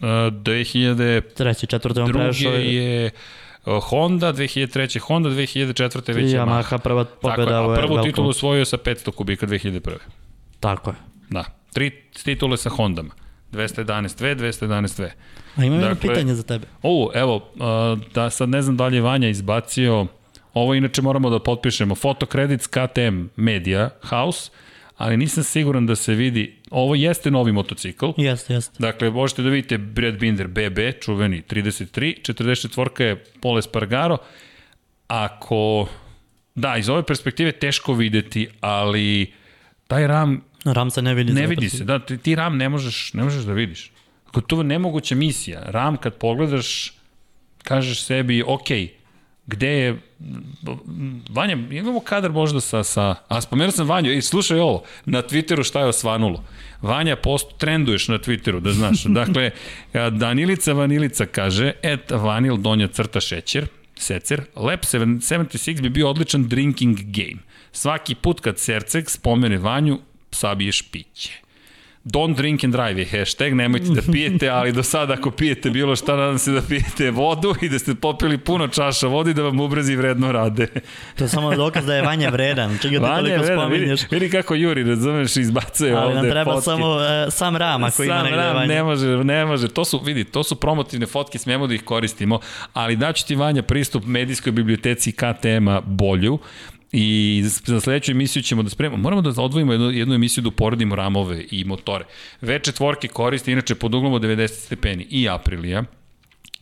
Speaker 2: Da.
Speaker 1: Uh, 2002.
Speaker 2: Treće, četvrte, on prešao i
Speaker 1: je uh, Honda, 2003. Honda, 2004. već je Yamaha.
Speaker 2: Yamaha prva
Speaker 1: Tako je,
Speaker 2: pobjeda u
Speaker 1: a prvu
Speaker 2: Velkomu.
Speaker 1: titulu osvojio sa 500 kubika 2001.
Speaker 2: Tako je.
Speaker 1: Da, tri titule sa Hondama. 211V, 211V.
Speaker 2: A imam dakle, jedno
Speaker 1: Dakle-
Speaker 2: pitanje za tebe.
Speaker 1: O, evo, uh, da sad ne znam da li je Vanja izbacio, ovo inače moramo da potpišemo, fotokredit s KTM Media House, ali nisam siguran da se vidi, ovo jeste novi motocikl,
Speaker 2: Jeste, jeste.
Speaker 1: Dakle, možete da vidite Brad Binder BB, čuveni 33, 44 je Pole Spargaro. Ako, da, iz ove perspektive teško videti, ali taj ram
Speaker 2: Ram se ne vidi.
Speaker 1: ne
Speaker 2: za
Speaker 1: vidi
Speaker 2: opet.
Speaker 1: se. Da, ti, ti ram ne možeš, ne možeš da vidiš. Ako to je nemoguća misija. Ram kad pogledaš, kažeš sebi, ok, gde je, Vanja, imamo kadar možda sa, sa a spomenuo sam Vanju, i slušaj ovo, na Twitteru šta je osvanulo. Vanja, post, trenduješ na Twitteru, da znaš. Dakle, Danilica Vanilica kaže, et vanil donja crta šećer, Secer, Lab 76 bi bio odličan drinking game. Svaki put kad Serceg spomene Vanju, sabiješ piće. Don't drink and drive je hashtag, nemojte da pijete, ali do sada ako pijete bilo šta, nadam se da pijete vodu i da ste popili puno čaša vode i da vam ubrzi vredno rade.
Speaker 2: To je samo dokaz da je Vanja vredan. Čega ti
Speaker 1: Vanja,
Speaker 2: toliko
Speaker 1: vredno, vidi,
Speaker 2: spominješ.
Speaker 1: vidi kako Juri, razumeš, izbacuje
Speaker 2: Ali
Speaker 1: ovde
Speaker 2: nam treba
Speaker 1: fotke.
Speaker 2: samo e, sam Ram ako ima
Speaker 1: Sam
Speaker 2: negde
Speaker 1: ram,
Speaker 2: Vanja.
Speaker 1: ne može, ne može. To su, vidi, to su promotivne fotke, smemo da ih koristimo, ali daću ti Vanja pristup medijskoj biblioteci KTM-a bolju i za sledeću emisiju ćemo da spremamo. Moramo da odvojimo jednu, jednu emisiju da uporedimo ramove i motore. V4 koriste inače pod uglom od 90 stepeni i Aprilija,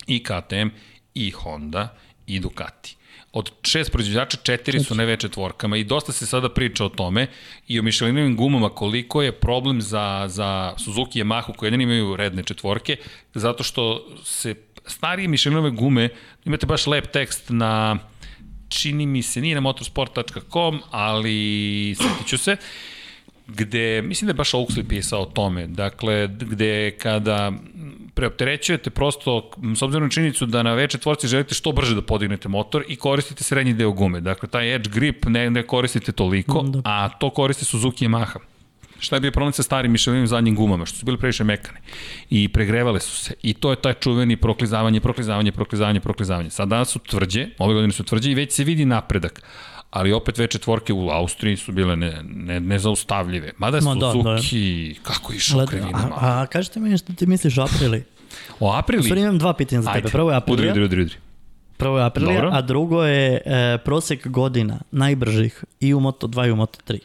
Speaker 1: i KTM, i Honda, i Ducati. Od šest proizvođača, četiri su na V4-kama i dosta se sada priča o tome i o Michelinovim gumama koliko je problem za, za Suzuki i Yamahu koji jedini imaju redne četvorke, zato što se starije Michelinove gume, imate baš lep tekst na čini mi se, nije na motorsport.com, ali sjetit ću se, gde, mislim da je baš Oaksley pisao o tome, dakle, gde kada preopterećujete prosto, m, s obzirom na činjenicu da na veće tvorci želite što brže da podignete motor i koristite srednji deo gume, dakle, taj edge grip ne, ne koristite toliko,
Speaker 2: Da.
Speaker 1: a to koriste Suzuki i Yamaha. Šta je bio problem sa starim Michelinovim zadnjim gumama, što su bile previše mekane i pregrevale su se. I to je taj čuveni proklizavanje, proklizavanje, proklizavanje, proklizavanje. Sad danas su tvrđe, ove godine su tvrđe i već se vidi napredak. Ali opet ve četvorke u Austriji su bile ne, ne, nezaustavljive. Mada Ma,
Speaker 2: Ma da, da.
Speaker 1: Suzuki, da, da. kako je išao
Speaker 2: Led-
Speaker 1: u
Speaker 2: a,
Speaker 1: krivinama.
Speaker 2: a kažete mi što ti misliš o Aprili?
Speaker 1: O
Speaker 2: U stvari
Speaker 1: aprili,
Speaker 2: imam dva pitanja za tebe.
Speaker 1: ajde,
Speaker 2: Prvo je
Speaker 1: udri,
Speaker 2: Aprilija,
Speaker 1: udri, udri, udri.
Speaker 2: prvo je Aprilija
Speaker 1: Dobro.
Speaker 2: a drugo je e, prosek godina najbržih i u Moto2 i u Moto3.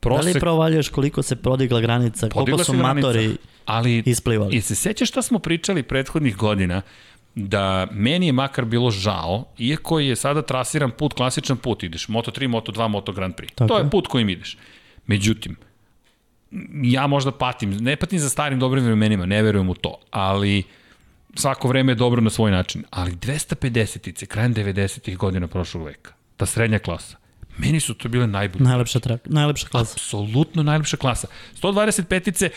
Speaker 2: Prosek... Da li provaljuješ koliko se prodigla granica,
Speaker 1: Podigla
Speaker 2: koliko su
Speaker 1: se granica,
Speaker 2: matori
Speaker 1: ali
Speaker 2: isplivali?
Speaker 1: I se sećaš šta smo pričali prethodnih godina, da meni je makar bilo žao, iako je sada trasiran put, klasičan put, ideš Moto3, Moto2, Moto Grand Prix.
Speaker 2: Tako
Speaker 1: to
Speaker 2: je.
Speaker 1: je put kojim ideš. Međutim, ja možda patim, ne patim za starim dobrim vremenima, ne verujem u to, ali svako vreme je dobro na svoj način. Ali 250-ice, krajem 90-ih godina prošlog veka, ta srednja klasa, meni su to bile najbolje
Speaker 2: Najlepša, trak, najlepša klasa.
Speaker 1: apsolutno najlepša klasa. 125-ice,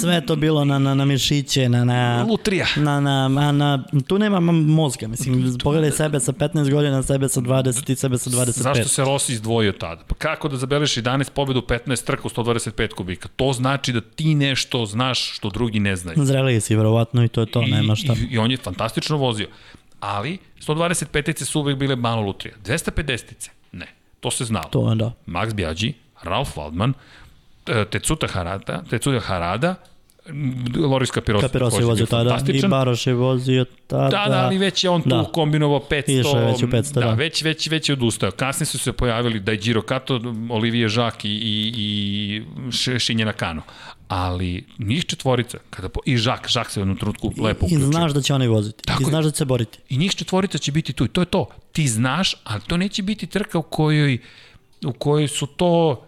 Speaker 2: Sve to bilo na, na, na mišiće, na, na,
Speaker 1: lutrija.
Speaker 2: na, na, na, na, tu nema ma- mozga, mislim, pogledaj sebe sa 15 godina, sebe sa 20 i sebe sa 25.
Speaker 1: Zašto se Rossi izdvojio tada? Pa kako da zabeleš 11 pobjeda u 15 trka u 125 kubika? To znači da ti nešto znaš što drugi ne znaju.
Speaker 2: Zreliji si, verovatno, i to je to,
Speaker 1: I-
Speaker 2: nema šta.
Speaker 1: I, I on je fantastično vozio. Ali 125-ice su uvek bile malo lutrija. 250-ice? Ne. To se znalo.
Speaker 2: To, da.
Speaker 1: Max Biaggi, Ralf Waldman, e, Tetsuta Harada, Tetsuta Harada, m, Loris Capiros.
Speaker 2: Kapiros je vozio tada, i Baroš je vozio tada.
Speaker 1: Da, da, ali već je on tu
Speaker 2: Da.
Speaker 1: da. kombinovao 500.
Speaker 2: Išao je već u 500,
Speaker 1: da.
Speaker 2: da.
Speaker 1: već, već, već je odustao. Kasnije su se pojavili Dajiro Kato, Olivije Žak i, i, i Š- Šinjena Kano. Ali njih četvorica, kada po, i Žak, Žak se u jednom trenutku lepo
Speaker 2: I
Speaker 1: uključio.
Speaker 2: znaš da će oni voziti.
Speaker 1: Tako
Speaker 2: I
Speaker 1: je.
Speaker 2: znaš da će se boriti.
Speaker 1: I njih četvorica će biti tu i to je to. Ti znaš, ali to neće biti trka u kojoj, u kojoj su to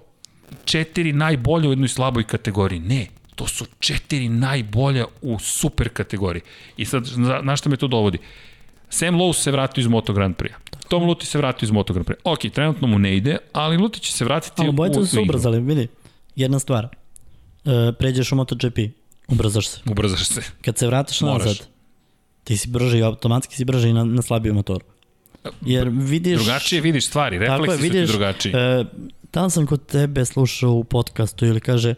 Speaker 1: četiri najbolje u jednoj slaboj kategoriji. Ne, to su četiri najbolja u super kategoriji. I sad, na, na što me to dovodi? Sam Lowe se vratio iz Moto Grand Prix. Tom Luti se vratio iz Moto Grand Prix. Ok, trenutno mu ne ide, ali Luti će se vratiti
Speaker 2: Ali bojice
Speaker 1: u,
Speaker 2: su se
Speaker 1: u igru.
Speaker 2: ubrzali, vidi. Jedna stvar. E, pređeš u MotoGP, ubrzaš se.
Speaker 1: Ubrzaš se.
Speaker 2: Kad se vratiš
Speaker 1: Moraš.
Speaker 2: nazad, ti si brži, automatski si brži na, na slabijem motoru. Jer vidiš...
Speaker 1: Drugačije vidiš stvari,
Speaker 2: Tako
Speaker 1: refleksi su ti drugačiji.
Speaker 2: E, tamo sam kod tebe slušao u podcastu ili kaže,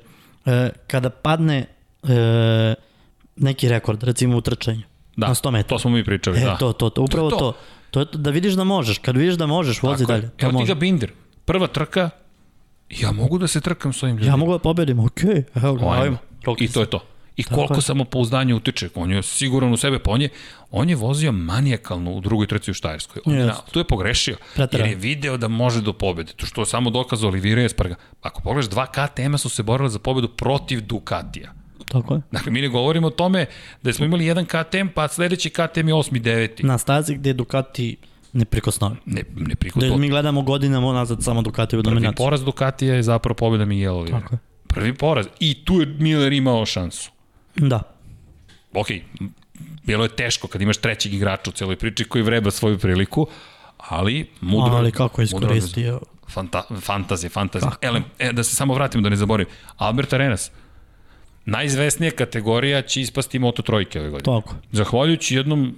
Speaker 2: e, kada padne e, neki rekord, recimo u trčanju,
Speaker 1: Da,
Speaker 2: na 100 metara.
Speaker 1: To smo mi pričali,
Speaker 2: E,
Speaker 1: da.
Speaker 2: to, to, to, upravo
Speaker 1: To
Speaker 2: to.
Speaker 1: je to.
Speaker 2: To, to je to, da vidiš da možeš. Kad vidiš da možeš, vozi
Speaker 1: Tako je.
Speaker 2: dalje. To
Speaker 1: Evo ti
Speaker 2: može.
Speaker 1: ga Binder. Prva trka, ja mogu da se trkam s ovim ljudima.
Speaker 2: Ja mogu da pobedim, okej, okay, evo ga,
Speaker 1: Ajmo.
Speaker 2: ajmo.
Speaker 1: I to je to. I koliko
Speaker 2: je.
Speaker 1: samopouzdanje utiče, on je siguran u sebe, pa on je, on je vozio manijakalno u drugoj trci u Štajerskoj. On je, na-
Speaker 2: Jeste.
Speaker 1: tu je pogrešio,
Speaker 2: Preterao.
Speaker 1: jer je video da može do pobede, to što je samo dokaz Olivira Esparga. Ako pogledaš, dva KTM-a su se borila za pobedu protiv Ducatija.
Speaker 2: Tako je.
Speaker 1: Dakle, mi ne govorimo o tome da smo imali jedan KTM, pa sledeći KTM je osmi, deveti.
Speaker 2: Na stazi gde je Ducati neprikosnoven.
Speaker 1: Ne, ne
Speaker 2: Da
Speaker 1: prikuto.
Speaker 2: mi gledamo godinama nazad samo Ducati u
Speaker 1: Prvi
Speaker 2: dominaciji.
Speaker 1: poraz Ducatija je zapravo pobeda Miguel Olivira.
Speaker 2: Tako je.
Speaker 1: Prvi poraz. I tu je Miller imao šansu.
Speaker 2: Da.
Speaker 1: ok, m, bilo je teško kad imaš trećeg igrača u celoj priči koji vreba svoju priliku, ali mudro...
Speaker 2: Ali kako je
Speaker 1: mudro organizovan.
Speaker 2: iskoristio.
Speaker 1: Fanta, fantazije, fantazije. Elem, e, da se samo vratimo, da ne zaboravim. Albert Arenas, najizvesnija kategorija će ispasti Moto Trojke ove godine.
Speaker 2: Tako.
Speaker 1: Zahvaljujući
Speaker 2: [LAUGHS]
Speaker 1: jednom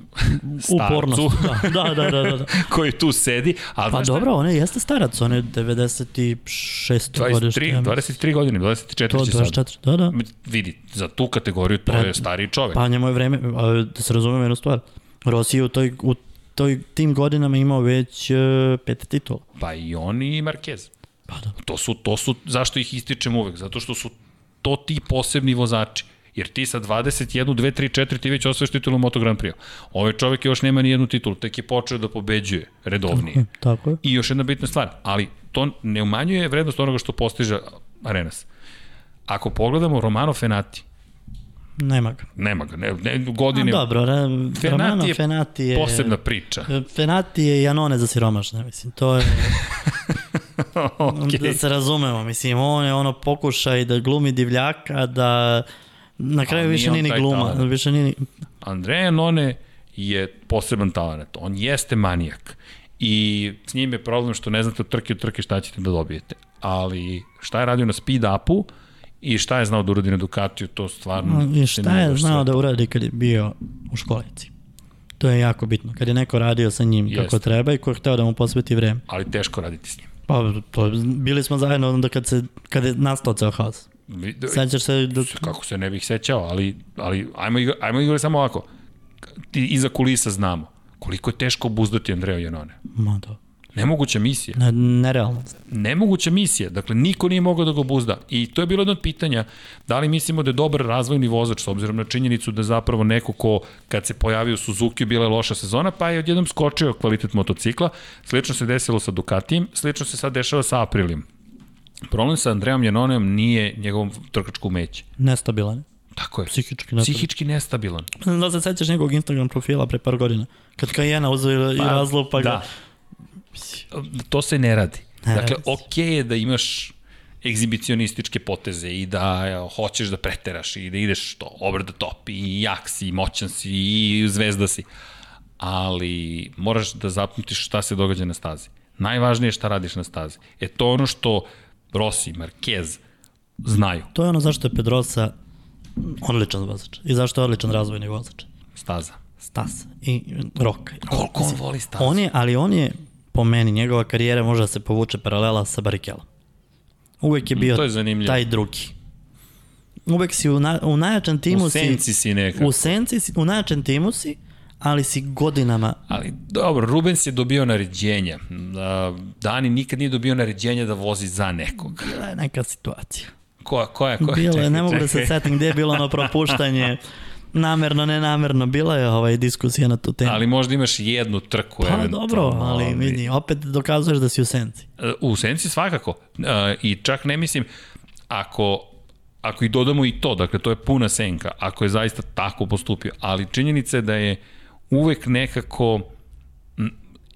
Speaker 2: Upornost.
Speaker 1: [LAUGHS] starcu
Speaker 2: Da, da, da, da. da.
Speaker 1: koji tu sedi. Ali
Speaker 2: Pa
Speaker 1: znaš šta je?
Speaker 2: dobro, on je jeste starac, on je 96. godište.
Speaker 1: 23,
Speaker 2: ja mislim.
Speaker 1: 23 godine, 24
Speaker 2: To,
Speaker 1: će sad.
Speaker 2: 24, da, da.
Speaker 1: Vidi, za tu kategoriju to
Speaker 2: Pred-
Speaker 1: je stariji čovek.
Speaker 2: Pa njemu je vreme, a, da se razumemo jednu stvar. Rossi je u toj, u toj tim godinama imao već e, pet titula.
Speaker 1: Pa i on i Marquez.
Speaker 2: Pa da.
Speaker 1: To su, to su, zašto ih ističem uvek? Zato što su to ti posebni vozači. Jer ti sa 21, 2, 3, 4 ti već osvojiš titulu Moto Grand Prix. Ovaj čovek još nema ni jednu titulu, tek je počeo da pobeđuje redovnije.
Speaker 2: Hm, Tako je.
Speaker 1: I još jedna bitna stvar, ali to ne umanjuje vrednost onoga što postiže Arenas. Ako pogledamo Romano Fenati,
Speaker 2: Nema ga.
Speaker 1: nema ga, ne, ne
Speaker 2: A,
Speaker 1: godine,
Speaker 2: dobro, ra, Fenati Romano
Speaker 1: je
Speaker 2: Fenati je... E,
Speaker 1: posebna priča. [LAUGHS]
Speaker 2: Fenati je Janone za siromašne, mislim, to je, da
Speaker 1: okay.
Speaker 2: se razumemo, mislim, on je ono pokušaj da glumi divljaka, da na kraju
Speaker 1: nije
Speaker 2: više
Speaker 1: on
Speaker 2: nije ni
Speaker 1: taj
Speaker 2: gluma,
Speaker 1: talent.
Speaker 2: više nije ni,
Speaker 1: Andreja None je poseban talent. On jeste manijak. I s njim je problem što ne znate od trke od trke šta ćete da dobijete. Ali šta je radio na speed upu i šta je znao da uradi na Ducatiju, to stvarno... se
Speaker 2: I šta
Speaker 1: ne
Speaker 2: je
Speaker 1: možeš
Speaker 2: znao
Speaker 1: sve-
Speaker 2: da uradi kad je bio u školici? To je jako bitno. Kad je neko radio sa njim Jeste. kako
Speaker 1: Jeste.
Speaker 2: treba i ko je hteo da mu posveti vreme.
Speaker 1: Ali teško raditi s njim.
Speaker 2: Pa, to, bili smo zajedno onda kad, se, kad je nastao ceo haos.
Speaker 1: Vi-
Speaker 2: Sećaš se da...
Speaker 1: Kako se ne bih sećao, ali, ali ajmo, igra, ajmo igrati samo ovako. Ti iza kulisa znamo koliko je teško obuzdati Andreja Janone.
Speaker 2: Ma da,
Speaker 1: Nemoguća misija.
Speaker 2: ne, nerealno.
Speaker 1: nemoguća misija, dakle niko nije mogao da ga obuzda i to je bilo jedno od pitanja da li mislimo da je dobar razvojni vozač s obzirom na činjenicu da zapravo neko ko kad se pojavio u Suzuki bila je loša sezona pa je odjednom skočio kvalitet motocikla slično se desilo sa Ducatijem, slično se sad dešava sa Aprilijem Problem sa Andrejom Janonem nije njegovom trkačku umeće.
Speaker 2: Nestabilan. je.
Speaker 1: Tako je.
Speaker 2: Psihički nestabilan.
Speaker 1: Psihički nestabilan.
Speaker 2: Ne znam da li se sećaš njegovog Instagram profila pre par godina. Kad Kajena uzeo i- i razlo pa ga...
Speaker 1: Da. To se ne radi.
Speaker 2: Ne
Speaker 1: dakle,
Speaker 2: radi se.
Speaker 1: okej je da imaš egzibicionističke poteze i da e, hoćeš da preteraš i da ideš što, over the top i jak si, i moćan si i zvezda si. Ali moraš da zapamtiš šta se događa na stazi. Najvažnije je šta radiš na stazi. E to je ono što Rossi, Marquez znaju.
Speaker 2: To je ono zašto je Pedrosa odličan vozač. I zašto je odličan razvojni vozač.
Speaker 1: Staza.
Speaker 2: Stas i Rok.
Speaker 1: Koliko on voli stazu?
Speaker 2: On je, ali on je, po meni, njegova karijera može da se povuče paralela sa Barikelom. Uvek je bio
Speaker 1: Mm, to je zanimljivo.
Speaker 2: taj drugi. Uvek si u, na, u najjačem timu
Speaker 1: U senci si nekako.
Speaker 2: U senci si, u najjačem timu si, ali si godinama
Speaker 1: Ali dobro, Rubens je dobio naređenje. Da, Dani nikad nije dobio naređenje da vozi za nekog.
Speaker 2: bila je neka situacija.
Speaker 1: Koja, koja, koja?
Speaker 2: Bilo je,
Speaker 1: Čekaj, [LAUGHS]
Speaker 2: ne mogu da
Speaker 1: čekaj.
Speaker 2: se setim gde je bilo ono propuštanje, namerno, nenamerno, bila je ovaj diskusija na tu temu.
Speaker 1: Ali možda imaš jednu trku.
Speaker 2: pa
Speaker 1: eventualno,
Speaker 2: dobro, ali vidi, opet dokazuješ da si u senci.
Speaker 1: E, U senci svakako. E, I čak ne mislim, ako ako i dodamo i to, dakle to je puna senka, ako je zaista tako postupio, ali činjenica je da je uvek nekako m,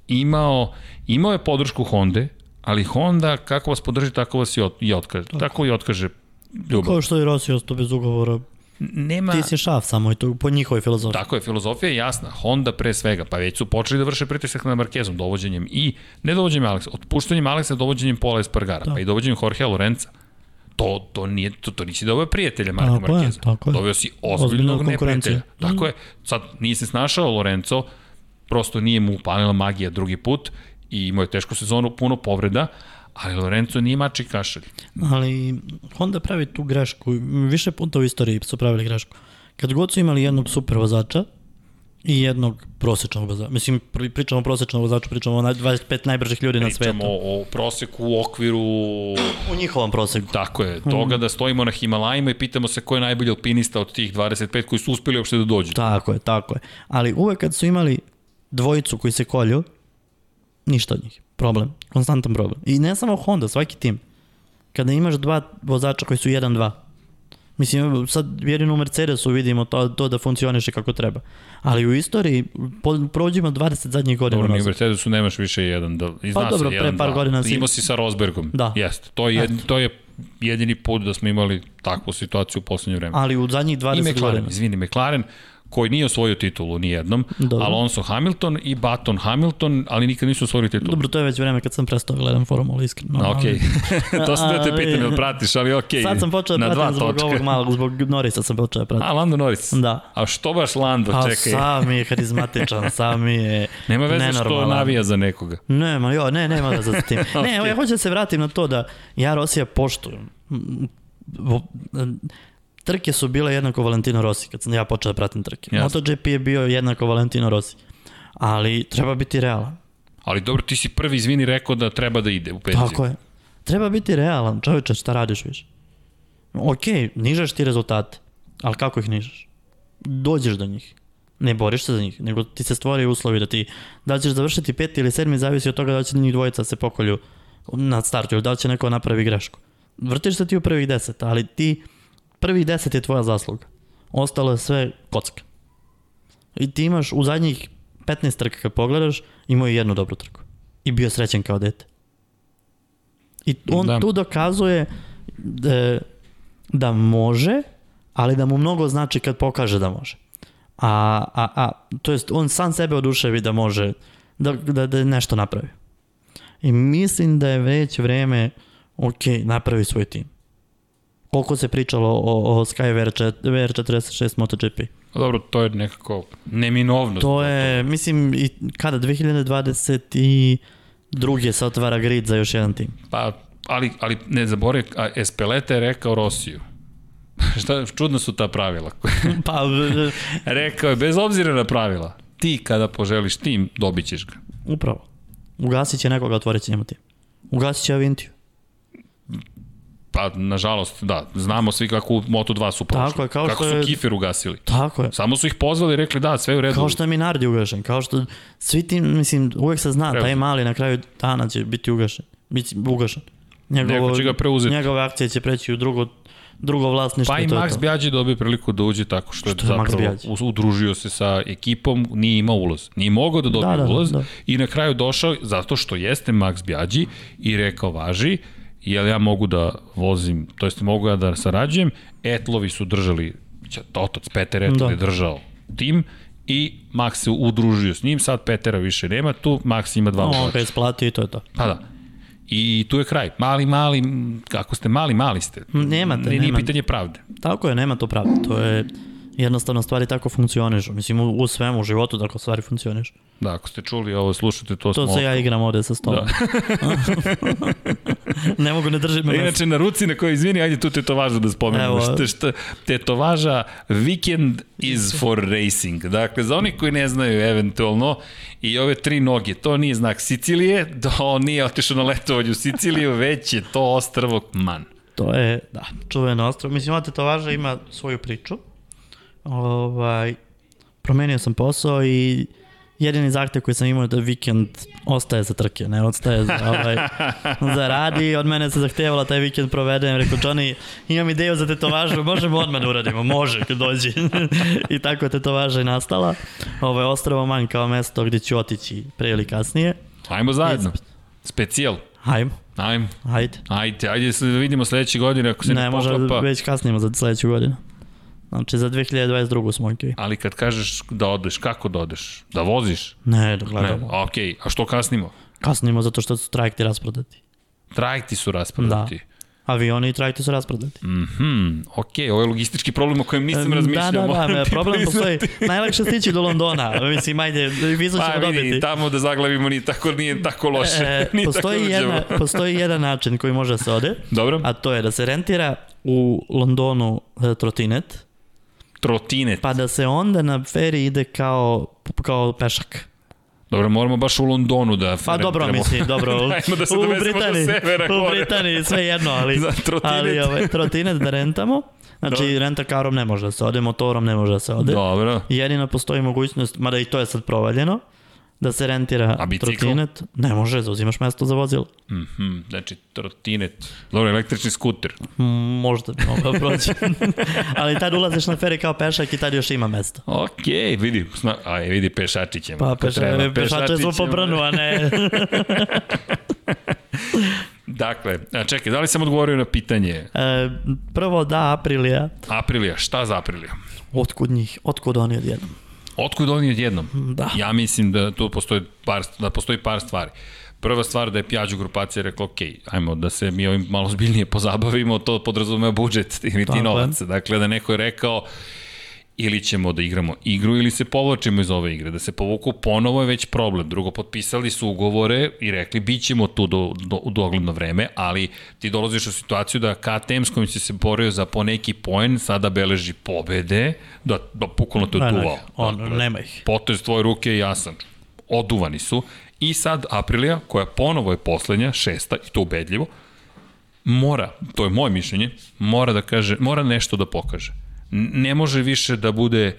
Speaker 1: imao, imao je podršku Honda, ali Honda kako vas podrži, tako vas i, ot, i otkaže. Tako i otkaže ljubav.
Speaker 2: Kao što je Rossi ostao bez ugovora,
Speaker 1: Nema...
Speaker 2: ti si šaf samo i to po njihovoj filozofiji.
Speaker 1: Tako je, filozofija je jasna. Honda pre svega, pa već su počeli da vrše pritisak na Markezom, dovođenjem i, ne dovođenjem Aleksa, otpuštanjem Aleksa, dovođenjem Pola Espargara, da. pa i dovođenjem Jorge Lorenza. To, to, nije, to, to nisi doveo prijatelja Marka
Speaker 2: Tako je,
Speaker 1: Markeza.
Speaker 2: tako je.
Speaker 1: Doveo si
Speaker 2: Ozbiljnog
Speaker 1: ozbiljnog neprijatelja.
Speaker 2: konkurencija.
Speaker 1: Tako je. Sad nije se snašao Lorenzo, prosto nije mu upalila magija drugi put i imao je tešku sezonu, puno povreda, ali Lorenzo nije mači kašalj.
Speaker 2: Ali Honda pravi tu grešku, više puta u istoriji su pravili grešku. Kad god su imali jednog super vozača i jednog prosečnog vozača, mislim pri- pričamo o prosečnom vozaču, pričamo o naj- 25 najbržih ljudi na
Speaker 1: Pričamo
Speaker 2: svetu.
Speaker 1: o proseku, u okviru
Speaker 2: U njihovom proseku.
Speaker 1: Tako je, toga
Speaker 2: Hmm.
Speaker 1: da stojimo na Himalajima i pitamo se ko je najbolji alpinista od tih 25 koji su uspeli uopšte da dođu.
Speaker 2: Tako je, tako je. Ali uvek kad su imali dvojicu koji se kolju, ništa od njih. Problem, konstantan problem. I ne samo Honda, svaki tim. Kada imaš dva vozača koji su 1-2, Mislim, sad jedino u Mercedesu vidimo to, to da funkcioniše kako treba. Ali u istoriji po- prođimo 20 zadnjih godina.
Speaker 1: Dobro, ni u
Speaker 2: nazad.
Speaker 1: Mercedesu nemaš više jedan, da, i zna
Speaker 2: Pa dobro,
Speaker 1: se
Speaker 2: pre
Speaker 1: jedan,
Speaker 2: par
Speaker 1: dva.
Speaker 2: godina si-
Speaker 1: Imao si sa Rosbergom,
Speaker 2: Da.
Speaker 1: jeste. To je, jed, to je jedini put da smo imali takvu situaciju u poslednje vreme.
Speaker 2: Ali u zadnjih
Speaker 1: I
Speaker 2: 20
Speaker 1: McLaren,
Speaker 2: godina.
Speaker 1: izvini, McLaren, koji nije osvojio titulu nijednom,
Speaker 2: Dobro.
Speaker 1: Alonso Hamilton i Baton Hamilton, ali nikad nisu osvojili titulu.
Speaker 2: Dobro, to je već vreme kad sam prestao da gledam formulu, iskreno.
Speaker 1: A, okej, [LAUGHS]
Speaker 2: ali-
Speaker 1: to sam da te
Speaker 2: Ali-
Speaker 1: pitam, jel pratiš, ali okej.
Speaker 2: Sad sam počeo
Speaker 1: Na
Speaker 2: da
Speaker 1: dva
Speaker 2: pratim zbog
Speaker 1: točka.
Speaker 2: ovog malog, zbog Norisa sam počeo da pratim.
Speaker 1: A, Lando Norris.
Speaker 2: Da.
Speaker 1: A što baš Lando,
Speaker 2: Pa
Speaker 1: čekaj.
Speaker 2: sam je
Speaker 1: [LAUGHS]
Speaker 2: harizmatičan, sam je
Speaker 1: Nema veze što
Speaker 2: nenormalan.
Speaker 1: navija za nekoga.
Speaker 2: Nema, jo, ne, nema veze sa tim. Ne, evo, ja hoću da se vratim na to da ja Rosija poštujem. M, vo- m, Trke su bile jednako Valentino Rossi kad sam ja počeo da pratim trke.
Speaker 1: Jasno.
Speaker 2: MotoGP je bio jednako Valentino Rossi. Ali treba biti realan.
Speaker 1: Ali dobro, ti si prvi, izvini, rekao da treba da ide u penziju.
Speaker 2: Tako je. Treba biti realan, čoveče, šta radiš više. Ok, nižaš ti rezultate, ali kako ih nižaš? Dođeš do njih. Ne boriš se za njih, nego ti se stvore uslovi da ti, da li ćeš završiti peti ili sedmi, zavisi od toga da li će njih dvojica se pokolju na startu ili da li će neko napravi grešku. Vrtiš se ti u prvih deset, ali ti, prvih deset je tvoja zasluga. Ostalo je sve kocka. I ti imaš u zadnjih 15 trka kad pogledaš, imao je jednu dobru trku. I bio srećen kao dete. I on
Speaker 1: Da.
Speaker 2: da. tu dokazuje da, da može, ali da mu mnogo znači kad pokaže da može. A, a, a to jest on sam sebe oduševi da može da, da, da nešto napravi. I mislim da je već vreme ok, napravi svoj tim. Koliko se pričalo o, o Sky VR4, VR46 MotoGP?
Speaker 1: Pa Dobro, to je nekako neminovno.
Speaker 2: To je, mislim, i kada? 2022. se otvara grid za još jedan
Speaker 1: [LAUGHS]
Speaker 2: tim.
Speaker 1: Pa, ali, ali ne zaboravi, a Espeleta je rekao Rosiju. [LAUGHS] Šta, čudno su ta pravila. [LAUGHS]
Speaker 2: Pa,
Speaker 1: rekao je, bez obzira na pravila, ti kada poželiš tim, dobit ćeš ga.
Speaker 2: upravo. Ugasit će nekoga, otvorit će njemu tim. Ugasit će Avintiju.
Speaker 1: Pa, nažalost, da, znamo svi kako u Moto2 su prošli.
Speaker 2: Tako je, kao
Speaker 1: kako
Speaker 2: što
Speaker 1: su
Speaker 2: je-
Speaker 1: Kifer ugasili.
Speaker 2: Tako je.
Speaker 1: Samo su ih pozvali i rekli da, sve je u redu.
Speaker 2: Kao što je Minardi ugašen, kao što svi ti, mislim, uvek se zna,
Speaker 1: Treba.
Speaker 2: taj mali na kraju dana će biti ugašen. Biti ugašen. Njegovo,
Speaker 1: Neko će ga preuzeti.
Speaker 2: Njegove akcije će preći u drugo, drugo vlasništvo.
Speaker 1: Pa i
Speaker 2: E, to je
Speaker 1: Max
Speaker 2: to.
Speaker 1: Bjađi dobio priliku da uđe tako što,
Speaker 2: Što
Speaker 1: je
Speaker 2: je Max
Speaker 1: zapravo
Speaker 2: Bjađi?
Speaker 1: uz- udružio se sa ekipom, nije imao ulaz. Nije mogao da dobije
Speaker 2: Da, da, da,
Speaker 1: ulaz
Speaker 2: da.
Speaker 1: i na kraju došao zato što jeste Max Bjađi i rekao važi, jel ja mogu da vozim, to jest mogu ja da sarađujem, Etlovi su držali, će- otac Peter Etl
Speaker 2: Da.
Speaker 1: je držao tim i Max se udružio s njim, sad Petera više nema tu, Max ima dva
Speaker 2: No,
Speaker 1: vozača.
Speaker 2: On ga isplati i to je to.
Speaker 1: Pa da. I tu je kraj. Mali, mali, m, kako ste mali, mali ste.
Speaker 2: Nemate,
Speaker 1: Nije
Speaker 2: Mm, nema.
Speaker 1: pitanje pravde.
Speaker 2: Tako je, nema to pravde. To je jednostavno stvari tako funkcionišu. Mislim, u, u svemu u životu tako stvari funkcionišu.
Speaker 1: Da, ako ste čuli ovo, slušate, to,
Speaker 2: To
Speaker 1: smo...
Speaker 2: se ja igram ovde sa stolom. [LAUGHS] ne mogu ne držim. me.
Speaker 1: Da. E, Inače, na ruci na kojoj, izvini, ajde tu tetovažu da spomenemo.
Speaker 2: Evo.
Speaker 1: Šta, šta, tetovaža Weekend is for racing. Dakle, za oni koji ne znaju eventualno, i ove tri noge, to nije znak Sicilije, [LAUGHS] da on nije otišao na letovanje u
Speaker 2: [LAUGHS]
Speaker 1: Siciliju, već je to ostrvo Man.
Speaker 2: To je, da, čuveno ostrvo. Mislim, ova tetovaža ima svoju priču. Ovaj, promenio sam posao i jedini zahtev koji sam imao je da vikend ostaje za trke, ne ostaje za, [LAUGHS] ovaj, za radi. Od mene se zahtevala taj vikend provedem. Rekao, Johnny, imam ideju za tetovažu, možemo odmah da uradimo, može, kad dođe. [LAUGHS] I tako je tetovaža i nastala. Ovaj, ostrvo man kao mesto gde ću otići pre ili kasnije.
Speaker 1: Ajmo zajedno. Specijal.
Speaker 2: Ajmo,
Speaker 1: Ajmo.
Speaker 2: ajde.
Speaker 1: Ajde, ajde se da vidimo sledeće godine ako se ne,
Speaker 2: Ne, možda
Speaker 1: poklapa.
Speaker 2: već kasnimo za sledeću godinu. Znači, za 2022. smo okej.
Speaker 1: Ali kad kažeš da odeš, kako da odeš? Da voziš?
Speaker 2: Ne, dok
Speaker 1: Ne,
Speaker 2: gledamo.
Speaker 1: okej, a što kasnimo?
Speaker 2: Kasnimo zato što su trajekti rasprodati.
Speaker 1: Trajekti su rasprodati. Da.
Speaker 2: Avioni i trajekti su rasprodati.
Speaker 1: Mhm, okej, ovo je logistički problem o kojem nisam razmišljao.
Speaker 2: Da, da,
Speaker 1: moram
Speaker 2: da,
Speaker 1: ti [LAUGHS]
Speaker 2: problem
Speaker 1: priznati.
Speaker 2: postoji. Najlakše stići do Londona. Mislim, ajde, vizu ćemo
Speaker 1: Pa vidi,
Speaker 2: dobiti.
Speaker 1: tamo da zaglavimo nije tako, nije tako loše.
Speaker 2: E,
Speaker 1: [LAUGHS] nije
Speaker 2: postoji,
Speaker 1: tako da
Speaker 2: jedna,
Speaker 1: ćemo.
Speaker 2: postoji jedan način koji može da se ode,
Speaker 1: Dobro, a,
Speaker 2: a to je da se rentira u Londonu e, trotinet,
Speaker 1: trotine. Pa,
Speaker 2: pa da se onda na feri ide kao, kao pešak.
Speaker 1: dobro, moramo baš u Londonu da
Speaker 2: Pa dobro,
Speaker 1: rentiramo.
Speaker 2: mislim, dobro.
Speaker 1: [LAUGHS] Ajmo da se dovezemo
Speaker 2: u
Speaker 1: do
Speaker 2: Britaniji,
Speaker 1: severa
Speaker 2: u
Speaker 1: gore.
Speaker 2: Britaniji sve jedno, ali,
Speaker 1: [LAUGHS] Za trotinet.
Speaker 2: ali ovaj, trotinet da rentamo. Znači,
Speaker 1: Dobro.
Speaker 2: renta karom ne može da se ode, motorom ne može da se ode.
Speaker 1: Dobro.
Speaker 2: Jedino postoji mogućnost, mada i to je sad provaljeno, da se
Speaker 1: A
Speaker 2: rentira
Speaker 1: bicikl?
Speaker 2: trotinet. Ne može, zauzimaš mesto za vozilo.
Speaker 1: Mhm, znači, trotinet. Dobro, električni skuter.
Speaker 2: Mm, Možda bi mogao
Speaker 1: [LAUGHS]
Speaker 2: proći. ali tad ulaziš na feri kao pešak i tad još ima mesta.
Speaker 1: Okej, vidi, sna, aj, vidi pešačićem.
Speaker 2: Pa peša, pešače smo po
Speaker 1: brnu.
Speaker 2: brnu, a
Speaker 1: [LAUGHS]
Speaker 2: ne...
Speaker 1: Dakle, a, čekaj, da li sam odgovorio na pitanje?
Speaker 2: E, prvo da, Aprilija.
Speaker 1: Aprilija, šta za Aprilija?
Speaker 2: Otkud njih? Otkud oni odjednom?
Speaker 1: Otkud oni odjednom?
Speaker 2: Da.
Speaker 1: Ja mislim da tu postoji par, da postoji par stvari. Prva stvar da je Pjađu grupacija rekla, ok, ajmo da se mi ovim malo zbiljnije pozabavimo, to podrazumeva budžet [LAUGHS] ili ti
Speaker 2: je.
Speaker 1: novac. Dakle, da neko je rekao, ili ćemo da igramo igru ili se povlačimo iz ove igre. Da se povuku ponovo je već problem. Drugo, potpisali su ugovore i rekli bit ćemo tu do, do, u dogledno vreme, ali ti dolaziš u situaciju da KTM s kojim si se borio za poneki poen, sada beleži pobede, da, da bukvalno te
Speaker 2: Ne, ne,
Speaker 1: oduvao.
Speaker 2: on-
Speaker 1: Dakle,
Speaker 2: nema ih.
Speaker 1: Potez tvoje ruke je jasan. Oduvani su. I sad Aprilija, koja ponovo je poslednja, šesta, i to ubedljivo, mora, to je moje mišljenje, mora da kaže, mora nešto da pokaže. N- Ne može više da bude,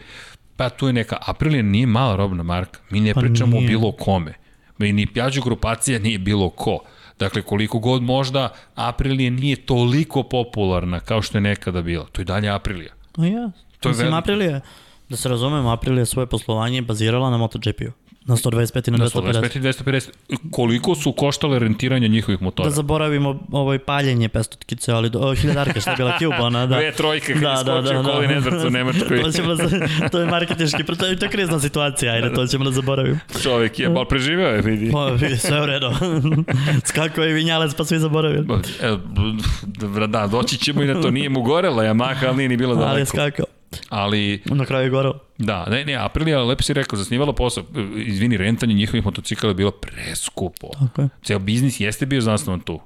Speaker 1: pa tu je neka, Aprilia nije mala robna marka, mi ne
Speaker 2: Pa
Speaker 1: pričamo o
Speaker 2: nije.
Speaker 1: bilo kome. Mi ni pjađu grupacija nije bilo ko. Dakle, koliko god možda Aprilija nije toliko popularna kao što je nekada bila. To je dalje Aprilija.
Speaker 2: No ja.
Speaker 1: To
Speaker 2: To
Speaker 1: je
Speaker 2: Mislim,
Speaker 1: veliko.
Speaker 2: Aprilija, da se razumemo, Aprilija svoje poslovanje bazirala na MotoGP-u. Na 125 i na 250.
Speaker 1: 125 i 250. Koliko su koštale rentiranje njihovih motora?
Speaker 2: Da zaboravimo ovaj paljenje pestotkice, ali do, o, hiljadarka, šta je bila Cube, ona, [LAUGHS] da.
Speaker 1: Dve trojke kad je skočio Colin Edwards
Speaker 2: [LAUGHS]
Speaker 1: u Nemačkoj.
Speaker 2: to, ćemo, za- to je marketički, to je, to je krizna situacija, ajde, to ćemo da zaboravimo.
Speaker 1: Čovjek je, ali preživeo je, vidi.
Speaker 2: Pa, vidi, sve je u redu. [LAUGHS] Skako je vinjalec, pa svi zaboravili.
Speaker 1: E, b- Da, doći ćemo i na to. Nije mu gorela Yamaha, ali nije ni bila
Speaker 2: Ali je
Speaker 1: daleko.
Speaker 2: skakao.
Speaker 1: Ali,
Speaker 2: Na kraju je gorao.
Speaker 1: da, ne, ne, Aprilia, lepo si rekao, zasnivala posao. E, Izvini, rentanje njihovih motocikala je bilo preskupo.
Speaker 2: Tako je.
Speaker 1: Ceo biznis jeste bio zasnovan tu.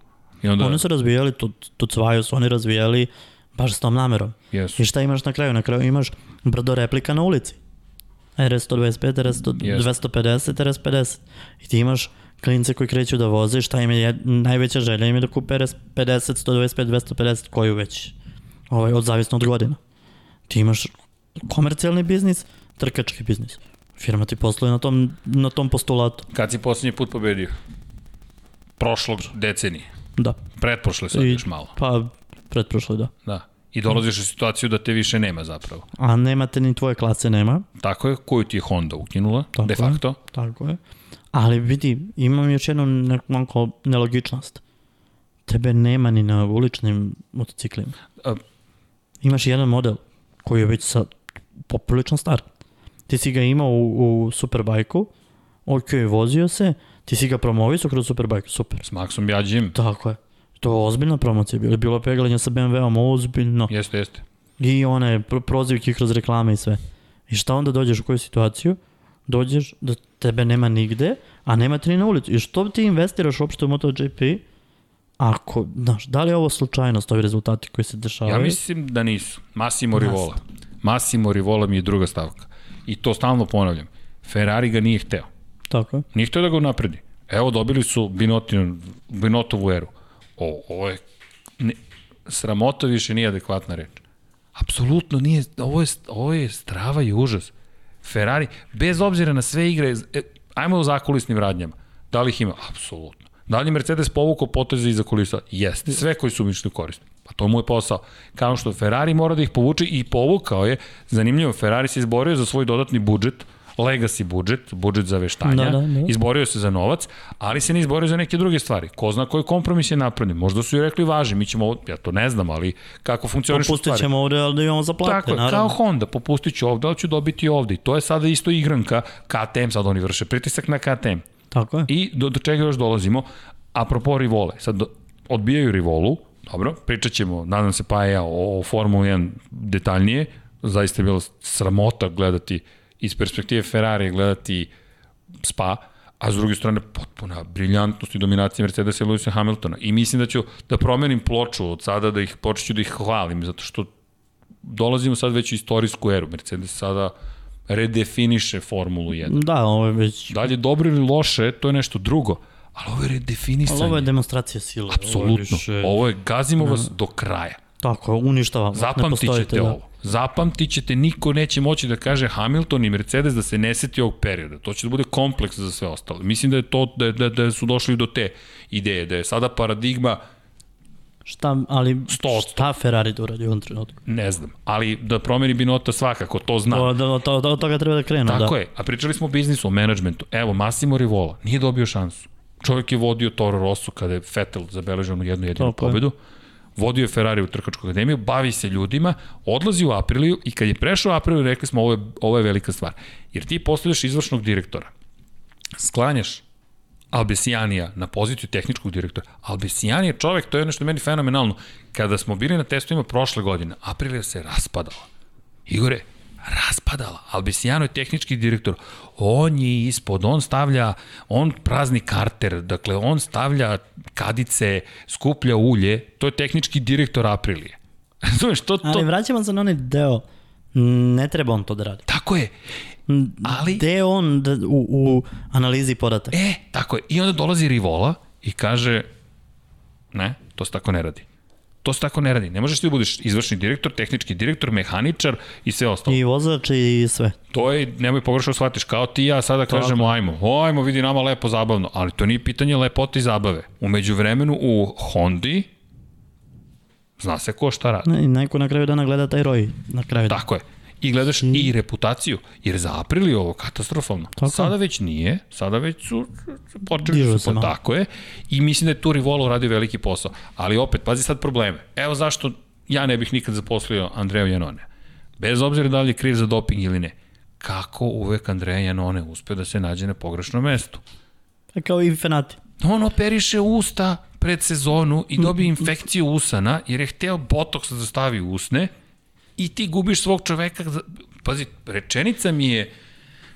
Speaker 1: I onda,
Speaker 2: Oni su razvijali, tu, tu cvaju su oni razvijali baš s tom namerom.
Speaker 1: jesu.
Speaker 2: I šta imaš na kraju? Na kraju imaš brdo replika na ulici. RS-125,
Speaker 1: Jeste.
Speaker 2: RS-250, RS-50. I ti imaš klince koji kreću da voze, šta im je jed- najveća želja im je da kupe RS-50, 125, 250, koju već, ovaj, od, zavisno od godina. Ti imaš komercijalni biznis, trkački biznis. Firma ti posluje na tom, na tom postulatu.
Speaker 1: Kad si posljednji put pobedio? Prošlog decenije.
Speaker 2: Da.
Speaker 1: Pretprošle sad I... još malo.
Speaker 2: Pa, pretprošle, da.
Speaker 1: Da. I dolaziš u situaciju da te više nema zapravo.
Speaker 2: A nemate ni tvoje klase, nema.
Speaker 1: Tako je, koju ti je Honda ukinula,
Speaker 2: Tako
Speaker 1: de facto.
Speaker 2: Je, tako je. Ali vidi, imam još jednu neku manjko nelogičnost. Tebe nema ni na uličnim motociklima.
Speaker 1: A,
Speaker 2: Imaš jedan model koji je već sad poprilično star. Ti si ga imao u, u Superbajku, ok, vozio se, ti si ga promovisao kroz Superbajku, super.
Speaker 1: s Maxom Jađim.
Speaker 2: Tako je. To je ozbiljna promocija bila, bilo je peglanje sa BMW-om, ozbiljno.
Speaker 1: Jeste, jeste.
Speaker 2: I one pro- prozivke kroz reklame i sve. I šta onda dođeš u koju situaciju? Dođeš da tebe nema nigde, a nema te ni na ulicu. I što ti investiraš uopšte u MotoGP? Ako, znaš, da li je ovo slučajnost, ovi rezultati koji se dešavaju?
Speaker 1: Ja mislim da nisu. Massimo Rivola. Massimo Rivola mi je druga stavka. I to stalno ponavljam. Ferrari ga nije hteo.
Speaker 2: Tako je.
Speaker 1: Nije hteo da ga napredi. Evo, dobili su Binotin, Binotovu eru. O, ovo je... Ne, sramota više nije adekvatna reč. Apsolutno nije... Ovo je, ovo je strava i užas. Ferrari, bez obzira na sve igre, e, ajmo o zakulisnim radnjama. Da li ih ima? Apsolutno. Da li je Mercedes povukao poteze iza kulisa? Jeste. Sve koji su mišli korisni. Pa to mu je posao. Kao što Ferrari mora da ih povuče i povukao je. Zanimljivo, Ferrari se izborio za svoj dodatni budžet, legacy budžet, budžet za veštanja,
Speaker 2: Da, da, da.
Speaker 1: izborio se za novac, ali se ne izborio za neke druge stvari. Ko zna koji kompromis je napravljen. Možda su i rekli važi, mi ćemo ovo, ja to ne znam, ali kako funkcioniš
Speaker 2: Pustit ćemo ovde, ali da imamo za plate,
Speaker 1: Tako je,
Speaker 2: naravno.
Speaker 1: kao Honda, popustit ću ovde, ali ću dobiti ovde. I to je sada isto igranka KTM, sad oni vrše pritisak na KTM.
Speaker 2: Tako je.
Speaker 1: I do, do čega još dolazimo? Apropo Rivole, sad do- odbijaju Rivolu, dobro, pričat ćemo, nadam se pa i ja o, o Formula 1 detaljnije, zaista je bila sramota gledati iz perspektive Ferrari, gledati Spa, a s druge strane potpuna briljantnost i dominacija Mercedesa i Lewisa Hamiltona. I mislim da ću da promenim ploču od sada, da ih počeću da ih hvalim, zato što dolazimo sad već u istorijsku eru. Mercedes sada redefiniše Formulu 1.
Speaker 2: Da, ovo je već...
Speaker 1: Da li je dobro ili loše, to je nešto drugo. Ali ovo je redefinisanje.
Speaker 2: Ali ovo je demonstracija sile. Ovo je
Speaker 1: Apsolutno.
Speaker 2: više-
Speaker 1: Ovo je, gazimo vas do kraja.
Speaker 2: Tako, je, uništavamo. ne
Speaker 1: Zapamtit
Speaker 2: postojite,
Speaker 1: ćete
Speaker 2: da.
Speaker 1: ovo. Zapamtit ćete, niko neće moći da kaže Hamilton i Mercedes da se ne seti ovog perioda. To će da bude kompleks za sve ostalo. Mislim da je to, da, da, da su došli do te ideje, da je sada paradigma
Speaker 2: Šta, ali
Speaker 1: Sto-
Speaker 2: šta Ferrari da uradi u ovom trenutku?
Speaker 1: ne znam, ali da promeni Binota svakako, to znam.
Speaker 2: Da. Da, da, da, od toga treba da krenu,
Speaker 1: Tako
Speaker 2: da.
Speaker 1: je, a pričali smo o biznisu, o menadžmentu. Evo, Massimo Rivola nije dobio šansu. Čovjek je vodio Toro Rosso kada je Vettel zabeležio onu jednu jedinu
Speaker 2: Tako je.
Speaker 1: pobedu. Vodio je Ferrari u trkačku akademiju, bavi se ljudima, odlazi u Apriliju i kad je prešao Apriliju rekli smo ovo je, ovo je velika stvar. Jer ti postavljaš izvršnog direktora, sklanjaš Albesijanija na poziciju tehničkog direktora. Albesijan je čovek, to je ono što je meni fenomenalno. Kada smo bili na testovima prošle godine, Aprilija se raspadala. Igore, raspadala. Albesijano je tehnički direktor. On je ispod, on stavlja, on prazni karter, dakle on stavlja kadice, skuplja ulje. To je tehnički direktor Aprilije. [LAUGHS] Razumeš, to, to,
Speaker 2: Ali vraćamo se na onaj deo, ne treba on to da radi.
Speaker 1: tako je. Ali,
Speaker 2: Gde je on da, u, u analizi podataka?
Speaker 1: e, tako je. I onda dolazi Rivola i kaže, ne, to se tako ne radi. To se tako ne radi. Ne možeš ti da budeš izvršni direktor, tehnički direktor, mehaničar i sve ostalo.
Speaker 2: I vozač i sve.
Speaker 1: To je, nemoj pogrešno da shvatiš, kao ti i ja sada kažemo ajmo, ajmo vidi nama lepo zabavno, ali to nije pitanje lepote i zabave. Umeđu vremenu u Hondi zna se ko šta radi.
Speaker 2: Ne, neko na kraju dana gleda taj roj. Na kraju dana.
Speaker 1: Tako je. I gledaš i reputaciju, jer za april je ovo katastrofalno.
Speaker 2: Mm. Tako je.
Speaker 1: Sada već nije, sada već su su počeli
Speaker 2: Dižu
Speaker 1: su,
Speaker 2: se
Speaker 1: po-
Speaker 2: malo.
Speaker 1: tako je, i mislim da je tu Rivolo radio veliki posao. Ali opet, pazi sad probleme. Evo zašto ja ne bih nikad zaposlio Andreja Janone. Bez obzira da li je kriv za doping ili ne, kako uvek Andreja Janone uspe da se nađe na pogrešnom mestu.
Speaker 2: Kao i Fenati.
Speaker 1: On operiše usta pred sezonu i dobije infekciju usana jer je hteo botoks da stavi u usne i ti gubiš svog čoveka. za- Pazi, rečenica mi je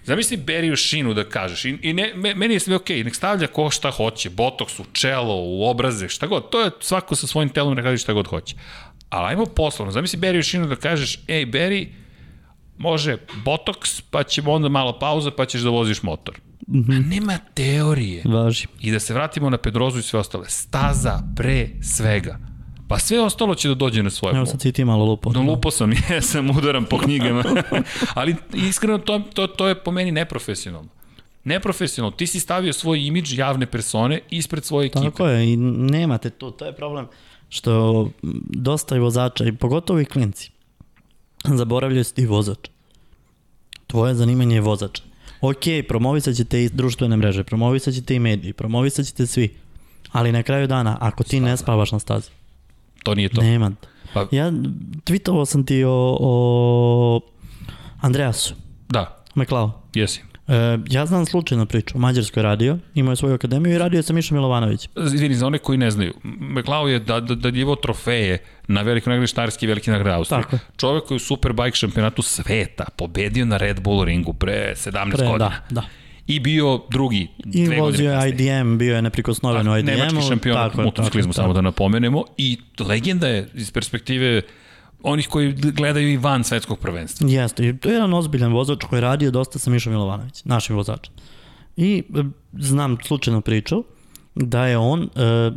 Speaker 1: Zamisli Beriju Šinu da kažeš. I, i ne, me- meni je sve okej, nek stavlja ko šta hoće, botoks u čelo, u obraze, šta god. To je svako sa svojim telom neka radi šta god hoće. Ali ajmo poslovno. Zamisli Beriju Šinu da kažeš, ej Beri, može botoks, pa ćemo onda malo pauza, pa ćeš da voziš motor. A nema teorije.
Speaker 2: Važi.
Speaker 1: I da se vratimo na Pedrozu i sve ostale. Staza pre svega. Pa sve ostalo će da dođe na svoje.
Speaker 2: Evo
Speaker 1: mesto.
Speaker 2: sad si ti malo lupo.
Speaker 1: No, lupo sam, [LAUGHS] jesam, udaram po knjigama. Ali iskreno, to, to, to je po meni neprofesionalno. neprofesionalno, ti si stavio svoj imidž javne persone ispred svoje ekipe.
Speaker 2: Tako je, i nemate to, to je problem što dosta i vozača, i pogotovo i klinci, zaboravljaju se ti vozač. Tvoje zanimanje je vozač. Ok, promovisat ćete i društvene mreže, promovisat ćete i mediji, promovisat ćete svi, ali na kraju dana, ako ti ne spavaš na stazi,
Speaker 1: To nije to.
Speaker 2: nema.
Speaker 1: Pa,
Speaker 2: Ja tweetovao sam ti o, o Andreasu,
Speaker 1: da,
Speaker 2: McLeod.
Speaker 1: jesi.
Speaker 2: E, ja znam slučajno priču. U Mađarskoj je radio, imao je svoju akademiju i radio je sa Mišom Milovanovićem.
Speaker 1: Izvini, za one koji ne znaju, McLeod je da, da, da trofeje na velikom nagradi Štarski i veliki nagradi Austrije.
Speaker 2: Tako je.
Speaker 1: Čovek koji je u Superbike šampionatu sveta pobedio na Red Bull ringu pre 17
Speaker 2: Pre,
Speaker 1: godina.
Speaker 2: da, da.
Speaker 1: I bio drugi dve
Speaker 2: I
Speaker 1: godine
Speaker 2: vozio je
Speaker 1: kasnije.
Speaker 2: IDM, bio je neprikosnoven u IDM-u.
Speaker 1: Nemački šampion
Speaker 2: tako
Speaker 1: u
Speaker 2: je,
Speaker 1: motociklizmu,
Speaker 2: tako je,
Speaker 1: samo da napomenemo. I legenda je iz perspektive onih koji gledaju i van svetskog prvenstva.
Speaker 2: Jeste, i to je jedan ozbiljan vozač koji je radio dosta sa Mišom Milovanović, našim vozačem. I e, znam slučajno priču da je on e,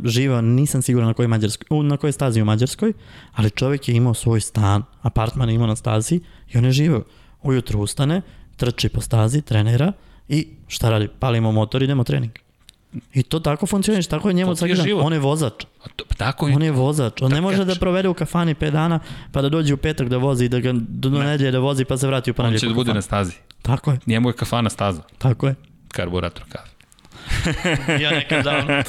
Speaker 2: živao, nisam siguran na kojoj, Mađarskoj, u, na kojoj stazi u Mađarskoj, ali čovek je imao svoj stan, apartman je imao na stazi i on je živao. Ujutro ustane, trči po stazi, trenira i šta radi? Palimo motor, idemo trening. I to tako funkcioniš, tako je njemu
Speaker 1: To ti je
Speaker 2: svaki dan.
Speaker 1: život.
Speaker 2: On je vozač.
Speaker 1: A to, pa tako i
Speaker 2: On je vozač, on ne može da
Speaker 1: kažeš.
Speaker 2: provede u kafani 5 dana, pa da dođe u petak da vozi, da ga do do nedelje da vozi, pa se vrati u
Speaker 1: on
Speaker 2: ponedeljak.
Speaker 1: će da
Speaker 2: u
Speaker 1: bude na
Speaker 2: kafanu.
Speaker 1: stazi.
Speaker 2: Tako je,
Speaker 1: Njemu je kafana staza,
Speaker 2: tako je.
Speaker 1: karburator kafe.
Speaker 2: [LAUGHS] Ja nekad davno.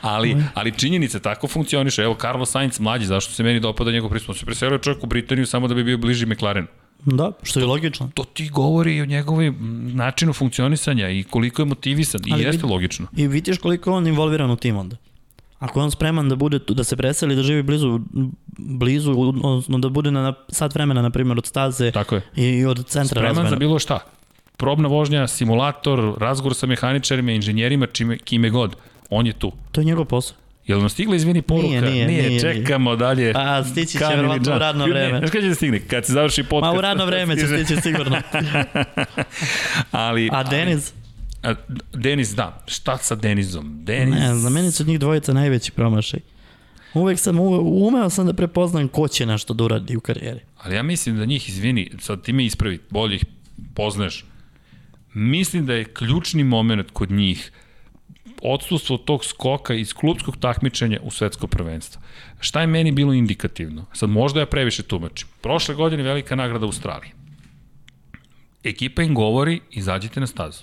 Speaker 1: Ali, ali činjenice tako funkcioniše. Evo, Carlos Sainz mlađi, zašto se meni dopada njegov pristup? On se preselio čovjek u Britaniju samo da bi bio bliži McLarenu.
Speaker 2: Da, što je logično.
Speaker 1: To ti govori i o njegovom načinu funkcionisanja i koliko je motivisan. I
Speaker 2: Ali
Speaker 1: jeste
Speaker 2: vidi-
Speaker 1: logično.
Speaker 2: I vidiš koliko je on involviran u tim onda. Ako je on spreman da bude tu, da se preseli, da živi blizu, blizu odnosno da bude na- na sat vremena, na primjer, od staze
Speaker 1: Tako je.
Speaker 2: i, i od centra
Speaker 1: Spreman
Speaker 2: razmena.
Speaker 1: za bilo šta. Probna vožnja, simulator, razgovor sa mehaničarima, inženjerima, čime, kime god. On je tu.
Speaker 2: To je njegov posao.
Speaker 1: Jel nam stigla, izvini, poruka?
Speaker 2: Nije, nije, nije,
Speaker 1: čekamo dalje.
Speaker 2: A, Pa, stići će
Speaker 1: Kamil i
Speaker 2: verovatno u
Speaker 1: Džan.
Speaker 2: radno
Speaker 1: Ne,
Speaker 2: vreme.
Speaker 1: Znaš kada će da stigne? Kad se završi
Speaker 2: Ma
Speaker 1: podcast.
Speaker 2: u radno vreme
Speaker 1: [LAUGHS]
Speaker 2: će stići [LAUGHS] sigurno.
Speaker 1: Ali,
Speaker 2: A Denis?
Speaker 1: A, Denis, da. Šta sa Denizom? Denis...
Speaker 2: Ne, za mene su njih dvojica najveći promašaj. Uvek sam, uve, umeo sam da prepoznam ko će nešto da uradi u karijeri.
Speaker 1: Ali ja mislim da njih, izvini, sad ti me ispravi, bolje ih poznaš. Mislim da je ključni moment kod njih odsustvo tog skoka iz klubskog takmičenja u svetsko prvenstvo. Šta je meni bilo indikativno? Sad možda ja previše tumačim. Prošle godine velika nagrada Australije. Ekipa im govori, izađite na stazu.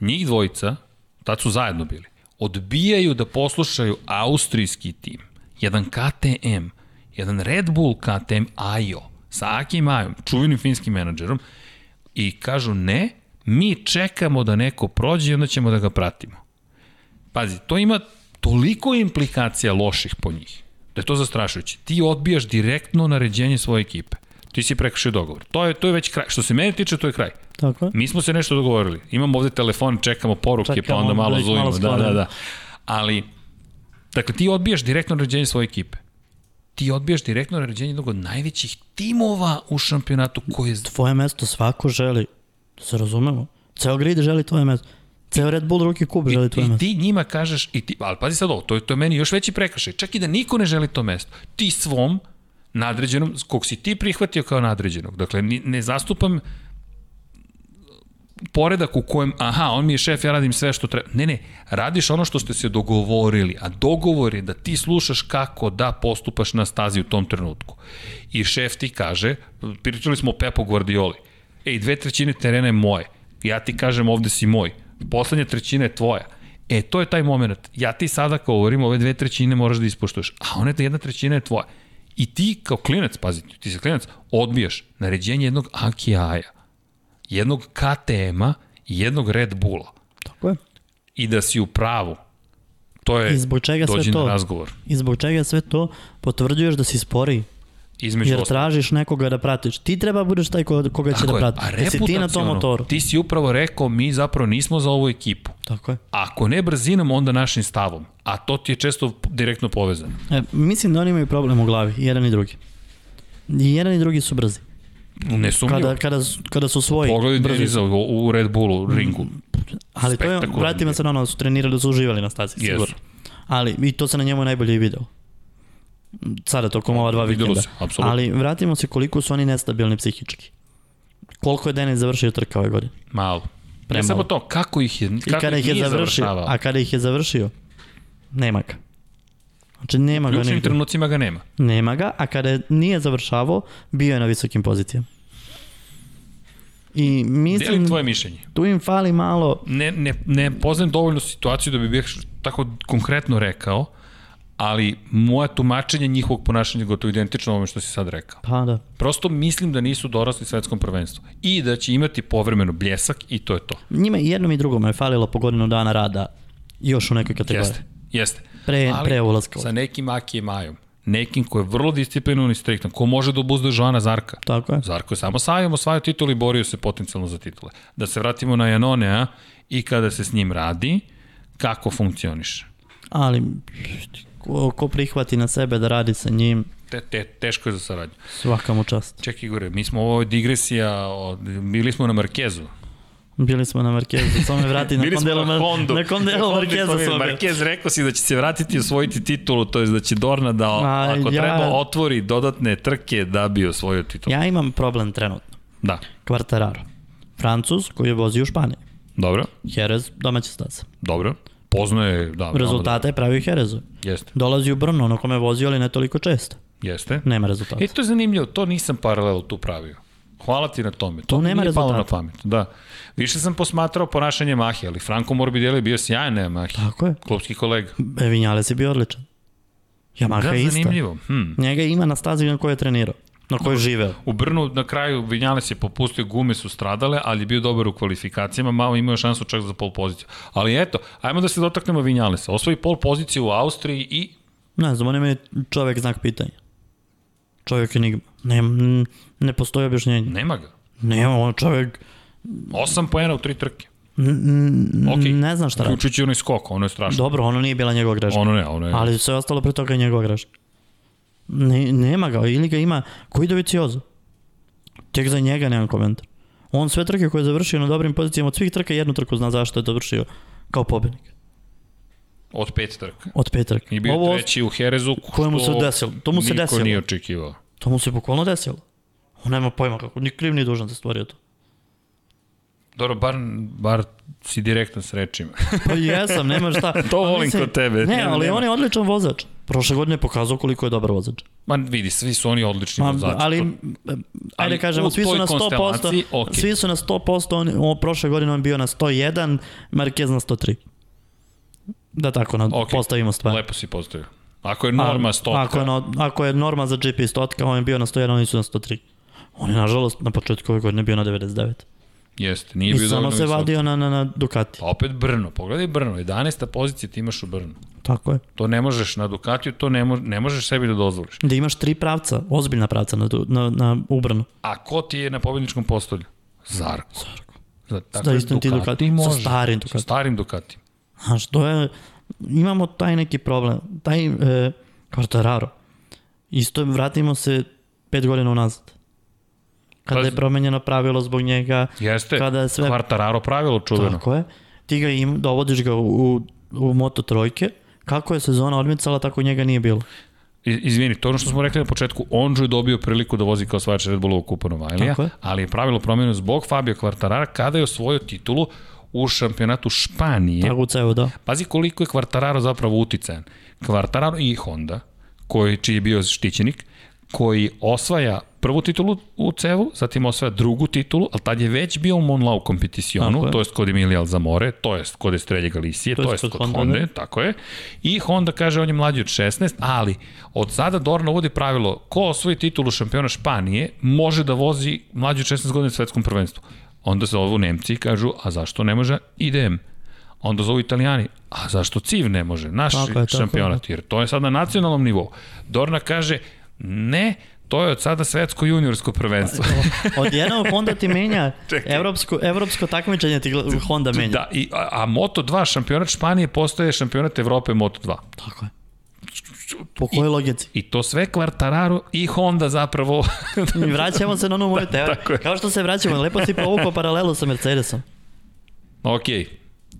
Speaker 1: Njih dvojica, tad su zajedno bili, odbijaju da poslušaju austrijski tim. Jedan KTM, jedan Red Bull KTM Ajo, sa Akim Ajom, čuvenim finskim menadžerom, i kažu ne, mi čekamo da neko prođe i onda ćemo da ga pratimo. Pazi, to ima toliko implikacija loših po njih, da je to zastrašujuće. Ti odbijaš direktno naređenje svoje ekipe. Ti si prekršio dogovor. To je, to je već kraj. Što se mene tiče, to je kraj.
Speaker 2: Tako je?
Speaker 1: Mi smo se nešto dogovorili. Imamo ovde telefon, čekamo poruke, čekamo,
Speaker 2: Čekamo
Speaker 1: pa onda
Speaker 2: da
Speaker 1: malo
Speaker 2: ih malo
Speaker 1: zovemo. Da, da,
Speaker 2: skladamo.
Speaker 1: da. Ali, dakle, ti odbijaš direktno naređenje svoje ekipe. Ti odbijaš direktno naređenje jednog od najvećih timova u šampionatu koji je...
Speaker 2: Tvoje mesto svako želi, da se razumemo. Ceo grid želi tvoje mesto. Ceo Red Bull ruki kup želi tvoje
Speaker 1: I
Speaker 2: mesto.
Speaker 1: ti njima kažeš, i ti, ali pazi sad ovo, to je, to je meni još veći prekršaj. Čak i da niko ne želi to mesto. Ti svom nadređenom, kog si ti prihvatio kao nadređenog. Dakle, ni- ne zastupam poredak u kojem, aha, on mi je šef, ja radim sve što treba. Ne, ne, radiš ono što ste se dogovorili, a dogovor je da ti slušaš kako da postupaš na stazi u tom trenutku. I šef ti kaže, pričali smo o Pepo Guardioli, ej, dve trećine terena je moje, ja ti kažem ovde si moj, poslednja trećina je tvoja. E, to je taj moment. Ja ti sada kao govorim, ove dve trećine moraš da ispoštuješ, a one jedna trećina je tvoja. I ti kao klinac, pazi, ti si klinac, odbijaš naređenje jednog Akijaja jednog KTM-a i jednog Red Bulla
Speaker 2: Tako je.
Speaker 1: i da si u pravu, to je
Speaker 2: I zbog čega sve
Speaker 1: E, dođi na
Speaker 2: to?
Speaker 1: razgovor.
Speaker 2: I zbog čega sve to potvrđuješ da si sporiji.
Speaker 1: Između
Speaker 2: Jer
Speaker 1: ostalog.
Speaker 2: tražiš nekoga da pratiš. Ti treba da budeš taj ko- koga će da
Speaker 1: Tako je,
Speaker 2: prati.
Speaker 1: a
Speaker 2: Jer si ti na tom
Speaker 1: reputaciono,
Speaker 2: motoru.
Speaker 1: Ti si upravo rekao, mi zapravo nismo za ovu ekipu.
Speaker 2: Tako je.
Speaker 1: Ako ne brzinom, onda našim stavom. A to ti je često direktno povezano.
Speaker 2: E, mislim da oni imaju problem u glavi, i jedan i drugi. I jedan i drugi su brzi.
Speaker 1: Nesumljivo.
Speaker 2: Kada,
Speaker 1: Kada,
Speaker 2: kada, su- kada su svoji
Speaker 1: Pogledaj
Speaker 2: brzi Mm.
Speaker 1: Deniza u, u Red Bullu, ringu.
Speaker 2: Ali to je,
Speaker 1: Spektakularno
Speaker 2: vratimo se na ono, da su trenirali, da su uživali na stazi,
Speaker 1: Jesu.
Speaker 2: sigurno. Ali, i to se na njemu najbolje i videlo. Sada, tokom ova dva
Speaker 1: Videlo
Speaker 2: vikenda.
Speaker 1: se, apsolutno.
Speaker 2: Ali vratimo se koliko su oni nestabilni psihički. Koliko je Denis završio trka ove godine?
Speaker 1: Malo. Ne
Speaker 2: premalo.
Speaker 1: samo to, kako ih je,
Speaker 2: I
Speaker 1: kako
Speaker 2: kada ih je
Speaker 1: nije
Speaker 2: završio,
Speaker 1: završavao.
Speaker 2: a kada ih je završio, nema ga. Znači nema
Speaker 1: U
Speaker 2: ga
Speaker 1: ključnim
Speaker 2: nigde.
Speaker 1: trenucima ga nema.
Speaker 2: Nema ga, a kada je- nije završavao, bio je na visokim pozicijama. I
Speaker 1: Delim
Speaker 2: mislim,
Speaker 1: tvoje mišljenje.
Speaker 2: tu im fali malo
Speaker 1: Ne, ne, ne poznajem dovoljno situaciju da bi bih tako konkretno rekao, ali moje tumačenje njihovog ponašanja je gotovo identično ovome što si sad rekao.
Speaker 2: Pa da.
Speaker 1: Prosto mislim da nisu dorasli svetskom prvenstvu i da će imati povremeno bljesak i to je to.
Speaker 2: Njima i jednom i drugom je falilo po godinu dana rada još u nekoj kategoriji.
Speaker 1: Jeste, jeste.
Speaker 2: Pre,
Speaker 1: Ali-
Speaker 2: pre ulaska. u-
Speaker 1: Sa nekim Aki i Majom, nekim ko je vrlo disciplinovan i striktan, ko može da obuzda Joana Zarka.
Speaker 2: Tako je.
Speaker 1: Zarko je samo sajom osvajao titul i borio se potencijalno za titule. Da se vratimo na Janonea i kada se s njim radi, kako funkcioniše.
Speaker 2: Ali ko, ko prihvati na sebe da radi sa njim,
Speaker 1: Te, te, teško je za saradnju.
Speaker 2: svaka mu čast.
Speaker 1: Čekaj Igore, mi smo ovo je digresija, od, bili smo na Markezu.
Speaker 2: Bili smo na Markezu, to me vrati na
Speaker 1: bili
Speaker 2: kom
Speaker 1: smo
Speaker 2: delu,
Speaker 1: na
Speaker 2: Mar-
Speaker 1: Hondu.
Speaker 2: na kom delu
Speaker 1: Honda
Speaker 2: Markeza
Speaker 1: smo bili.
Speaker 2: sobe.
Speaker 1: Markez rekao si da će se vratiti i osvojiti titulu, to je da će Dorna da,
Speaker 2: A,
Speaker 1: ako
Speaker 2: ja-
Speaker 1: treba, otvori dodatne trke da bi osvojio titulu.
Speaker 2: Ja imam problem trenutno.
Speaker 1: Da,
Speaker 2: Quartararo. Francus koji je vozio u Španiji.
Speaker 1: dobro,
Speaker 2: Jerez, domaća
Speaker 1: Pa,
Speaker 2: staza.
Speaker 1: dobro. Poznaje, da. veoma
Speaker 2: Rezultata je pravio Jerezu.
Speaker 1: dobro. Jeste,
Speaker 2: Dolazi u Brno, na kome je vozio, ali ne toliko često.
Speaker 1: jeste.
Speaker 2: Nema rezultata.
Speaker 1: E, to je zanimljivo, to nisam paralel tu pravio. Hvala ti na tome. To,
Speaker 2: Tu
Speaker 1: mi
Speaker 2: nema
Speaker 1: nije palo na
Speaker 2: rezultata.
Speaker 1: pamet. Da. Više sam posmatrao ponašanje Mahe, ali Franco Morbidelli je bio sjajan na Mahe.
Speaker 2: Tako je.
Speaker 1: Klopski kolega.
Speaker 2: E, Vinjales je bio odličan. Yamaha
Speaker 1: da,
Speaker 2: je ista.
Speaker 1: zanimljivo. Hm.
Speaker 2: Njega ima na stazi na kojoj je trenirao, na kojoj je živeo.
Speaker 1: U Brnu na kraju Vinjales je popustio, gume su stradale, ali je bio dobar u kvalifikacijama, malo imao je šansu čak za pol poziciju. Ali eto, ajmo da se dotaknemo Vinjalesa. Osvoji pol poziciju u Austriji i
Speaker 2: Ne znam, on je meni čovek znak pitanja. Čovek enigma. Ne, n- ne postoji objašnjenje.
Speaker 1: nema ga.
Speaker 2: Ne, on čovek,
Speaker 1: Osam poena u tri trke.
Speaker 2: n- n-
Speaker 1: Ok.
Speaker 2: ne znam šta radi.
Speaker 1: Uključujući onaj skok, ono je strašno.
Speaker 2: Dobro, ono nije bila njegova greška.
Speaker 1: Ono ne, ono je.
Speaker 2: Ali sve ostalo pre toga je njegova greška. Ne, nema ga, ili ga ima koji doviciozo. Tek za njega nemam komentar. On sve trke koje je završio na dobrim pozicijama, od svih trka jednu trku zna zašto je završio kao pobednik.
Speaker 1: Od pet trka.
Speaker 2: Od pet trka.
Speaker 1: I bio
Speaker 2: Ovo,
Speaker 1: Ovo... treći u Herezu,
Speaker 2: koje mu se
Speaker 1: što
Speaker 2: desilo. To mu se
Speaker 1: niko
Speaker 2: desilo.
Speaker 1: nije očekivao.
Speaker 2: To mu se bukvalno desilo. On nema pojma kako, ni kriv ni dužan da stvorio to.
Speaker 1: Dobro, bar, bar si direktan s rečima. [LAUGHS]
Speaker 2: Pa jesam, nema šta.
Speaker 1: To
Speaker 2: Ali
Speaker 1: volim
Speaker 2: mislim-
Speaker 1: kod tebe.
Speaker 2: Ne,
Speaker 1: Nema,
Speaker 2: ali
Speaker 1: nema.
Speaker 2: on je odličan vozač. Prošle godine je pokazao koliko je dobar vozač.
Speaker 1: Ma vidi, svi su oni odlični
Speaker 2: Ma,
Speaker 1: vozači.
Speaker 2: ali, eh,
Speaker 1: To-
Speaker 2: ajde
Speaker 1: Ali u
Speaker 2: kažemo, svi su
Speaker 1: toj
Speaker 2: na 100%,
Speaker 1: konstelaciji, okej.
Speaker 2: svi su na 100%, on, on, prošle godine on bio na 101, Marquez na 103. Da tako, na,
Speaker 1: Okej.
Speaker 2: postavimo stvar.
Speaker 1: Lepo si postavio. Ako je norma stotka,
Speaker 2: pa- Ako je, no, ako je norma za GP stotka, on je bio na 101, oni su na 103. On je, nažalost, na početku ove godine bio na 99.
Speaker 1: jeste, nije
Speaker 2: I
Speaker 1: bio
Speaker 2: samo
Speaker 1: dovoljno
Speaker 2: se
Speaker 1: visok.
Speaker 2: vadio na, na, na Ducati.
Speaker 1: Pa opet Brno, pogledaj Brno, 11. pozicija ti imaš u Brnu.
Speaker 2: Tako je.
Speaker 1: To ne možeš na Ducatiju, to ne, mo ne možeš sebi da dozvoliš.
Speaker 2: Da imaš tri pravca, ozbiljna pravca na, du- na, na ubranu.
Speaker 1: A ko ti je na pobedničkom postolju? Zarko. Zarko. Za, tako
Speaker 2: Da,
Speaker 1: da,
Speaker 2: istim ti
Speaker 1: Ducati,
Speaker 2: Ducati, sa
Speaker 1: može.
Speaker 2: starim
Speaker 1: Sa
Speaker 2: Ducati.
Speaker 1: starim Ducati.
Speaker 2: Znaš, to je, imamo taj neki problem, taj e, Quartararo. Isto je, vratimo se pet godina unazad. Kada
Speaker 1: Pazi.
Speaker 2: je promenjeno pravilo zbog njega,
Speaker 1: Jeste,
Speaker 2: Kada je sve-
Speaker 1: Quartararo pravilo čuveno.
Speaker 2: tako je, ti ga im, dovodiš ga u, u moto trojke, kako je sezona odmicala, tako njega nije bilo.
Speaker 1: I- Izvini, to je ono što smo rekli na početku, Onžu je dobio priliku da vozi kao svač Red Bullovog kupa Novajlija,
Speaker 2: Tako je.
Speaker 1: ali je pravilo promjeno zbog Fabio Quartarara kada je osvojio titulu u šampionatu Španije.
Speaker 2: Tako u ceo, da.
Speaker 1: Pazi koliko je Quartararo zapravo uticajan. Quartararo i Honda, koji, čiji je bio štićenik, koji osvaja prvu titulu u cevu, zatim osvaja drugu titulu, ali tad je već bio u Monlau kompeticionu,
Speaker 2: Tako je.
Speaker 1: to jest kod Emilija Alzamore, to jest kod Estrelja Galicije, to, jest kod, Honda, Honda,
Speaker 2: da.
Speaker 1: tako je. I Honda kaže, on je mlađi od 16, ali od sada Dorna uvodi pravilo, ko osvoji titulu šampiona Španije, može da vozi mlađi od 16 godina na svetskom prvenstvu. Onda se ovu Nemci i kažu, a zašto ne može IDM? Onda zovu Italijani, a zašto CIV ne može? Naš
Speaker 2: Tako je, tako je,
Speaker 1: šampionat, jer to je sad na nacionalnom nivou. Dorna kaže, ne, to je od sada svetsko juniorsko prvenstvo.
Speaker 2: Odjednom Honda ti menja, evropsko, evropsko takmičenje ti gla- Honda [LAUGHS] menja.
Speaker 1: Da, i, a, a Moto2 šampionat Španije postaje šampionat Evrope Moto2.
Speaker 2: Tako je. Po kojoj [LAUGHS] logici?
Speaker 1: I to sve Quartararo i Honda zapravo [LAUGHS]
Speaker 2: I vraćamo se na onu moju teoriju.
Speaker 1: tako je.
Speaker 2: Kao što se vraćamo, lepo si povukao paralelu sa Mercedesom.
Speaker 1: Ok,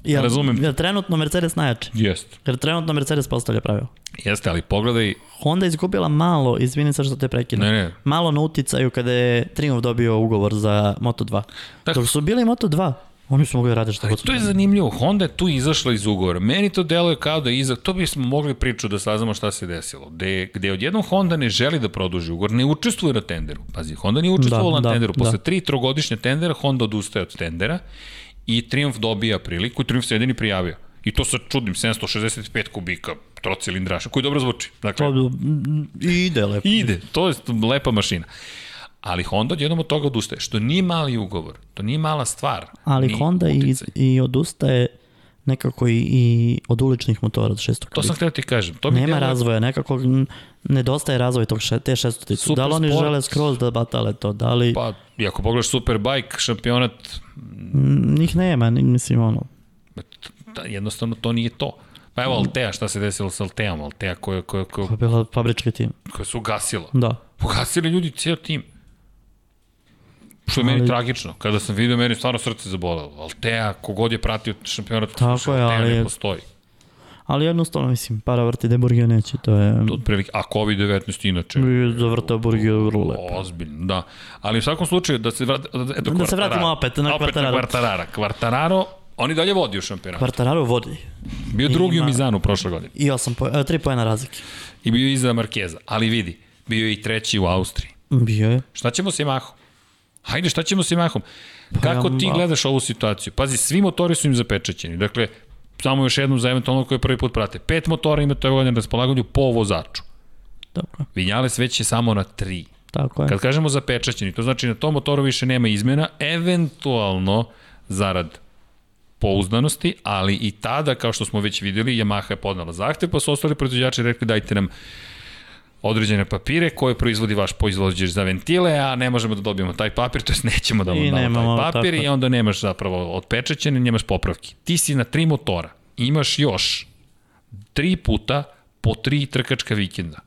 Speaker 2: Jer,
Speaker 1: Razumem.
Speaker 2: Jer trenutno Mercedes najjači.
Speaker 1: jest.
Speaker 2: Jer trenutno Mercedes postavlja pravilo.
Speaker 1: Jeste, ali pogledaj,
Speaker 2: Honda je izgubila malo, izvini se što te prekidam.
Speaker 1: Ne, ne.
Speaker 2: Malo na uticaju kada je Triumph dobio ugovor za Moto2.
Speaker 1: Tako.
Speaker 2: Dok su bili Moto2, Oni su mogli da rade šta
Speaker 1: Ali
Speaker 2: god su
Speaker 1: to je
Speaker 2: hteli.
Speaker 1: zanimljivo, Honda je tu izašla iz ugovora. Meni to deluje kao da je iza, to bismo mogli priču da saznamo šta se desilo. Gde, gde odjednom Honda ne želi da produži ugovor, ne učestvuje na tenderu. Pazi, Honda nije učestvovala na
Speaker 2: Da, da,
Speaker 1: tenderu. Posle
Speaker 2: da.
Speaker 1: tri trogodišnje tendera Honda odustaje od tendera i Triumph dobija priliku i Triumph se jedini prijavio. I to sa čudnim 765 kubika trocilindraša, koji dobro zvuči. Dakle,
Speaker 2: To mm, ide lepo.
Speaker 1: Ide, to je lepa mašina. Ali Honda jednom od toga odustaje, što nije mali ugovor, to nije mala stvar.
Speaker 2: Ali
Speaker 1: ni
Speaker 2: Honda i,
Speaker 1: uticaj.
Speaker 2: i odustaje nekako i, i od uličnih motora od šestog
Speaker 1: To sam htio ti kažem. To mi
Speaker 2: Nema
Speaker 1: djeluje-
Speaker 2: razvoja, nekako m, nedostaje razvoj tog še, te šestotice. Da li oni
Speaker 1: Supersport.
Speaker 2: žele skroz da batale to, da li pa,
Speaker 1: Pa, i ako pogledaš Superbike, šampionat,
Speaker 2: njih nema, ni- mislim ono.
Speaker 1: da, jednostavno to nije to. Pa evo Altea, šta se desilo sa Alteom? Altea koja, koja, koja,
Speaker 2: Pa bila fabrički tim,
Speaker 1: koja su ugasila.
Speaker 2: da.
Speaker 1: Ugasili ljudi ceo tim. Što je meni
Speaker 2: Ali-
Speaker 1: tragično. Kada sam vidio, meni je stvarno srce zabolelo. Altea, kogod je pratio šampionat,
Speaker 2: Tako
Speaker 1: slušaj,
Speaker 2: je,
Speaker 1: Altea
Speaker 2: ali-
Speaker 1: ne postoji.
Speaker 2: Ali jednostavno, mislim, para vrti Deburgio neće, to je...
Speaker 1: Otprilike, a COVID-19 inače.
Speaker 2: I Zavrtao Burgio vrlo lepo.
Speaker 1: Ozbiljno, da. Ali u svakom slučaju, da se, vrati, eto,
Speaker 2: Da se vratimo
Speaker 1: Quartararo.
Speaker 2: opet na Quartararo.
Speaker 1: Quartarara. Quartararo, on i dalje vodi u šampionatu.
Speaker 2: Quartararo vodi
Speaker 1: Bio drugi u
Speaker 2: Ima-
Speaker 1: Mizanu prošle godine.
Speaker 2: i 8 po, 3 poena razlike.
Speaker 1: I bio je iza Markeza, ali vidi, bio je i treći u Austriji.
Speaker 2: Bio je.
Speaker 1: Šta ćemo s Yamahom? Hajde, šta ćemo s Yamahom?
Speaker 2: Pa
Speaker 1: Kako ti
Speaker 2: Yamaha.
Speaker 1: gledaš ovu situaciju? Pazi, svi motori su im zapečećeni. Dakle, samo još jednom za eventualno koje prvi put prate. Pet motora imate ovaj na raspolaganju po vozaču.
Speaker 2: Tako je.
Speaker 1: Vinjales već je samo na tri.
Speaker 2: Tako je.
Speaker 1: Kad kažemo zapečaćeni, to znači na tom motoru više nema izmena, eventualno zarad pouzdanosti, ali i tada, kao što smo već videli, Yamaha je podnala zahtev, pa su ostali proizvođači rekli dajte nam određene papire koje proizvodi vaš proizvođač za ventile, a ne možemo da dobijemo taj papir, to jest nećemo da vam
Speaker 2: I
Speaker 1: damo
Speaker 2: nemamo,
Speaker 1: taj papir
Speaker 2: tako
Speaker 1: i
Speaker 2: je.
Speaker 1: onda nemaš zapravo odpečećene, nemaš popravki. Ti si na tri motora, imaš još tri puta po tri trkačka vikenda.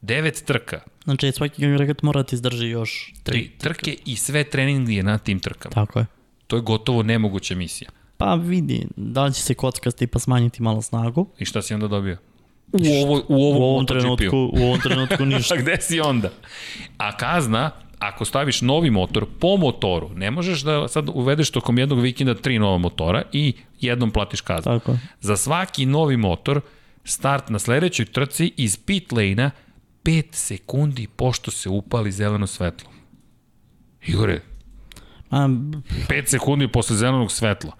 Speaker 1: Devet trka,
Speaker 2: Znači, svaki agregat mora da ti izdrži još 3.
Speaker 1: tri trke i sve trening je na tim trkama.
Speaker 2: Tako je.
Speaker 1: To je gotovo nemoguća misija.
Speaker 2: Pa vidi, da li će se kockasti pa smanjiti malo snagu?
Speaker 1: I šta si onda dobio? U, ovo, u ovom,
Speaker 2: U ovom
Speaker 1: MotoGP-u. [LAUGHS]
Speaker 2: trenutku, u ovom trenutku ništa.
Speaker 1: A gde si onda? A kazna, ako staviš novi motor po motoru, ne možeš da sad uvedeš tokom jednog vikenda tri nova motora i jednom platiš kaznu.
Speaker 2: Tako je.
Speaker 1: Za svaki novi motor, start na sledećoj trci iz pit lane-a 5 sekundi pošto se upali zeleno svetlo. Igore,
Speaker 2: A,
Speaker 1: 5 sekundi posle zelenog svetla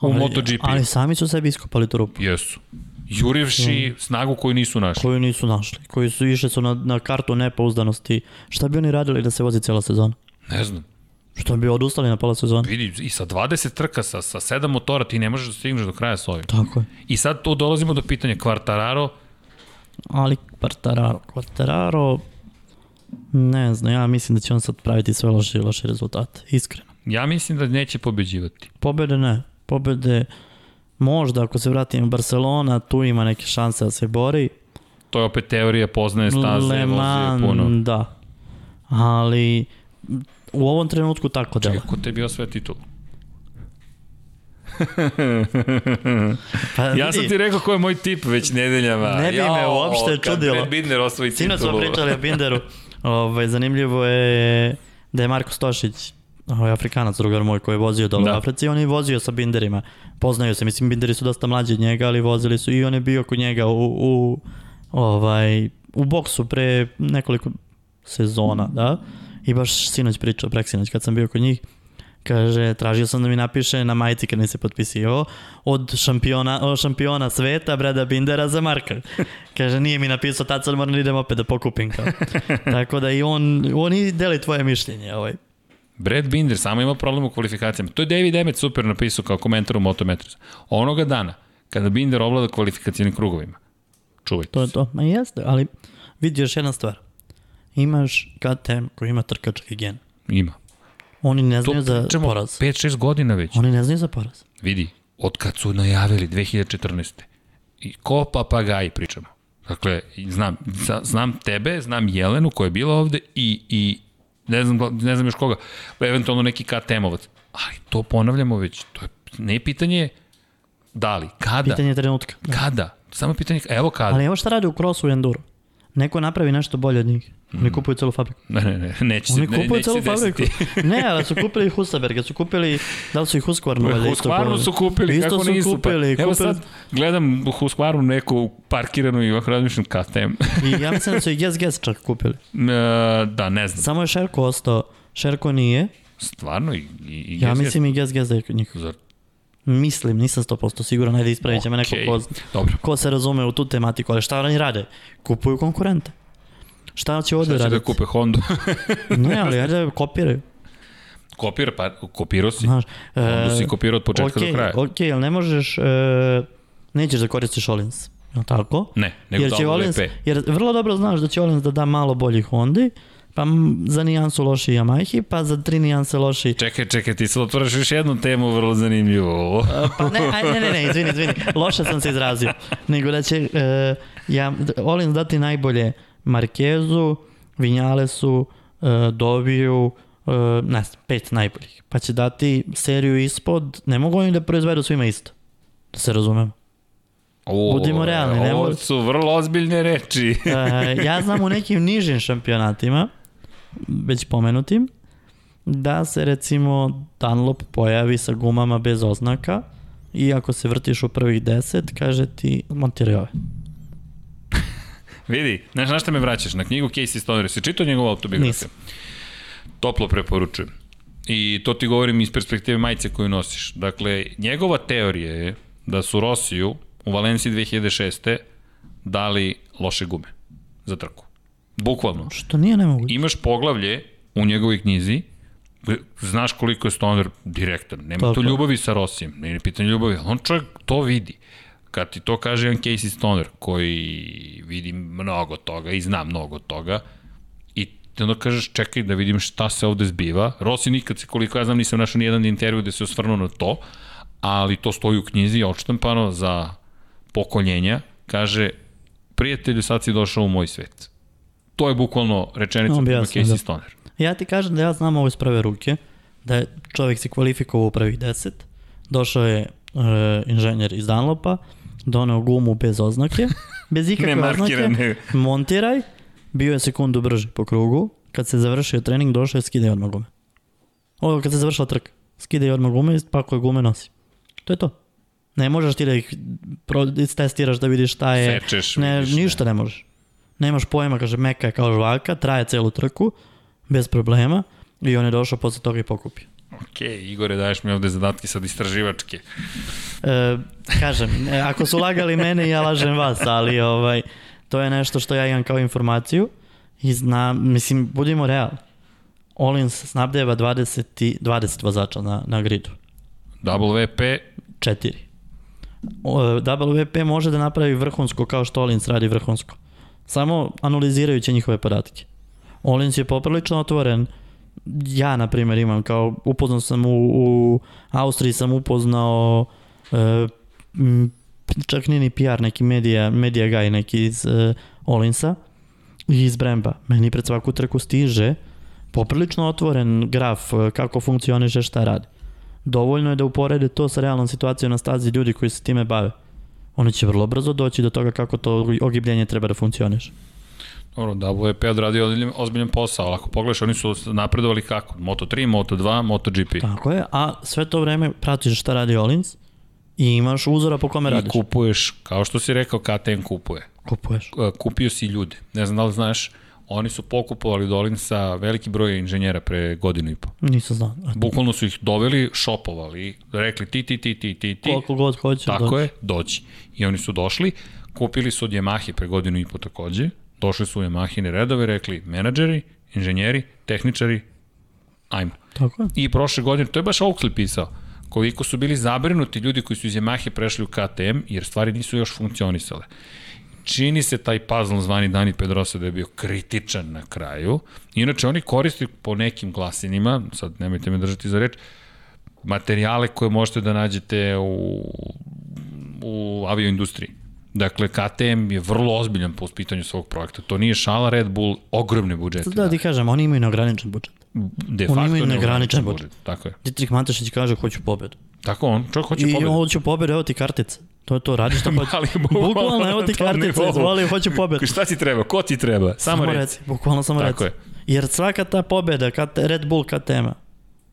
Speaker 1: u
Speaker 2: ali-
Speaker 1: MotoGP.
Speaker 2: Ali sami su sebi iskopali tu rupu,
Speaker 1: Jesu. Jurivši
Speaker 2: Mm.
Speaker 1: snagu koju nisu našli.
Speaker 2: koju nisu našli, koji su išli su na, na kartu nepouzdanosti. Šta bi oni radili da se vozi cijela sezona?
Speaker 1: Ne znam.
Speaker 2: Što bi odustali na pola sezona?
Speaker 1: Vidi, i sa 20 trka, sa, sa 7 motora, ti ne možeš da stigneš do kraja s ovim.
Speaker 2: Tako je.
Speaker 1: I sad tu dolazimo do pitanja Quartararo.
Speaker 2: Ali Quartararo, Quartararo, ne znam, ja mislim da će on sad praviti sve loše i loše rezultate, iskreno.
Speaker 1: Ja mislim da neće pobeđivati.
Speaker 2: Pobede ne, pobede možda ako se vratim u Barcelona, tu ima neke šanse da se bori.
Speaker 1: To je opet teorija, poznaje staze,
Speaker 2: Le
Speaker 1: vozi je puno.
Speaker 2: Mans, da. Ali u ovom trenutku tako dela.
Speaker 1: Kako tebi osvaja titul?
Speaker 2: Pa,
Speaker 1: Ja sam ti rekao ko je moj tip već nedeljama.
Speaker 2: Ne bi me
Speaker 1: Jao,
Speaker 2: uopšte čudilo.
Speaker 1: Kad Brad Binder osvoji
Speaker 2: Sinoć smo
Speaker 1: titulu.
Speaker 2: pričali o Binderu. Ove, zanimljivo je da je Marko Stošić, ovaj Afrikanac, drugar moj, koji je vozio dole
Speaker 1: Da.
Speaker 2: da. u Africi, on je vozio sa Binderima. Poznaju se, mislim, Binderi su dosta mlađi od njega, ali vozili su i on je bio kod njega u, u, ovaj, u boksu pre nekoliko sezona, da? I baš sinoć pričao, preksinoć, kad sam bio kod njih, Kaže, tražio sam da mi napiše na majici kad mi se potpisivao od šampiona, o, šampiona sveta Brada Bindera za [LAUGHS] Marka. Kaže, nije mi napisao, tad sad moram da idem opet da pokupim [LAUGHS] kao. Tako da i on, on i deli tvoje mišljenje. Ovaj.
Speaker 1: Brad Binder samo ima problem u kvalifikacijama. To je David Emmett super napisao kao komentar u Motometrisu. Onoga dana, kada Binder ovlada kvalifikacijnim krugovima, čuvajte
Speaker 2: To je
Speaker 1: se.
Speaker 2: to. Ma jeste, ali vidi još jedna stvar. Imaš KTM koji ima trkački gen.
Speaker 1: Ima.
Speaker 2: Oni ne znaju
Speaker 1: To
Speaker 2: za
Speaker 1: pričamo
Speaker 2: poraz.
Speaker 1: 5-6 godina već.
Speaker 2: Oni ne znaju za poraz.
Speaker 1: Vidi, od kad su najavili 2014. I ko papagaji pričamo. Dakle, i znam, za- znam tebe, znam Jelenu koja je bila ovde i, i ne, znam, gla- ne znam još koga, eventualno neki KTM-ovac. Ali to ponavljamo već, to je ne pitanje da li, kada,
Speaker 2: Pitanje trenutka.
Speaker 1: kada, samo pitanje, evo kada.
Speaker 2: Ali evo šta radi u crossu i enduro. neko napravi nešto bolje od njih. Oni kupuju celu fabriku.
Speaker 1: Ne, ne, ne, neće se,
Speaker 2: Oni
Speaker 1: ne,
Speaker 2: kupuju
Speaker 1: neće se
Speaker 2: celu fabriku.
Speaker 1: desiti.
Speaker 2: [LAUGHS] ne, ali su kupili Husaberga, su kupili, da li su i Husqvarnu? valjda isto
Speaker 1: Pa Husqvarnu
Speaker 2: kupili?
Speaker 1: su kupili,
Speaker 2: isto
Speaker 1: kako
Speaker 2: su
Speaker 1: nisu.
Speaker 2: kupili.
Speaker 1: pa, evo sad gledam Husqvarnu neku parkiranu i ovako razmišljam KTM.
Speaker 2: I ja mislim da su i Guess Guess čak kupili.
Speaker 1: [LAUGHS] E, da, ne znam.
Speaker 2: Samo je Šerko ostao. Šerko nije.
Speaker 1: Stvarno i... i, i
Speaker 2: Ja
Speaker 1: Guess
Speaker 2: mislim i Guess Guess da je kod njih.
Speaker 1: Guess. Zar-
Speaker 2: Mislim, nisam 100% siguran, ajde ispravit da će me neko Da
Speaker 1: Okej,
Speaker 2: ko,
Speaker 1: Dobro.
Speaker 2: ko se razume u tu tematiku, ali šta oni rade? Kupuju konkurente. Šta će ovde
Speaker 1: Da će da
Speaker 2: raditi?
Speaker 1: kupe [LAUGHS] Honda.
Speaker 2: ne, ali ajde da kopiraju.
Speaker 1: Kopira, pa kopirao si.
Speaker 2: Znaš,
Speaker 1: Honda si kopirao od početka do kraja.
Speaker 2: e, Ok, ali ne možeš, e, nećeš da koristiš Olins, je li tako?
Speaker 1: Ne, nego da ovo
Speaker 2: Olins,
Speaker 1: VP.
Speaker 2: jer vrlo dobro znaš da će Olins da da malo bolji Hondi, pa m- za nijansu loši Yamahi, pa za tri nijanse loši
Speaker 1: [LAUGHS] Čekaj, čekaj, ti sad otvaraš još jednu temu vrlo zanimljivu.
Speaker 2: Pa ne, aj, ne, ne, ne, izvini, izvini. Loše sam se izrazio. Nego da će e, ja, Olin dati najbolje Markezu, Vinjalesu, e, Doviju, e, ne znam, pet najboljih. Pa će dati seriju ispod, ne mogu oni da proizvedu svima isto. Da se razumemo.
Speaker 1: O,
Speaker 2: Budimo realni, ne
Speaker 1: Ovo
Speaker 2: mora-
Speaker 1: su vrlo ozbiljne reči. [LAUGHS]
Speaker 2: E, ja znam u nekim nižim šampionatima, već pomenutim, da se recimo Dunlop pojavi sa gumama bez oznaka i ako se vrtiš u prvih deset, kaže ti montiraj ove.
Speaker 1: Vidi, znaš na šta me vraćaš? Na knjigu Casey Stoner. Si čitao njegovu autobiografiju?
Speaker 2: Nisam.
Speaker 1: Toplo preporučujem. I to ti govorim iz perspektive majice koju nosiš. Dakle, njegova teorija je da su Rosiju u Valenciji 2006. dali loše gume za trku. Bukvalno.
Speaker 2: Što nije nemoguće.
Speaker 1: Imaš poglavlje u njegovoj knjizi znaš koliko je Stoner direktan. Nema
Speaker 2: Tako
Speaker 1: tu
Speaker 2: je.
Speaker 1: ljubavi sa Rosijem, nije pitanje ljubavi, ali on čovjek to vidi. Kad ti to kaže jedan Casey Stoner koji vidi mnogo toga i zna mnogo toga i ti onda kažeš čekaj da vidim šta se ovde zbiva. Rossi nikad se koliko ja znam nisam našao nijedan intervju gde se osvrnuo na to, ali to stoji u knjizi odštampano za pokoljenja. Kaže, prijatelju sad si došao u moj svet. To je bukvalno rečenica prema
Speaker 2: Objasno,
Speaker 1: Casey
Speaker 2: da.
Speaker 1: Stoner.
Speaker 2: Ja ti kažem da ja znam ovo iz prve ruke, da je čovjek se kvalifikovao u prvih deset, došao je e, inženjer iz Dunlopa, doneo gumu bez oznake, bez ikakve oznake,
Speaker 1: [LAUGHS] Nemarkirane.
Speaker 2: montiraj, bio je sekundu brži po krugu, kad se završio trening, došao je skidaj odmah gume. Ovo kad se završila trka, skidaj odmah gume, pakuje gume, nosi. To je to. Ne možeš ti da ih pro- testiraš da vidiš šta je.
Speaker 1: Sečeš,
Speaker 2: ne,
Speaker 1: vidiš,
Speaker 2: ništa ne možeš. Nemaš pojma, kaže, meka je kao žvaka, traje celu trku, bez problema, i on je došao posle toga i pokupio.
Speaker 1: Ok, Igore, daješ mi ovde zadatke sad istraživačke.
Speaker 2: E, kažem, e, ako su lagali mene, ja lažem vas, ali ovaj, to je nešto što ja imam kao informaciju i znam, mislim, budimo realni. Olins snabdeva 20, i- 20 vozača na, na gridu.
Speaker 1: WP,
Speaker 2: 4. O, WP može da napravi vrhunsko kao što Olins radi vrhunsko. Samo analizirajući njihove podatke. Olins je poprilično otvoren. Ja, na primjer, imam kao, upoznao sam u, u Austriji sam upoznao e, m, čak nije ni PR, neki media, media guy, neki iz e, Olinsa i iz Bremba. Meni pred svaku trku stiže poprilično otvoren graf e, kako funkcioniše, šta radi dovoljno je da uporede to sa realnom situacijom na stazi ljudi koji se time bave. Oni će vrlo brzo doći do toga kako to ogibljenje treba da funkcioniš.
Speaker 1: dobro, WP odradio ozbiljan- ozbiljan posao, ali ako pogledaš, oni su napredovali kako? Moto3, Moto2, MotoGP.
Speaker 2: Tako je, a sve to vreme pratiš šta radi Olins i imaš uzora po kome
Speaker 1: I
Speaker 2: Pa radiš.
Speaker 1: kupuješ, kao što si rekao, KTM kupuje.
Speaker 2: Kupuješ.
Speaker 1: E, Kupio si ljude. Ne znam da li znaš, oni su pokupovali Dolinsa veliki broj inženjera pre godinu i po.
Speaker 2: Nisam znao. A
Speaker 1: Bukvalno su ih doveli, šopovali, rekli ti, ti, ti, ti, ti, ti.
Speaker 2: Koliko god hoćeš. da-
Speaker 1: Tako
Speaker 2: doći.
Speaker 1: je, doći. I oni su došli, kupili su od Yamahe pre godinu i po takođe, došli su u Yamahine redove, rekli menadžeri, inženjeri, tehničari, ajmo.
Speaker 2: Tako je.
Speaker 1: I prošle godine, to je baš Oakley pisao, koliko su bili zabrinuti ljudi koji su iz Yamahe prešli u KTM, jer stvari nisu još funkcionisale. Čini se taj puzzle zvani Dani Pedrosa da je bio kritičan na kraju. Inače, oni koriste po nekim glasinima, sad nemojte me držati za reč, materijale koje možete da nađete u u avioindustriji. Dakle, KTM je vrlo ozbiljan po pitanju svog projekta. To nije šala Red Bull, ogromne budžete.
Speaker 2: Da ti kažem, oni imaju neograničen budžet.
Speaker 1: de
Speaker 2: oni
Speaker 1: facto
Speaker 2: imaju
Speaker 1: neograničen
Speaker 2: neograničen budžet.
Speaker 1: Tako je.
Speaker 2: Dietrich Matešić kaže hoću pobedu.
Speaker 1: Tako on, čovjek hoće
Speaker 2: I
Speaker 1: pobedu.
Speaker 2: hoću pobedu, evo ti kartica. To je to, radi šta hoćeš.
Speaker 1: [LAUGHS]
Speaker 2: [LAUGHS]
Speaker 1: Ali
Speaker 2: Bukvalno, evo
Speaker 1: na
Speaker 2: ti
Speaker 1: tom
Speaker 2: kartica,
Speaker 1: nivou.
Speaker 2: izvoli, hoću pobedu.
Speaker 1: Šta ti treba? Ko ti treba? Samo,
Speaker 2: Samo
Speaker 1: reci.
Speaker 2: reci, bukvalno samo
Speaker 1: Tako
Speaker 2: reci.
Speaker 1: je.
Speaker 2: Jer svaka ta pobeda, kad Red Bull kad tema,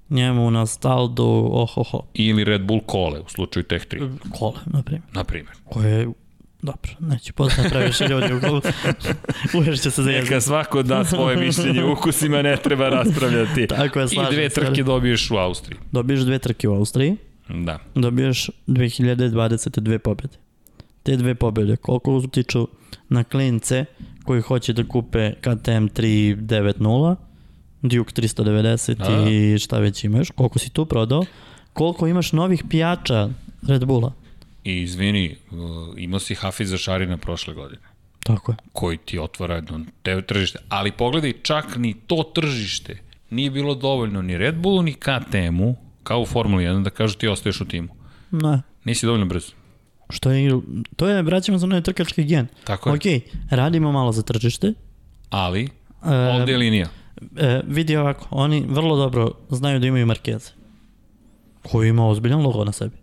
Speaker 2: njemu nostaldu, ohoho,
Speaker 1: Ili Red Bull kole u slučaju Tech 3,
Speaker 2: kole, na primjer,
Speaker 1: na primjer.
Speaker 2: koje Dobro, neću poznat previše ljudi u
Speaker 1: [LAUGHS]
Speaker 2: kolu. Uvijek će se zajezati.
Speaker 1: Neka svako da
Speaker 2: [LAUGHS]
Speaker 1: svoje mišljenje o ukusima, ne treba raspravljati.
Speaker 2: Tako je,
Speaker 1: I
Speaker 2: slažem
Speaker 1: dve
Speaker 2: se.
Speaker 1: trke dobiješ u Austriji.
Speaker 2: Dobiješ dve trke u Austriji,
Speaker 1: Da.
Speaker 2: dobiješ 2022 pobjede. Te dve pobjede, koliko utiču na klince koji hoće da kupe KTM 390, Duke 390
Speaker 1: Da, da.
Speaker 2: i šta već imaš, koliko si tu prodao, koliko imaš novih pijača Red Bulla.
Speaker 1: I izvini, uh, imao si Hafiza Šarina prošle godine
Speaker 2: Tako je.
Speaker 1: koji ti otvara jedno te tržište. Ali pogledaj, čak ni to tržište nije bilo dovoljno ni Red Bullu, ni KTM-u, kao u Formuli 1, da kažu ti ostaješ u timu.
Speaker 2: Ne.
Speaker 1: Nisi dovoljno brzo.
Speaker 2: Što je, to je, vraćamo se na onaj trkački gen.
Speaker 1: Tako je.
Speaker 2: Ok, radimo malo za tržište,
Speaker 1: Ali,
Speaker 2: E,
Speaker 1: ovde je linija.
Speaker 2: E, vidi ovako, oni vrlo dobro znaju da imaju Markeze. Koji ima ozbiljan logo na sebi.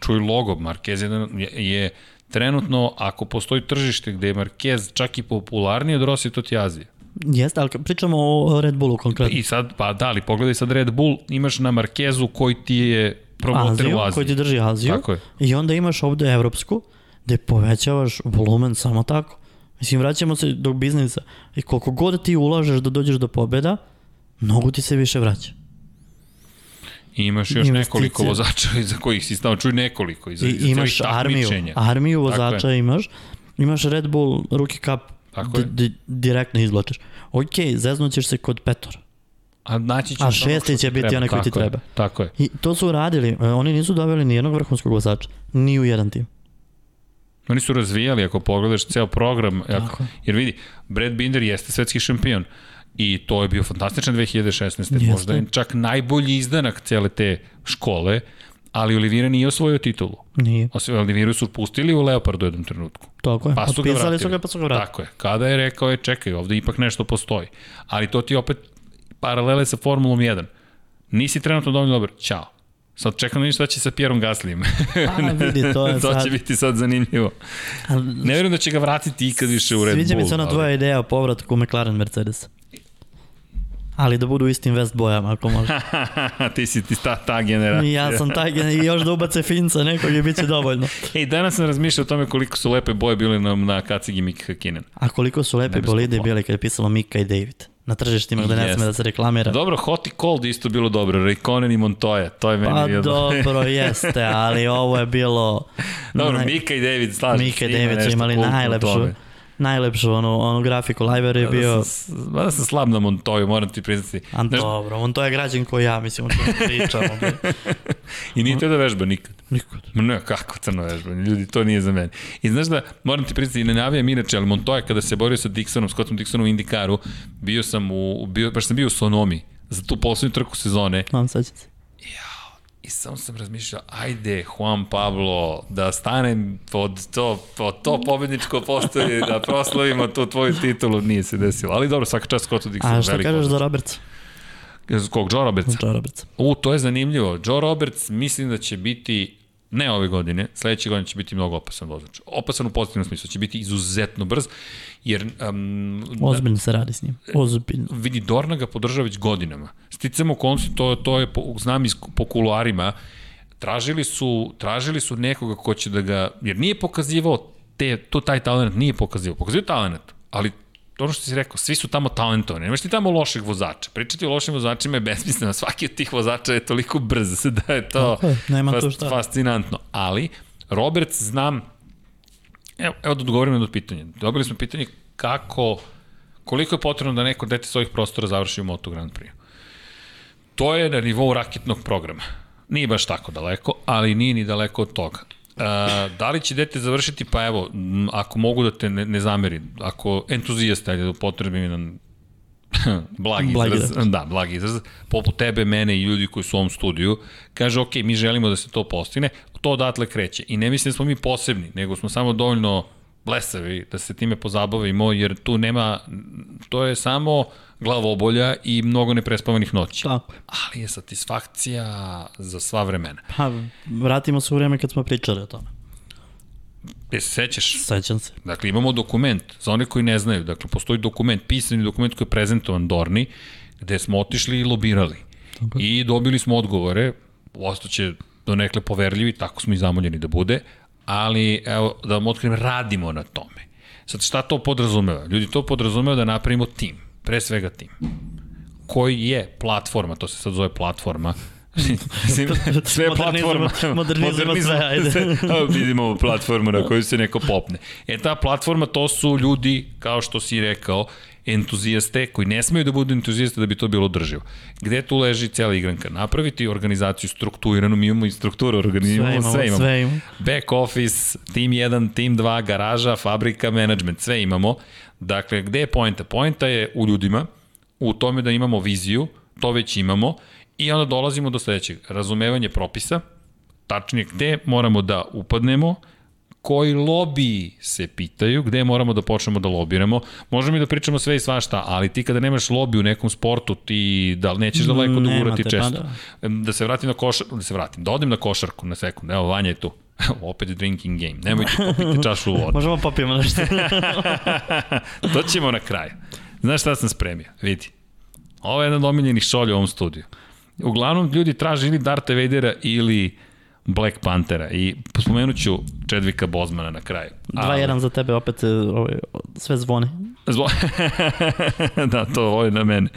Speaker 1: čuj logo, Marquez je, je, je trenutno, ako postoji tržište gde je Marquez čak i popularniji od Rossi, to ti je Azija.
Speaker 2: Jeste, ali kad pričamo o Red Bullu konkretno.
Speaker 1: I sad, pa da, ali pogledaj sad Red Bull, imaš na Marquezu koji ti je promoter
Speaker 2: Aziju,
Speaker 1: u Aziji.
Speaker 2: koji ti drži Aziju.
Speaker 1: Tako je.
Speaker 2: I onda imaš ovde evropsku, gde povećavaš volumen samo tako. Mislim, vraćamo se do biznisa. I koliko god ti ulažeš da dođeš do pobeda, mnogo ti se više vraća.
Speaker 1: I imaš još
Speaker 2: Investicije.
Speaker 1: nekoliko vozača [LAUGHS] iza kojih si stao, čuj nekoliko, iza,
Speaker 2: I
Speaker 1: iza
Speaker 2: imaš
Speaker 1: celih
Speaker 2: armiju,
Speaker 1: takmičenja.
Speaker 2: armiju
Speaker 1: Tako je.
Speaker 2: vozača imaš, imaš Red Bull Rookie Cup,
Speaker 1: Tako je.
Speaker 2: di- direktno izvlačeš. Ok, zeznućeš se kod Petora.
Speaker 1: A naći ćeš
Speaker 2: A
Speaker 1: onog
Speaker 2: šesti
Speaker 1: što
Speaker 2: će biti
Speaker 1: treba.
Speaker 2: onaj koji ti
Speaker 1: Tako je,
Speaker 2: treba.
Speaker 1: Tako je.
Speaker 2: I to su uradili. E, Oni nisu doveli ni jednog vrhunskog vozača. Ni u jedan tim.
Speaker 1: Oni su razvijali, ako pogledaš ceo program, ako,
Speaker 2: je.
Speaker 1: jer vidi, Brad Binder jeste svetski šampion i to je bio fantastičan 2016. Jeste.
Speaker 2: Jeste.
Speaker 1: Možda je čak najbolji izdanak cele te škole, ali Olivira nije osvojio titulu.
Speaker 2: Nije.
Speaker 1: Osim Oliviru su pustili u Leopardu u jednom trenutku.
Speaker 2: Tako je.
Speaker 1: Pa su ga
Speaker 2: Otpisali
Speaker 1: vratili.
Speaker 2: su ga, pa su ga vratili.
Speaker 1: Tako je. Kada je rekao je, čekaj, ovde ipak nešto postoji. Ali to ti opet paralele sa Formulom 1. Nisi trenutno dovoljno dobar. Ćao. Sad čekam da vidim šta će sa Pierom Gaslijem.
Speaker 2: A, Pa, da vidi, to
Speaker 1: [LAUGHS]
Speaker 2: je
Speaker 1: to će
Speaker 2: sad-
Speaker 1: biti sad zanimljivo. Ne vjerujem da će ga vratiti ikad više u Red Bull.
Speaker 2: Sviđa mi se ona
Speaker 1: ali-
Speaker 2: tvoja ideja o povratku McLaren Mercedes. Ali da budu u istim vest bojama, ako
Speaker 1: [LAUGHS]
Speaker 2: može.
Speaker 1: [LAUGHS] ti si ti ta, ta generacija.
Speaker 2: ja sam taj, gen- i još da ubace Finca nekog i bit će dovoljno.
Speaker 1: Ej, danas sam razmišljao o tome koliko su lepe boje bile nam na kacigi Miki Hakinen.
Speaker 2: A koliko su lepi
Speaker 1: bismo
Speaker 2: bolide
Speaker 1: pla-
Speaker 2: bile kad je pisalo Mika i David. Na tržištima gde ne
Speaker 1: Jeste.
Speaker 2: sme da se reklamira.
Speaker 1: Dobro, Hot i Cold isto bilo dobro. Raikkonen i Montoya, to je meni
Speaker 2: Pa
Speaker 1: bilo. [LAUGHS]
Speaker 2: dobro, jeste, ali ovo je bilo...
Speaker 1: Dobro,
Speaker 2: naj-
Speaker 1: Mika i David, slažem.
Speaker 2: Mika i
Speaker 1: ima
Speaker 2: David su
Speaker 1: nešto
Speaker 2: imali
Speaker 1: kultno u
Speaker 2: najlepšu,
Speaker 1: tome.
Speaker 2: najlepšu onu, onu grafiku. Liver je bio...
Speaker 1: Da sam, da sam slab na Montoju, moram ti priznati.
Speaker 2: A
Speaker 1: Znaš,
Speaker 2: dobro, on to je građan koji ja, mislim, o čemu pričamo.
Speaker 1: [LAUGHS]
Speaker 2: bre.
Speaker 1: I nije to da vežba nikad.
Speaker 2: Nikad.
Speaker 1: Ma Ne, kako crno vežbanje, ljudi, to nije za mene. I znaš da, moram ti priznati, i ne navijam inače, ali Montoya kada se borio sa Dixonom, Scottom Dixonom u Indikaru, bio sam u, bio, baš sam bio u Sonomi, za tu poslednju trku sezone,
Speaker 2: Mam sećam se.
Speaker 1: I samo sam razmišljao, ajde Juan Pablo, da stanem pod to, pod to pobedničko postoje, da proslavimo tu tvoju titulu, nije se desilo. Ali dobro, svaka čast Scottu Dixonu,
Speaker 2: A šta
Speaker 1: veliki
Speaker 2: kažeš da?
Speaker 1: vozač.
Speaker 2: za Robertsa?
Speaker 1: Kog, Joe Robertsa?
Speaker 2: Za Robertsa.
Speaker 1: U, to je zanimljivo. Joe Roberts mislim da će biti, ne ove godine, sledeće godine će biti mnogo opasan vozač. Opasan u pozitivnom smislu, će biti izuzetno brz, jer um,
Speaker 2: Ozbiljno se radi s njim.
Speaker 1: E.
Speaker 2: Ozbiljno.
Speaker 1: vidi Dorna ga podržava već godinama. Sticam u koncu, to, to je, po, znam iz, po kuluarima, tražili su, tražili su nekoga ko će da ga, jer nije pokazivao te, to, taj talent, nije pokazivao, pokazivao talent, ali ono što si rekao, svi su tamo talentovani, nemaš ti tamo loših vozača. Pričati o lošim vozačima je besmisleno, svaki od tih vozača je toliko brz da je to
Speaker 2: Tako je, nema tu šta.
Speaker 1: fascinantno. Ali, Roberts znam, Evo, evo da odgovorim na to pitanje. Dobili smo pitanje kako, koliko je potrebno da neko dete s ovih prostora završi u Moto Grand Prix. To je na nivou raketnog programa. Nije baš tako daleko, ali nije ni daleko od toga. E, da li će dete završiti? Pa evo, m, ako mogu da te ne, ne zameri, ako entuzijasta, ajde da upotrebim jedan [LAUGHS] blagi,
Speaker 2: Blagi
Speaker 1: blagi izraz, da, blagi izraz, poput tebe, mene i ljudi koji su u ovom studiju, kaže, ok, mi želimo da se to postigne, to odatle kreće. I ne mislim da smo mi posebni, nego smo samo dovoljno blesavi da se time pozabavimo, jer tu nema, to je samo glavobolja i mnogo neprespavanih noći.
Speaker 2: Tako je.
Speaker 1: Ali je satisfakcija za sva vremena.
Speaker 2: Pa, vratimo se u vreme kad smo pričali o tome.
Speaker 1: Te se sećaš?
Speaker 2: Sećam se.
Speaker 1: Dakle, imamo dokument, za one koji ne znaju, dakle, postoji dokument, pisani dokument koji je prezentovan Dorni, gde smo otišli i lobirali. Tako. I dobili smo odgovore, ostaće donekle poverljivi, tako smo i zamoljeni da bude, ali, evo, da vam otkrijem, radimo na tome. Sad, šta to podrazumeva? Ljudi, to podrazumeva da napravimo tim, pre svega tim, koji je platforma, to se sad zove
Speaker 2: [LAUGHS]
Speaker 1: platforma, Mislim, sve je platforma.
Speaker 2: Modernizam, modernizam sve, ajde.
Speaker 1: Sve, [LAUGHS] vidimo platformu na koju se neko popne. E ta platforma to su ljudi, kao što si rekao, entuzijaste koji ne smeju da budu entuzijaste da bi to bilo drživo. Gde tu leži cijela igranka? Napraviti organizaciju strukturiranu, mi imamo i strukturu, organizujemo, sve imamo, sve imamo. Sve imamo. Back office, tim 1, tim 2, garaža, fabrika, management, sve imamo. Dakle, gde je poenta? Poenta je u ljudima, u tome da imamo viziju, to već imamo, I onda dolazimo do sledećeg, razumevanje propisa, tačnije gde moramo da upadnemo, koji lobiji se pitaju, gde moramo da počnemo da lobiramo. Možemo i da pričamo sve i svašta, ali ti kada nemaš lobi u nekom sportu, ti da nećeš daleko da gurati
Speaker 2: Nemate,
Speaker 1: često.
Speaker 2: pa
Speaker 1: Da se vratim na košar, da se vratim, da odem na košarku na sekund, evo Vanja je tu. [LAUGHS] Opet drinking game, nemojte popiti čašu vode.
Speaker 2: Možemo popijemo
Speaker 1: [LAUGHS]
Speaker 2: nešto.
Speaker 1: to ćemo na kraju. Znaš šta sam spremio? Vidi. Ovo je jedan omiljenih šolja u ovom studiju uglavnom ljudi traže ili Darta Vadera ili Black Panthera i spomenut ću Chadwicka Bozmana na kraju.
Speaker 2: 2-1 za tebe opet e, ovaj, sve zvone.
Speaker 1: Zvo... [LAUGHS] da, to ovo je na mene.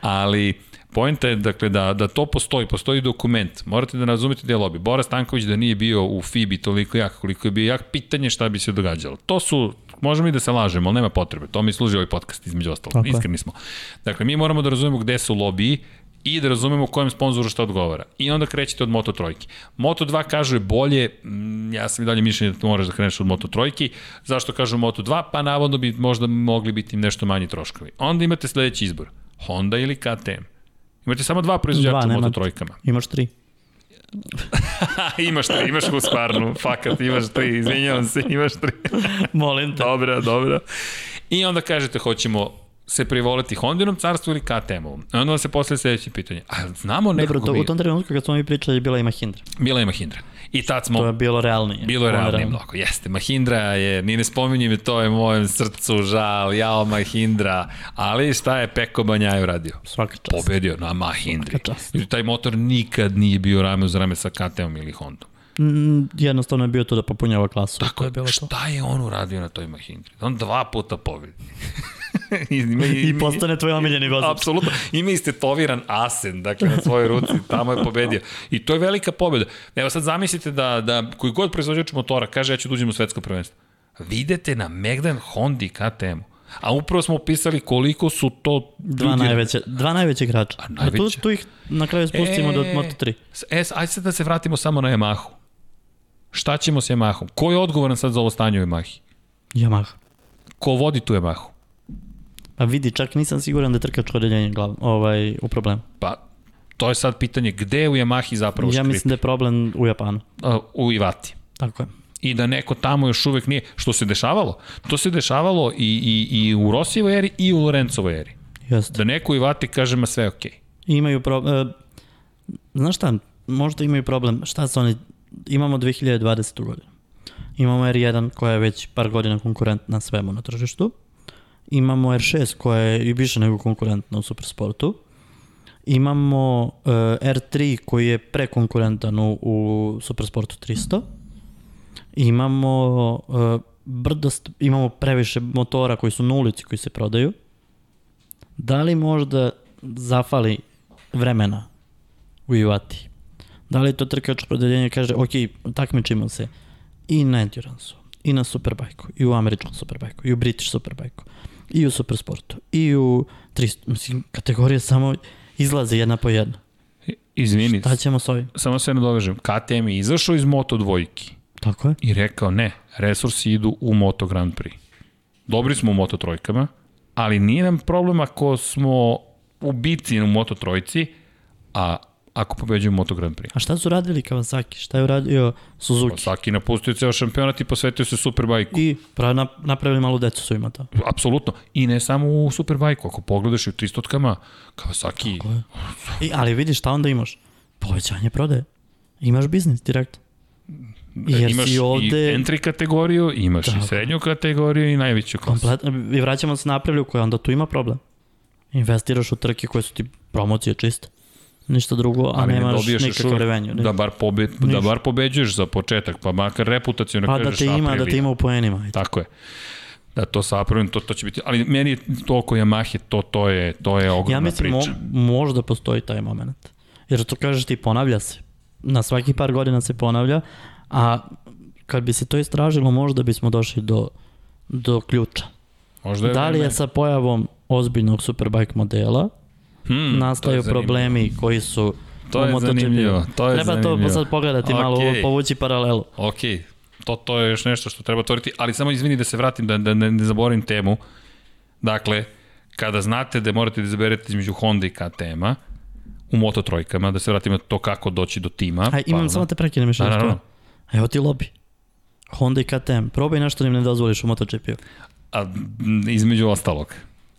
Speaker 1: Ali pojenta je dakle, da, da to postoji, postoji dokument. Morate da razumete da je lobby. Bora Stanković da nije bio u FIBI toliko jak, koliko je bio jak, pitanje šta bi se događalo. To su možemo i da se lažemo, ali nema potrebe. To mi služi ovaj podcast između ostalog.
Speaker 2: Tako je.
Speaker 1: Iskreni smo. Dakle, mi moramo da razumemo gde su lobiji, i da razumemo kojem sponzoru šta odgovara. I onda krećete od Moto trojke. Moto 2 kažu je bolje, mm, ja sam i dalje mišljenje da moraš da kreneš od Moto trojke. Zašto kažu Moto 2? Pa navodno bi možda mogli biti nešto manji troškovi. Onda imate sledeći izbor. Honda ili KTM. Imate samo dva
Speaker 2: Dva,
Speaker 1: proizvođača u
Speaker 2: nema.
Speaker 1: Moto trojkama.
Speaker 2: Imaš tri.
Speaker 1: imaš tri, imaš Husqvarnu, fakat, imaš tri, izvinjavam se, imaš tri.
Speaker 2: Molim te.
Speaker 1: Dobra, dobra. I onda kažete, hoćemo se privoliti Hondinom carstvu ili KTM-ovom. I onda vam se postavlja sledeće pitanje. A znamo nekako
Speaker 2: Dobro, to,
Speaker 1: mi-
Speaker 2: u tom trenutku kad smo mi pričali bila i Mahindra.
Speaker 1: Bila je Mahindra. I tad smo...
Speaker 2: To je bilo realnije.
Speaker 1: Bilo je
Speaker 2: Ono
Speaker 1: realnije da. mnogo, jeste. Mahindra je, ni ne spominjem je, to je mojem srcu žal, jao Mahindra. Ali šta je Peko Banjaju radio?
Speaker 2: Svaka čast.
Speaker 1: Pobedio na Mahindri.
Speaker 2: Svaka čast.
Speaker 1: Jer taj motor nikad nije bio rame uz rame sa KTM ili Hondom.
Speaker 2: Mm, Jednostavno je bio to da popunjava klasu. Tako je bilo to.
Speaker 1: Šta je on uradio na toj Mahindri? On dva puta pobedi. [LAUGHS] I, ima,
Speaker 2: I postane tvoj omiljeni vozač.
Speaker 1: Apsolutno. Ima istetoviran asen, dakle, na svojoj ruci, tamo je pobedio. I to je velika pobeda. Evo sad zamislite da, da koji god proizvođač motora kaže ja ću da uđem u svetsko prvenstvo. Videte na Megdan Honda i KTM. A upravo smo opisali koliko su to
Speaker 2: Dva
Speaker 1: ljudi-
Speaker 2: najveće, dva najveće igrača. A
Speaker 1: najveće.
Speaker 2: tu, tu ih na kraju spustimo
Speaker 1: E,
Speaker 2: do Moto3.
Speaker 1: s- E, s- ajde sad da se vratimo samo na Yamahu. Šta ćemo s Yamahom? Ko je odgovoran sad za ovo stanje u Yamahi?
Speaker 2: Yamaha.
Speaker 1: Ko vodi tu Yamahu?
Speaker 2: Pa vidi, čak nisam siguran da je trkačko odeljenje glav, ovaj, u problemu.
Speaker 1: Pa, to je sad pitanje gde je u Yamahi zapravo
Speaker 2: Ja
Speaker 1: škripi?
Speaker 2: mislim da je problem u Japanu.
Speaker 1: A, U Ivati.
Speaker 2: Tako je.
Speaker 1: i da neko tamo još uvek nije, što se dešavalo. To se dešavalo i, i, i u Rosijevoj eri i u Lorencovoj eri.
Speaker 2: Jeste.
Speaker 1: Da neko i vati kaže, ma sve je okej.
Speaker 2: Imaju problem... Znaš šta, možda imaju problem. Šta su oni... Imamo 2020. godinu. Imamo R1 koja je već par godina konkurentna svemu na tržištu. Imamo R6 koja je i više nego konkurentna u supersportu. Imamo uh, R3 koji je prekonkurentan u, u supersportu 300. Imamo uh, brdost, imamo previše motora koji su na ulici koji se prodaju. Da li možda zafali vremena u Ivati? Da li to trkačko podeljenje kaže, ok, takmičimo se i na endurance i na Superbike-u, i u američkom Superbike-u, i u British Superbike-u, i u Supersportu, i u 300, mislim, kategorije samo izlaze jedna po jedna.
Speaker 1: Izvini,
Speaker 2: Šta ćemo s ovim?
Speaker 1: samo se nadovežem. KTM je izašao iz Moto dvojki
Speaker 2: Tako je.
Speaker 1: i rekao, ne, resursi idu u Moto Grand Prix. Dobri smo u Moto trojkama, ali nije nam problem ako smo u bitci u Moto trojci, a ako pobeđujemo Moto Grand Prix.
Speaker 2: A šta su radili Kawasaki? Šta je uradio Suzuki?
Speaker 1: Saki napustio ceo šampionat i posvetio se Superbike
Speaker 2: I pra, na, napravili malu decu su ima to.
Speaker 1: Apsolutno. I ne samo u Superbajku. Ako pogledaš i u 300-kama, Kawasaki,
Speaker 2: I, ali vidiš šta onda imaš? Povećanje prodaje. Imaš biznis direkt. Jer
Speaker 1: e, imaš
Speaker 2: si ovde-
Speaker 1: i entry kategoriju, imaš i
Speaker 2: Tako.
Speaker 1: srednju kategoriju i najveću klasu.
Speaker 2: Komplet, I vraćamo se napravlju koja onda tu ima problem. Investiraš u trke koje su ti promocije čiste. Ništa drugo, a
Speaker 1: Ali ne
Speaker 2: nemaš
Speaker 1: dobiješ još
Speaker 2: nikakav
Speaker 1: uvek
Speaker 2: revenju.
Speaker 1: Da bar, pobe, da bar pobeđuješ za početak, pa makar reputacijno
Speaker 2: pa da
Speaker 1: kažeš
Speaker 2: te ima,
Speaker 1: april
Speaker 2: da
Speaker 1: je.
Speaker 2: te ima u poenima. Ajde.
Speaker 1: Tako je. Da to sa Aprilim, to, to će biti, ali meni je to oko Yamahe, to, to, je, to je ogromna
Speaker 2: Ja mislim, mo,
Speaker 1: priča.
Speaker 2: možda postoji taj moment. Jer to kažeš ti ponavlja se. Na svaki par godina se ponavlja, a kad bi se to istražilo, možda bismo došli do, do ključa.
Speaker 1: Možda je
Speaker 2: Da li je
Speaker 1: vreme-
Speaker 2: sa pojavom ozbiljnog Superbike modela
Speaker 1: Hmm,
Speaker 2: nastaju
Speaker 1: to je zanimljivo.
Speaker 2: problemi koji su
Speaker 1: To je
Speaker 2: u MotoGP-u.
Speaker 1: zanimljivo, to je
Speaker 2: Treba
Speaker 1: zanimljivo.
Speaker 2: to sad pogledati okay. malo,
Speaker 1: Okej.
Speaker 2: povući paralelu.
Speaker 1: Ok, to, to je još nešto što treba otvoriti, ali samo izvini da se vratim, da, da ne, ne zaboravim temu. Dakle, kada znate da morate da izaberete između Honda i KTM-a, u moto trojkama, da se vratimo na to kako doći do tima.
Speaker 2: Aj, imam
Speaker 1: Pavel.
Speaker 2: samo te prekinem još
Speaker 1: Pa Da,
Speaker 2: da,
Speaker 1: naravno.
Speaker 2: da, Evo ti lobby. Honda i KTM. Probaj nešto da im ne dozvoliš u MotoGP-u.
Speaker 1: A, m, između ostalog.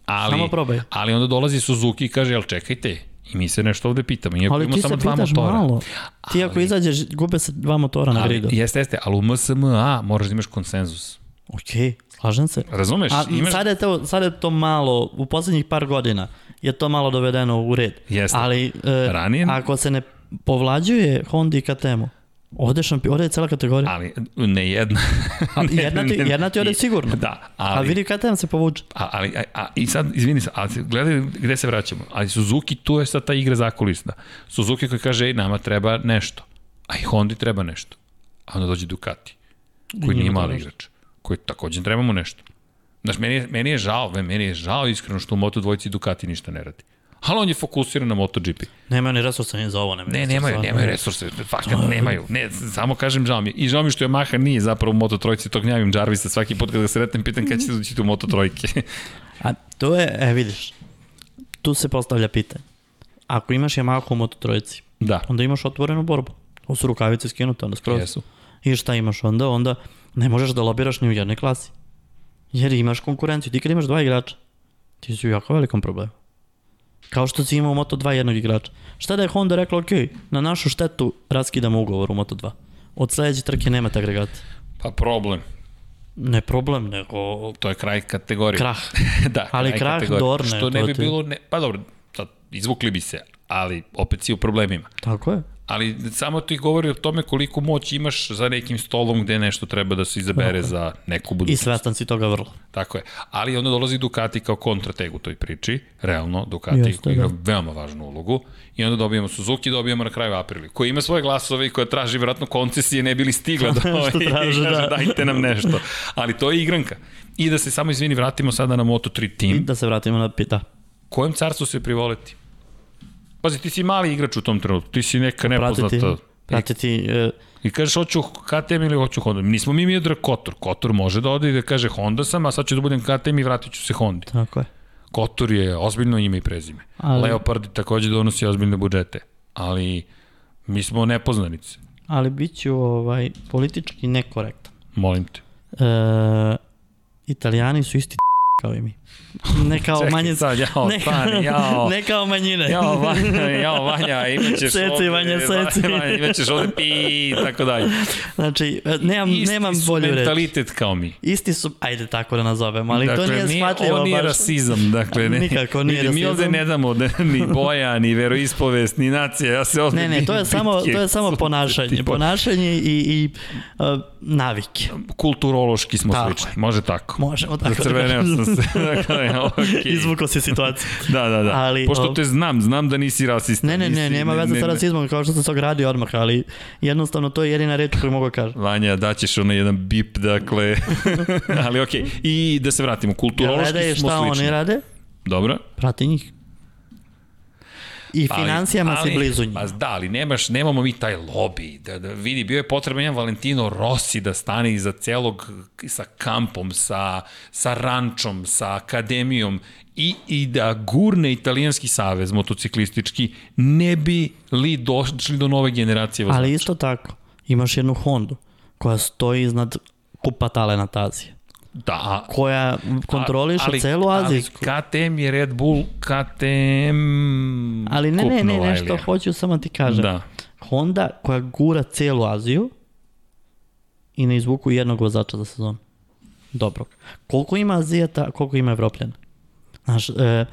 Speaker 1: Ali,
Speaker 2: Samo probaj.
Speaker 1: Ali onda dolazi Suzuki i kaže, jel čekajte, i mi se nešto ovde pitamo. Iako
Speaker 2: Ali
Speaker 1: ima
Speaker 2: ti
Speaker 1: samo
Speaker 2: se
Speaker 1: dva
Speaker 2: pitaš
Speaker 1: motora.
Speaker 2: malo. Ti ako
Speaker 1: Ali-
Speaker 2: izađeš, gube se dva motora na
Speaker 1: Ali,
Speaker 2: gridu.
Speaker 1: jeste, jeste, ali u MSMA moraš da imaš konsenzus.
Speaker 2: Okej, slažem se.
Speaker 1: Razumeš?
Speaker 2: A
Speaker 1: imaš...
Speaker 2: sad, je to, sad je to malo, u poslednjih par godina je to malo dovedeno u red.
Speaker 1: Jeste.
Speaker 2: Ali e,
Speaker 1: Ranije-
Speaker 2: ako se ne povlađuje Honda i KTM-u, ovde, je šampi, ovde je cela kategorija.
Speaker 1: Ali ne
Speaker 2: [LAUGHS]
Speaker 1: jedna. ne,
Speaker 2: jedna ti- jedna ti ode
Speaker 1: I-
Speaker 2: sigurno.
Speaker 1: Da,
Speaker 2: A
Speaker 1: ali,
Speaker 2: vidi KTM se povuče.
Speaker 1: A, ali, a, a, i sad, izvini se, ali gledaj gde se vraćamo. Ali Suzuki, tu je sad ta igra zakulisna. Suzuki koji kaže, ej, nama treba nešto. A i Hondi treba nešto. A onda dođe Ducati, koji nije
Speaker 2: njima
Speaker 1: mali
Speaker 2: treba
Speaker 1: igrač, koji takođe trebamo nešto. Znaš, meni je, meni je žao, ve, meni je žao iskreno što u Moto dvojici Ducati ništa ne radi. Ali on je fokusiran na MotoGP.
Speaker 2: Nemaju ni resursa ni za ovo. Nemaju
Speaker 1: Ne,
Speaker 2: resursa,
Speaker 1: nemaju,
Speaker 2: stvarno.
Speaker 1: nemaju resurse, fakat nemaju. Ne, samo kažem žao mi je. I žao mi je što Yamaha nije zapravo u Moto Trojci, to gnjavim Jarvisa svaki put kada ga sretnem, pitan kada
Speaker 2: Mhm.
Speaker 1: ćete doći u Moto Trojke. [LAUGHS]
Speaker 2: A to je, e vidiš, tu se postavlja pitanje. Ako imaš Yamaha u Moto trojici,
Speaker 1: da.
Speaker 2: onda imaš otvorenu borbu. To su rukavice skinute, onda skroz.
Speaker 1: Jesu.
Speaker 2: I šta imaš onda? Onda ne možeš da lobiraš ni u jednoj klasi. Jer imaš konkurenciju. Ti kad imaš dva igrača, ti si u jako velikom problemu. Kao što si imao u Moto2 jednog igrača. Šta da je Honda rekla, ok, na našu štetu raskidamo ugovor u Moto2. Od sledeće trke nemate agregata.
Speaker 1: Pa problem,
Speaker 2: Ne problem, nego
Speaker 1: to je kraj kategorije.
Speaker 2: krah.
Speaker 1: [LAUGHS] da,
Speaker 2: Ali
Speaker 1: kraj
Speaker 2: krah
Speaker 1: kategorije.
Speaker 2: Dorne,
Speaker 1: Što ne
Speaker 2: to
Speaker 1: bi
Speaker 2: ti-
Speaker 1: bilo, ne, pa dobro, sad izvukli bi se, ali opet si u problemima.
Speaker 2: Tako je.
Speaker 1: Ali samo ti govori o tome koliko moć imaš za nekim stolom gde nešto treba da se izabere za neku
Speaker 2: I
Speaker 1: budućnost.
Speaker 2: svestan si toga vrlo.
Speaker 1: Tako je. Ali onda dolazi Ducati kao kontrateg u toj priči, realno, Ducati
Speaker 2: Jeste,
Speaker 1: koji igra
Speaker 2: da.
Speaker 1: veoma važnu ulogu. I onda dobijamo Suzuki, dobijamo na kraju Aprili, koji ima svoje glasove i koja traži vjerojatno koncesije, ne bili
Speaker 2: [LAUGHS]
Speaker 1: stigla do
Speaker 2: Što traže,
Speaker 1: i kaže,
Speaker 2: da.
Speaker 1: dajte nam nešto. Ali to je igranka. I da se samo, izvini, vratimo sada na Moto3
Speaker 2: I
Speaker 1: tim.
Speaker 2: da se vratimo na pita.
Speaker 1: Kojem carstvu se privoleti? Pazi, ti si mali igrač u tom trenutku, ti si neka
Speaker 2: Pratiti,
Speaker 1: nepoznata.
Speaker 2: pratiti e,
Speaker 1: I kažeš hoću KTM ili hoću Honda. Nismo mi Miodrag Kotor. Kotor može da ode i da kaže Honda sam, a sad ću da budem KTM i vratit ću se Hondi.
Speaker 2: tako je.
Speaker 1: Kotor je ozbiljno ime i prezime. Ali...
Speaker 2: Ali-
Speaker 1: Leopard takođe donosi ozbiljne budžete. Ali mi smo nepoznanice.
Speaker 2: Ali bit ću ovaj, politički nekorektan.
Speaker 1: Molim te.
Speaker 2: E, italijani su isti [LAUGHS] kao i mi. Ne kao
Speaker 1: [LAUGHS] Čekaj,
Speaker 2: manje...
Speaker 1: sad, jao,
Speaker 2: [LAUGHS] ne,
Speaker 1: stani, jao.
Speaker 2: ne kao manjine.
Speaker 1: Jao, Vanja, jao, Vanja, imaćeš
Speaker 2: Seci,
Speaker 1: ovde,
Speaker 2: Vanja, seci.
Speaker 1: Vanja, imaćeš ovde pi i tako dalje.
Speaker 2: [LAUGHS] Znači, e, nemam,
Speaker 1: Isti
Speaker 2: nemam
Speaker 1: su
Speaker 2: bolju reč.
Speaker 1: mentalitet kao mi.
Speaker 2: Isti su, ajde tako da nazovem, ali
Speaker 1: dakle,
Speaker 2: to nije shvatljivo
Speaker 1: Ovo nije
Speaker 2: baš.
Speaker 1: rasizam, dakle. Ne,
Speaker 2: Nikako nije
Speaker 1: vidi, Mi
Speaker 2: rasizam.
Speaker 1: ovde ne damo da, ni boja, ni veroispovest, ni nacija. Ja se ovde
Speaker 2: Ne, ne, to je
Speaker 1: bitke
Speaker 2: samo, to je samo
Speaker 1: su-
Speaker 2: ponašanje.
Speaker 1: tipa,
Speaker 2: Ponašanje i, i uh, navike.
Speaker 1: Kulturološki smo
Speaker 2: Tako
Speaker 1: slični, može tako.
Speaker 2: Možemo tako da
Speaker 1: Zacrveneo
Speaker 2: kažem.
Speaker 1: sam se. [LAUGHS] dakle,
Speaker 2: [LAUGHS]
Speaker 1: okay.
Speaker 2: Izvukao si situaciju.
Speaker 1: Da, da, da.
Speaker 2: Ali,
Speaker 1: Pošto
Speaker 2: ov-
Speaker 1: te znam, znam da nisi rasista.
Speaker 2: [LAUGHS] Ne, ne, ne,
Speaker 1: nisi-
Speaker 2: nema veze sa rasizmom, kao što sam se ogradio odmah, ali jednostavno to je jedina reč koju mogu da kažem.
Speaker 1: Vanja, daćeš onaj jedan bip,
Speaker 2: [LAUGHS]
Speaker 1: dakle. Ali okej. I da se vratimo,
Speaker 2: Jel
Speaker 1: kulturološki
Speaker 2: gledaj
Speaker 1: smo
Speaker 2: šta
Speaker 1: slični.
Speaker 2: oni rade,
Speaker 1: Dobro.
Speaker 2: prati njih. I
Speaker 1: Pa, Ali-
Speaker 2: financijama
Speaker 1: ali-
Speaker 2: si blizu njih.
Speaker 1: Pa da, ali nemaš, nemamo mi taj lobby. Da, da, vidi, bio je potreban jedan Valentino Rossi da stane iza celog, sa kampom, sa, sa rančom, sa akademijom i, i da gurne italijanski savez motociklistički, ne bi li došli do nove generacije vozača.
Speaker 2: Ali isto tako, imaš jednu Hondu koja stoji iznad kupa talenata Azije,
Speaker 1: Da,
Speaker 2: koja kontroliše Pa, ali, celu Azijsku.
Speaker 1: Ali KTM je Red Bull, KTM...
Speaker 2: Ali, ne, ne, ne,
Speaker 1: kupnula,
Speaker 2: nešto
Speaker 1: Elija.
Speaker 2: hoću samo ti kažem.
Speaker 1: Da.
Speaker 2: Honda koja gura celu Aziju i ne izvuku jednog vozača za sezon. Dobrog. Koliko ima Azijeta, koliko ima Evropljana? Znaš, e,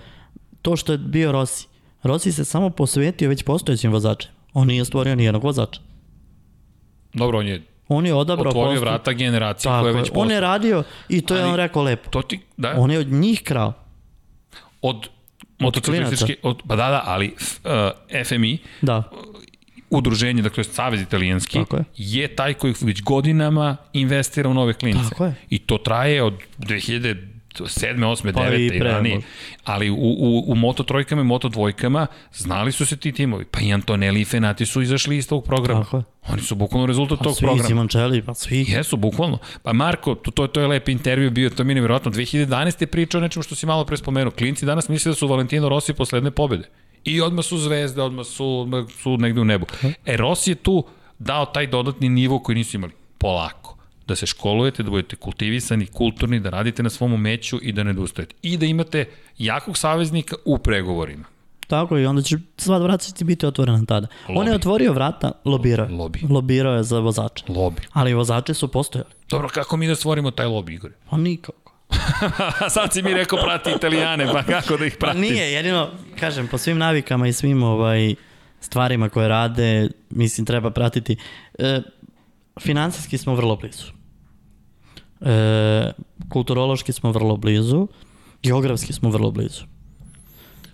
Speaker 2: to što je bio Rossi. Rossi se samo posvetio već postojećim vozačima. On nije stvorio nijednog vozača.
Speaker 1: Dobro, on je
Speaker 2: On je odabrao
Speaker 1: otvorio
Speaker 2: posto-
Speaker 1: vrata generacije koja
Speaker 2: Tako
Speaker 1: je
Speaker 2: je,
Speaker 1: već
Speaker 2: on je
Speaker 1: postoji.
Speaker 2: radio i to je
Speaker 1: Ali-
Speaker 2: on rekao lepo.
Speaker 1: To ti, da,
Speaker 2: On je od njih krao.
Speaker 1: od motociklističke, od, pa da, da, ali f, uh, FMI,
Speaker 2: Da,
Speaker 1: udruženje, dakle Savez italijanski,
Speaker 2: Tako
Speaker 1: je.
Speaker 2: je.
Speaker 1: je taj koji već godinama investira u nove klince.
Speaker 2: Tako je.
Speaker 1: I to traje od 2000 7. 8.
Speaker 2: Pa i
Speaker 1: 9. i
Speaker 2: pre,
Speaker 1: ranije.
Speaker 2: možda.
Speaker 1: Ali u, u, u Moto trojkama i Moto dvojkama znali su se ti timovi. Pa i Antonelli i Fenati su izašli iz tog programa.
Speaker 2: Tako je.
Speaker 1: Oni su bukvalno rezultat
Speaker 2: pa
Speaker 1: tog
Speaker 2: svi
Speaker 1: programa.
Speaker 2: Simoncelli, pa svi.
Speaker 1: Jesu, bukvalno. Pa Marko, to, to, to je lep intervju bio, to mi je nevjerojatno. 2011. je pričao o nečemu što si malo pre spomenuo. Klinci danas misle da su Valentino Rossi posledne pobede. I odmah su zvezde, odmah su, odmah su negde u nebu. E, Rossi je tu dao taj dodatni nivo koji nisu imali. Polako. Da se školujete, da budete kultivisani, kulturni, da radite na svom umeću i da ne odustajete. I da imate jakog saveznika u pregovorima.
Speaker 2: Tako i onda će sva vrata će ti biti otvorena tada. Lobi. On
Speaker 1: Lobi.
Speaker 2: je otvorio vrata, lobirao je.
Speaker 1: Lobi.
Speaker 2: Lobirao je za vozače.
Speaker 1: Lobi.
Speaker 2: Ali vozači su postojali.
Speaker 1: Dobro, kako mi da stvorimo taj lobi, Igor?
Speaker 2: Pa nikako.
Speaker 1: [LAUGHS] Sad si mi rekao prati Italijane, pa kako da ih
Speaker 2: Pa
Speaker 1: pratim?
Speaker 2: nije, jedino, kažem, po svim navikama i svim ovaj, stvarima koje rade, mislim, treba pratiti. E, finansijski smo vrlo blizu. E, kulturološki smo vrlo blizu. Geografski smo vrlo blizu.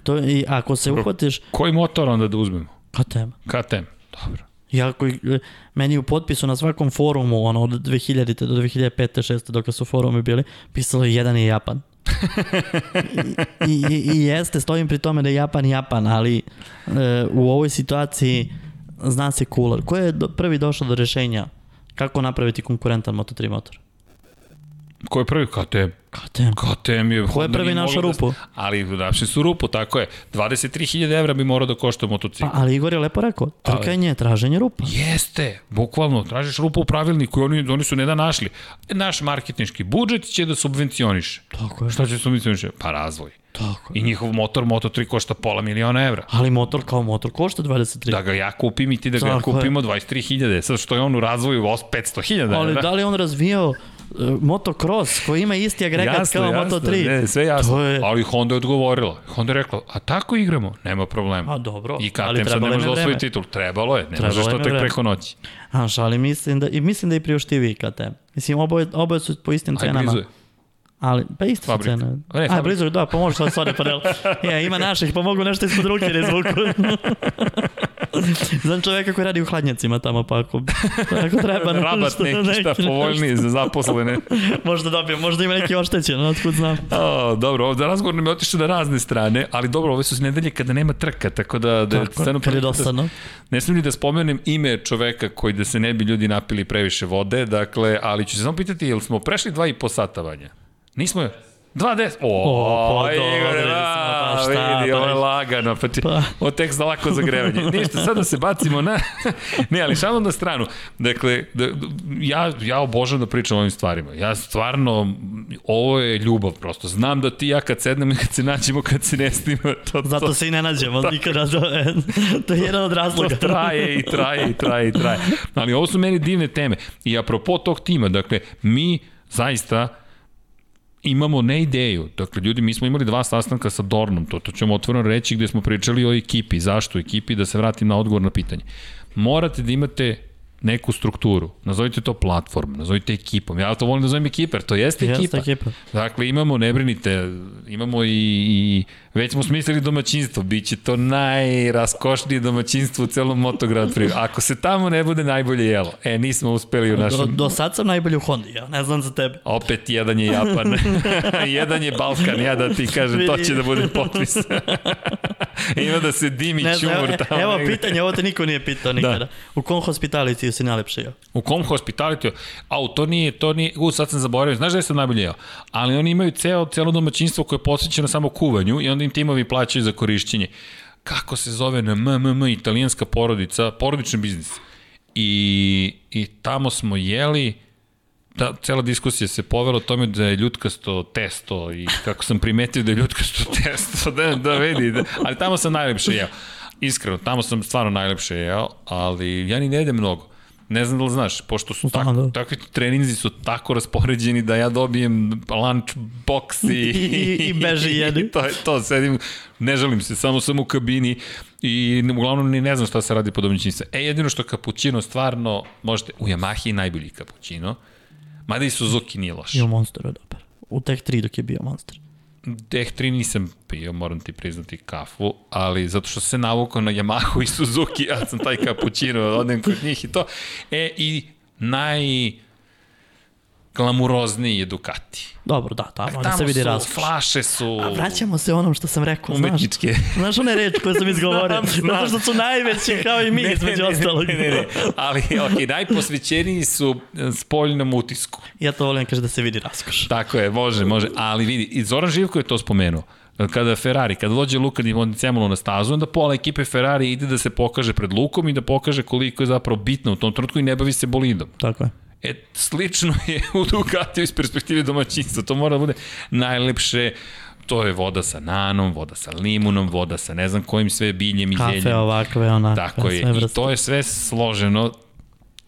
Speaker 2: To, je- I ako se uhvatiš,
Speaker 1: Koji motor onda da uzmemo?
Speaker 2: ka tema?
Speaker 1: KTM. Dobro.
Speaker 2: Ja koji, e, meni u potpisu na svakom forumu, ono, od 2000. do 2005. 6. dok su forumi bili, pisalo je jedan je Japan. I, i, I jeste, stojim pri tome da je Japan Japan, ali e, u ovoj situaciji zna se kular. Ko je do, prvi došao do rešenja kako napraviti konkurentan Moto3 motor?
Speaker 1: Ko je prvi? KTM.
Speaker 2: KTM.
Speaker 1: KTM je...
Speaker 2: Ko je prvi
Speaker 1: Nije
Speaker 2: našao
Speaker 1: moglo
Speaker 2: rupu?
Speaker 1: Da, ali našli su rupu, tako je. 23.000 evra bi morao da košta motocikl.
Speaker 2: Pa, ali Igor je lepo rekao, trkanje je traženje rupa.
Speaker 1: Jeste, bukvalno, tražiš rupu u pravilniku i oni, oni su ne da našli. Naš marketinški budžet će da subvencioniše.
Speaker 2: Tako je,
Speaker 1: Šta će subvencioniše? Pa razvoj.
Speaker 2: tako je.
Speaker 1: I njihov motor Moto3 košta pola miliona evra.
Speaker 2: Ali motor kao motor košta 23.
Speaker 1: Da ga ja kupim i ti da ga ja
Speaker 2: Tako je.
Speaker 1: kupimo 23.000. Sad što je on u razvoju os- 500.000
Speaker 2: Ali
Speaker 1: evra.
Speaker 2: da li je on razvijao uh, motocross koji ima isti agregat kao Moto3?
Speaker 1: Ne, sve jasno.
Speaker 2: To je-
Speaker 1: Ali Honda je odgovorila. Honda je rekla, a tako igramo, nema problema.
Speaker 2: A dobro,
Speaker 1: I
Speaker 2: ali
Speaker 1: KTM sad ne
Speaker 2: trebalo im
Speaker 1: može
Speaker 2: je
Speaker 1: da osvoji
Speaker 2: vreme.
Speaker 1: titul. Trebalo je, ne
Speaker 2: Trebalo
Speaker 1: možeš
Speaker 2: im
Speaker 1: to
Speaker 2: je
Speaker 1: tek
Speaker 2: vreme.
Speaker 1: preko noći.
Speaker 2: Znaš, ali mislim da, i mislim da je priuštiviji KTM. Mislim, oboje, oboje su po istim
Speaker 1: Aj, blizu
Speaker 2: cenama.
Speaker 1: je.
Speaker 2: Ali, pa isto su
Speaker 1: Fabrika.
Speaker 2: cene.
Speaker 1: A ne,
Speaker 2: A,
Speaker 1: fabrika.
Speaker 2: blizu, je, da, pomožu sad sode panel.
Speaker 1: [LAUGHS]
Speaker 2: Ja, ima naših, pa mogu nešto ispod ruke da izvuku. [LAUGHS] Znam čoveka koji radi u hladnjacima tamo, pa ako, ako treba... nešto,
Speaker 1: [LAUGHS] Rabat neki šta
Speaker 2: nešto.
Speaker 1: povoljniji za
Speaker 2: [LAUGHS]
Speaker 1: zaposlene.
Speaker 2: Možda dobijem, možda ima neki oštećen, otkud znam.
Speaker 1: O, dobro, ovde razgovor nam je otišao na razne strane, ali dobro, ove su nedelje kada nema trka, tako da... da
Speaker 2: Tako,
Speaker 1: stvarno
Speaker 2: kad je
Speaker 1: prilika-
Speaker 2: dosadno.
Speaker 1: Ne smijem ni da spomenem ime čoveka koji da se ne bi ljudi napili previše vode, dakle, ali ću se samo pitati, jel smo prešli dva i po sata vanja? Nismo još? Dva des... O,
Speaker 2: O, pa
Speaker 1: Igore,
Speaker 2: dobro,
Speaker 1: a,
Speaker 2: smo, pa šta,
Speaker 1: vidi,
Speaker 2: pa
Speaker 1: ovo je
Speaker 2: ne-
Speaker 1: lagano, pa ti,
Speaker 2: Pa.
Speaker 1: ovo tek za lako
Speaker 2: [LAUGHS]
Speaker 1: zagrevanje. Ništa, sad da se bacimo na... ne, ali šalno na stranu. Dakle, da, ja, ja obožavam da pričam o ovim stvarima. Ja stvarno, ovo je ljubav prosto. Znam da ti i ja kad sednemo i [LAUGHS] kad se nađemo, kad se ne snima, to, to,
Speaker 2: Zato se i ne [LAUGHS] nađemo nikada. To je, Da. to je jedan od razloga.
Speaker 1: To traje i traje i traje i traje. Ali ovo su meni divne teme. I apropo tog tima, dakle, mi zaista imamo ne ideju. Dakle, ljudi, mi smo imali dva sastanka sa Dornom, to, to ćemo otvoreno reći, gde smo pričali o ekipi, zašto ekipi, da se vratim na odgovor na pitanje. Morate da imate neku strukturu, nazovite to platform, nazovite ekipom. Ja to volim da zovem ekipa, jer to jeste
Speaker 2: Jeste
Speaker 1: ekipa.
Speaker 2: ekipa.
Speaker 1: Dakle, imamo, ne brinite, imamo i, i već smo smislili domaćinstvo, bit će to najraskošnije domaćinstvo u celom Motograd Priju. Ako se tamo ne bude najbolje jelo, e, nismo uspeli u
Speaker 2: Do,
Speaker 1: našem...
Speaker 2: do sad sam najbolji u Hondi, ja ne znam za tebe.
Speaker 1: Opet jedan je Japan, [LAUGHS] jedan je Balkan, ja da ti kažem, to će da bude potpis. [LAUGHS] Ima da se dimi
Speaker 2: Ne znam,
Speaker 1: čumur
Speaker 2: evo,
Speaker 1: tamo.
Speaker 2: evo
Speaker 1: negde.
Speaker 2: pitanje, ovo te niko nije pitao nikada. Da. U kom hospitalitiju si najlepše jeo?
Speaker 1: U kom hospitalitiju? Au, to nije, to nije, u, sad sam zaboravio, znaš da sam najbolje jeo? Ali oni imaju ceo, celo domaćinstvo koje je posvećeno samo kuvanju i onda im timovi plaćaju za korišćenje. Kako se zove na MMM, italijanska porodica, porodični biznis. I, i tamo smo jeli, ta, Da, cela diskusija se povela o tome da je ljutkasto testo i kako sam primetio da je ljutkasto testo, da, da vidi, da, ali tamo sam najlepše jeo. Iskreno, tamo sam stvarno najlepše jeo, ali ja ni ne jedem mnogo. Ne znam da li znaš, pošto su
Speaker 2: Znam,
Speaker 1: tako,
Speaker 2: da.
Speaker 1: takvi treninzi su tako raspoređeni da ja dobijem lunch box i...
Speaker 2: I- i- i beži jedi.
Speaker 1: to je to, sedim, ne želim se, samo sam u kabini i uglavnom ni ne znam šta se radi po domaćinstvu. E, jedino što kapućino stvarno, možete, u Yamahi je najbolji kapućino, mada i Suzuki nije loš.
Speaker 2: Bio Monster je dobar. U Tech 3 dok je bio Monster.
Speaker 1: Teh 3 nisam pio, moram ti priznati kafu, ali zato što sam se navukao na Yamahu i Suzuki, ja sam taj kapućino, odem kod njih i to. E, i naj glamurozniji je Ducati.
Speaker 2: Dobro, da, tamo, tamo
Speaker 1: Tamo
Speaker 2: se vidi
Speaker 1: su,
Speaker 2: razlog.
Speaker 1: flaše su...
Speaker 2: A vraćamo se onom što sam rekao,
Speaker 1: Umetničke.
Speaker 2: znaš. [LAUGHS] Znaš one reči [LAUGHS] koje sam izgovorio?
Speaker 1: Znam, znam.
Speaker 2: Zato što su najveće kao i mi, između ostalog.
Speaker 1: Ne, ne, ne, ali okay, najposvećeniji su e, spoljnom utisku.
Speaker 2: Ja to volim kaže da se vidi raskoš.
Speaker 1: Tako je, može, može. Ali vidi, i Zoran Živko je to spomenuo. Kada Ferrari, kada dođe Luka di Montecemolo na stazu, onda pola ekipe Ferrari ide da se pokaže pred Lukom i da pokaže koliko je zapravo bitno u tom trenutku i ne bavi se bolidom.
Speaker 2: Tako je.
Speaker 1: E, slično [LAUGHS] je u Ducatiju iz perspektive domaćinstva. To mora da bude najlepše to je voda sa nanom, voda sa limunom, voda sa ne znam kojim sve biljem i
Speaker 2: Kafe
Speaker 1: zeljem.
Speaker 2: ovakve, onakve.
Speaker 1: Tako je,
Speaker 2: sve
Speaker 1: i
Speaker 2: vrste.
Speaker 1: to je sve složeno